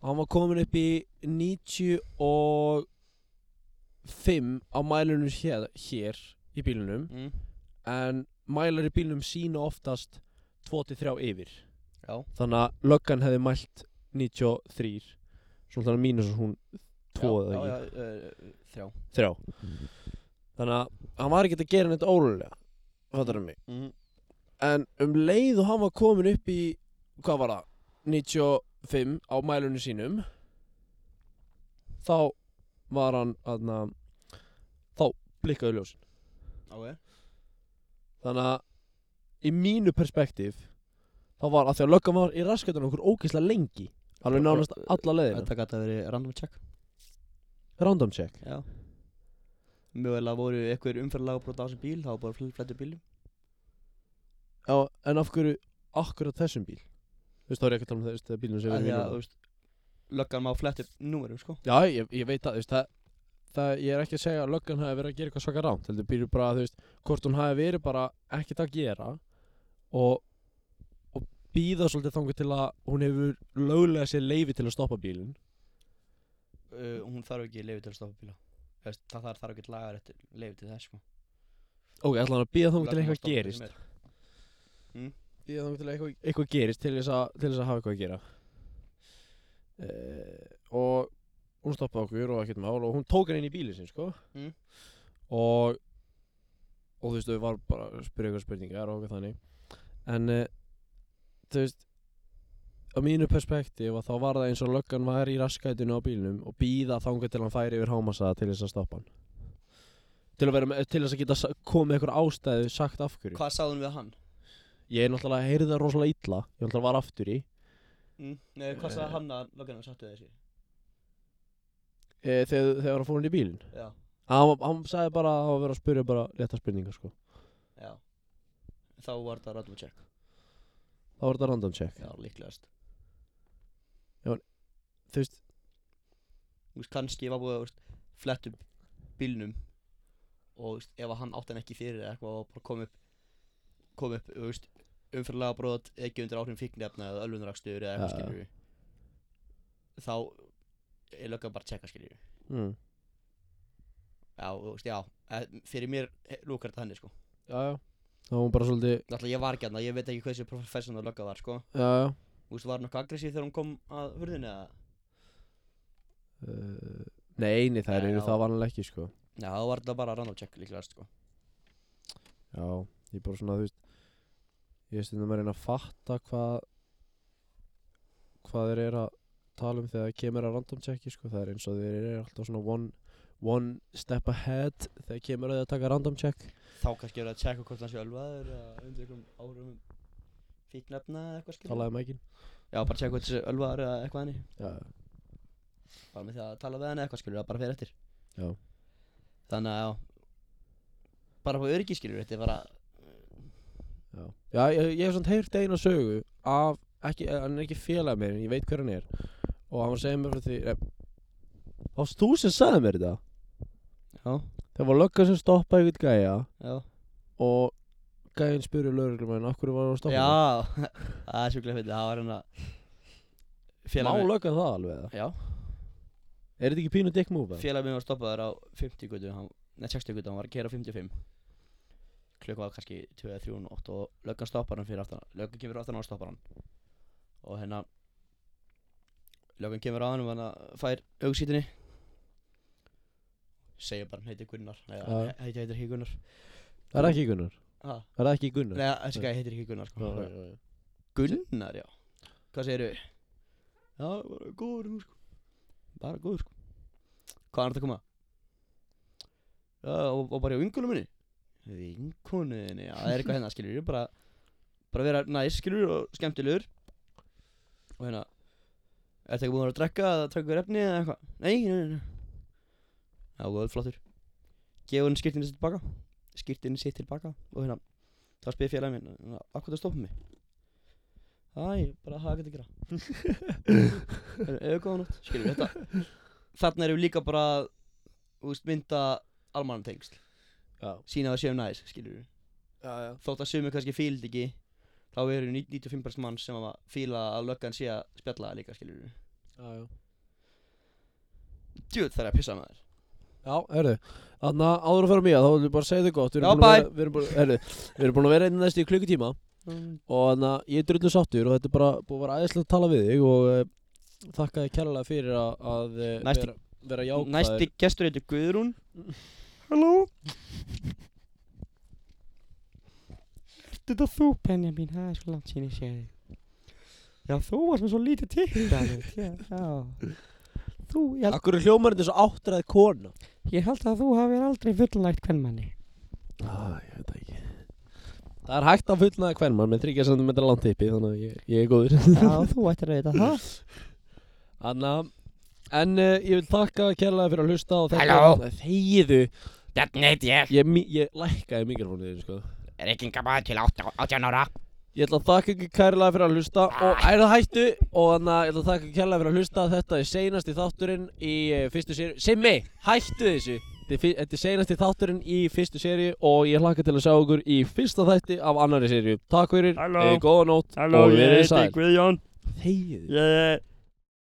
[SPEAKER 2] og hann var komin upp í 95 á mælunum hér, hér í bílunum
[SPEAKER 3] mm,
[SPEAKER 2] en mælar í bílunum sína oftast 2-3 yfir
[SPEAKER 3] já,
[SPEAKER 2] þannig að löggan hefði mælt 93 svona þannig að mínus hún 2
[SPEAKER 3] já,
[SPEAKER 2] eða
[SPEAKER 3] já,
[SPEAKER 2] ekki,
[SPEAKER 3] uh, þrjá
[SPEAKER 2] 3 þannig að hann var ekki að gera neitt ólega fattar mig
[SPEAKER 3] mm,
[SPEAKER 2] en um leið og hann var komin upp í hvað var það, 95 á mælunum sínum þá var hann aðna, þá blikkaði ljós
[SPEAKER 3] ok,
[SPEAKER 2] þannig að í mínu perspektíf þá var að því að löggan var í raskatunum okkur ógeðslega lengi alveg nánast alla leiðina
[SPEAKER 3] þetta gæti að vera random check
[SPEAKER 2] random check
[SPEAKER 3] Já Mögulega voru einhver umferðalagabrót á þessum bíl, þá var bara fl- flættur bílum
[SPEAKER 2] Já, en af hverju akkurat þessum bíl þú veist þá er ég ekki að tala um þess þegar bílunum sem
[SPEAKER 3] Af
[SPEAKER 2] við
[SPEAKER 3] því
[SPEAKER 2] erum í
[SPEAKER 3] að, þú
[SPEAKER 2] núna.
[SPEAKER 3] veist, löggan má flættu númerum, sko
[SPEAKER 2] já, ég, ég veit að þú veist það Það, ég er ekki að segja að löggan hafi verið að gera eitthvað svaka rámt heldur býrur bara, þú veist, hvort hún hafi verið bara ekkert að gera og, og býða svolítið þangur til að hún hefur löglega sér leifi til að stoppa bílinn
[SPEAKER 3] uh, Hún þarf ekki leifi til að stoppa bíla Hefst, Það þarf, þarf ekki lagar eftir leifi til þess, sko
[SPEAKER 2] Ok, ætla hann að býða þangur til
[SPEAKER 3] Löggan má
[SPEAKER 2] eitthvað
[SPEAKER 3] stoppa þegar
[SPEAKER 2] gerist
[SPEAKER 3] sem er.
[SPEAKER 2] Býða þangur til að eitthvað, eitthvað gerist til þess, að, til þess að hafa eitthvað að gera uh, Og hún stoppaði okkur og ekkert mál og hún tók hann inn í bílinn sinn, sko
[SPEAKER 3] Mm.
[SPEAKER 2] Og og þú veist, þau var bara að spyrja eitthvað spurningar og eitthvað þannig En uh, þú veist á mínu perspektíf að þá var það eins og löggan var í raskætinu á bílnum og býða þangar til hann færi yfir hámasa til þess að stoppa hann til að, vera, með- til þess að geta sa- komið eitthvað ástæðu sagt af hverju
[SPEAKER 3] Hvað sagði hún við hann?
[SPEAKER 2] Ég er náttúrulega að heyri það rosalega illa Ég náttúrulega var aftur í
[SPEAKER 3] Mm, nei, hvað
[SPEAKER 2] Eh.
[SPEAKER 3] sagði hann að löggan sattu þessi?
[SPEAKER 2] e, Þegar þegar hann fór hann í bílinn
[SPEAKER 3] Já,
[SPEAKER 2] Hann, hann sagði bara að hann var að vera að spyrja bara létta spurningar sko
[SPEAKER 3] já Þá var það random check
[SPEAKER 2] Það var þetta random check
[SPEAKER 3] Já, líklegast
[SPEAKER 2] Þú veist,
[SPEAKER 3] Þú veist, kannski var búið að þú veist, flettu bílnum og þú veist, ef að hann átti hann ekki fyrir eða eitthvað og bara kom upp kom upp, þú veist, umfyrlega brot ekki undir áhrifum fíknefna eða ölvunarakstur eða
[SPEAKER 2] Já,
[SPEAKER 3] eitthvað
[SPEAKER 2] já.
[SPEAKER 3] skilur þá er löggan bara að checka skilur
[SPEAKER 2] Mm.
[SPEAKER 3] já, þú veist, já, eh, fyrir mér lúkar þetta henni sko
[SPEAKER 2] Já, já. Það var hún bara svolítið,
[SPEAKER 3] náttúrulega ég var ekki hann, ég veit ekki hversu professional lögga var sko,
[SPEAKER 2] já, já.
[SPEAKER 3] þú veist, var hann eitthvað aggressív þegar hún kom að hurðinu eða
[SPEAKER 2] Uh, nei, nei, það
[SPEAKER 3] Já.
[SPEAKER 2] eru það vanalega ekki, sko.
[SPEAKER 3] já, það var þetta bara random check líklega sko
[SPEAKER 2] Já, ég er bara svona, þú veist, ég er stundum að reyna að fatta hvað, hvað þeir eru að tala um þegar það kemur að random checki, sko. Það er eins og þeir eru alltaf svona one, one step ahead þegar kemur að þeir að taka random check.
[SPEAKER 3] þá kannski verið að checka hvort hann sé ölvaður eða undir einhverjum áhrifum fíknefna eða eitthvað skilur
[SPEAKER 2] Talaði um mækin.
[SPEAKER 3] Já, bara tjekka hvort þessi ölvaður eða eitthvað henni
[SPEAKER 2] Já,
[SPEAKER 3] Bara með því að tala við henni eitthvað skilur, það bara fer eftir
[SPEAKER 2] Já.
[SPEAKER 3] Þannig að já Bara på öryggi skilur, þetta er bara
[SPEAKER 2] já. Já, ég, ég hef svona heyrt eina sögu af, ekki, eh, hann er ekki félag mér, en ég veit hver hann er. Og hann var að segja mér frá því, eh, það varst þú sem sagði mér þetta?
[SPEAKER 3] Já,
[SPEAKER 2] Það var löggan sem stoppaði ykkur gæja
[SPEAKER 3] já
[SPEAKER 2] og gæjinn spurði lögreglumæðin af hverju var það að stoppa mig?"
[SPEAKER 3] Já, það er sjúklega fyrir, það var hann að
[SPEAKER 2] Má
[SPEAKER 3] Félag minn
[SPEAKER 2] löggan það alveg eða?
[SPEAKER 3] Já,
[SPEAKER 2] Er þetta ekki pínu dick move eða?
[SPEAKER 3] félag minn var stoppaður á 50 gutu Nei, 60 gutu, hann var að kera 55 Klukka var kannski 2-3 og nótt og löggan stoppar hann fyrir aftan Löggan kemur aftan á hann og stoppar hann Og hérna Löggan kemur á hann og hann fær augsítunni Segir bara hann heiti Gunnar Nei, hann
[SPEAKER 2] Já.
[SPEAKER 3] he- heiti, heitir ekki Gunnar
[SPEAKER 2] Það er ekki Gunnar
[SPEAKER 3] ha?
[SPEAKER 2] Það er ekki Gunnar
[SPEAKER 3] Nei, þessi gæði heitir ekki Gunnar sko.
[SPEAKER 2] Já, já, já.
[SPEAKER 3] Gunnar, já Hvað segirðu? Já, bara góður hún sko Bara góður sko Hvað er þetta að koma? Já, og, og bara hjá vinkonu minni Vinkonuðinni, já, það er eitthvað hérna skilur Bara, bara vera næs skilur og skemmtilegur Og hérna Ertu ekki búin að vera að drekka eða taka ykkur efni eða eitthvað? Nei, nei, nei, nei Já, góður, flottur Gefur hann skýrtinni sitt tilbaka Skýrtinni sitt tilbaka Og hérna, þá spyr félagin minn hérna, Akkur það stoppa mig? Æ, bara hafa ekkert að gera Heyrðu, Eða góða nótt Skilur þetta Þarna erum við líka bara úst, Mynda almanum tengsl
[SPEAKER 2] Já.
[SPEAKER 3] Sýna að við séum næs, skilur
[SPEAKER 2] já, já.
[SPEAKER 3] Þótt að sumi kannski fíld ekki Þá erum við 95% mann sem að fíla að löggan sé að spjalla það líka, skilur við
[SPEAKER 2] Já, já.
[SPEAKER 3] Djöð þarf ég að pissa maður
[SPEAKER 2] Já, herðu, þannig að áður að fara mér, þá viljum við bara segja þau gott Við
[SPEAKER 3] Já,
[SPEAKER 2] erum búin að vera- við erum búin- herðu, við erum búin að vera einn næst í klukkutíma og þannig að ég er drullu sáttur og þetta er bara búin að vera æðislega að tala við þig og uh, þakka þið kærlega fyrir að, að eh,
[SPEAKER 3] Næsti-
[SPEAKER 2] vera, vera jákvæður
[SPEAKER 3] Næsti gestur heitir Guðrún
[SPEAKER 9] Halló? Ert þetta þú, Benjamin? Það er svo langt síðan ég sé þig. Já, þú varst með svo lítið tiktalit. Já, já. Þú, ég held,
[SPEAKER 2] Akkur er hljómarinn þessu áttræð kona
[SPEAKER 9] ég held að þú hafið aldrei fullnægt hvern manni.
[SPEAKER 2] ah, Ég veit það ekki Það er hægt að fullnaða hvern mann með 30 cm langt tippi þannig að ég, ég er góður
[SPEAKER 9] Já, þú ættir að vita það.
[SPEAKER 2] Anna En uh, ég vil þakka kærlega fyrir að hlusta á þetta
[SPEAKER 9] Halló.
[SPEAKER 2] Nei, Þegiðu
[SPEAKER 9] Þetta neitt ég
[SPEAKER 2] Ég, mi- ég lækkaði mikrofónu þér sko
[SPEAKER 9] er ekki enga maður til 18 ára.
[SPEAKER 2] Ég ætla að þakka ekki kærlega fyrir að hlusta Og er það hættu Og þannig að ég ætla að þakka kærlega fyrir að hlusta Þetta er seinasti þátturinn í eh, fyrstu séri Simmi, hættu þessu Þetta er fi- Þetta er seinasti þátturinn í fyrstu séri Og ég hlakka til að sjá okkur í fyrsta þætti Af annari séri Takk fyrir,
[SPEAKER 9] Halló.
[SPEAKER 2] eh, góða nótt
[SPEAKER 9] Halló,
[SPEAKER 2] Og
[SPEAKER 9] ég
[SPEAKER 2] verið
[SPEAKER 9] heiti
[SPEAKER 2] sæl
[SPEAKER 9] Guðjón.
[SPEAKER 2] Þegiðu
[SPEAKER 9] Ég er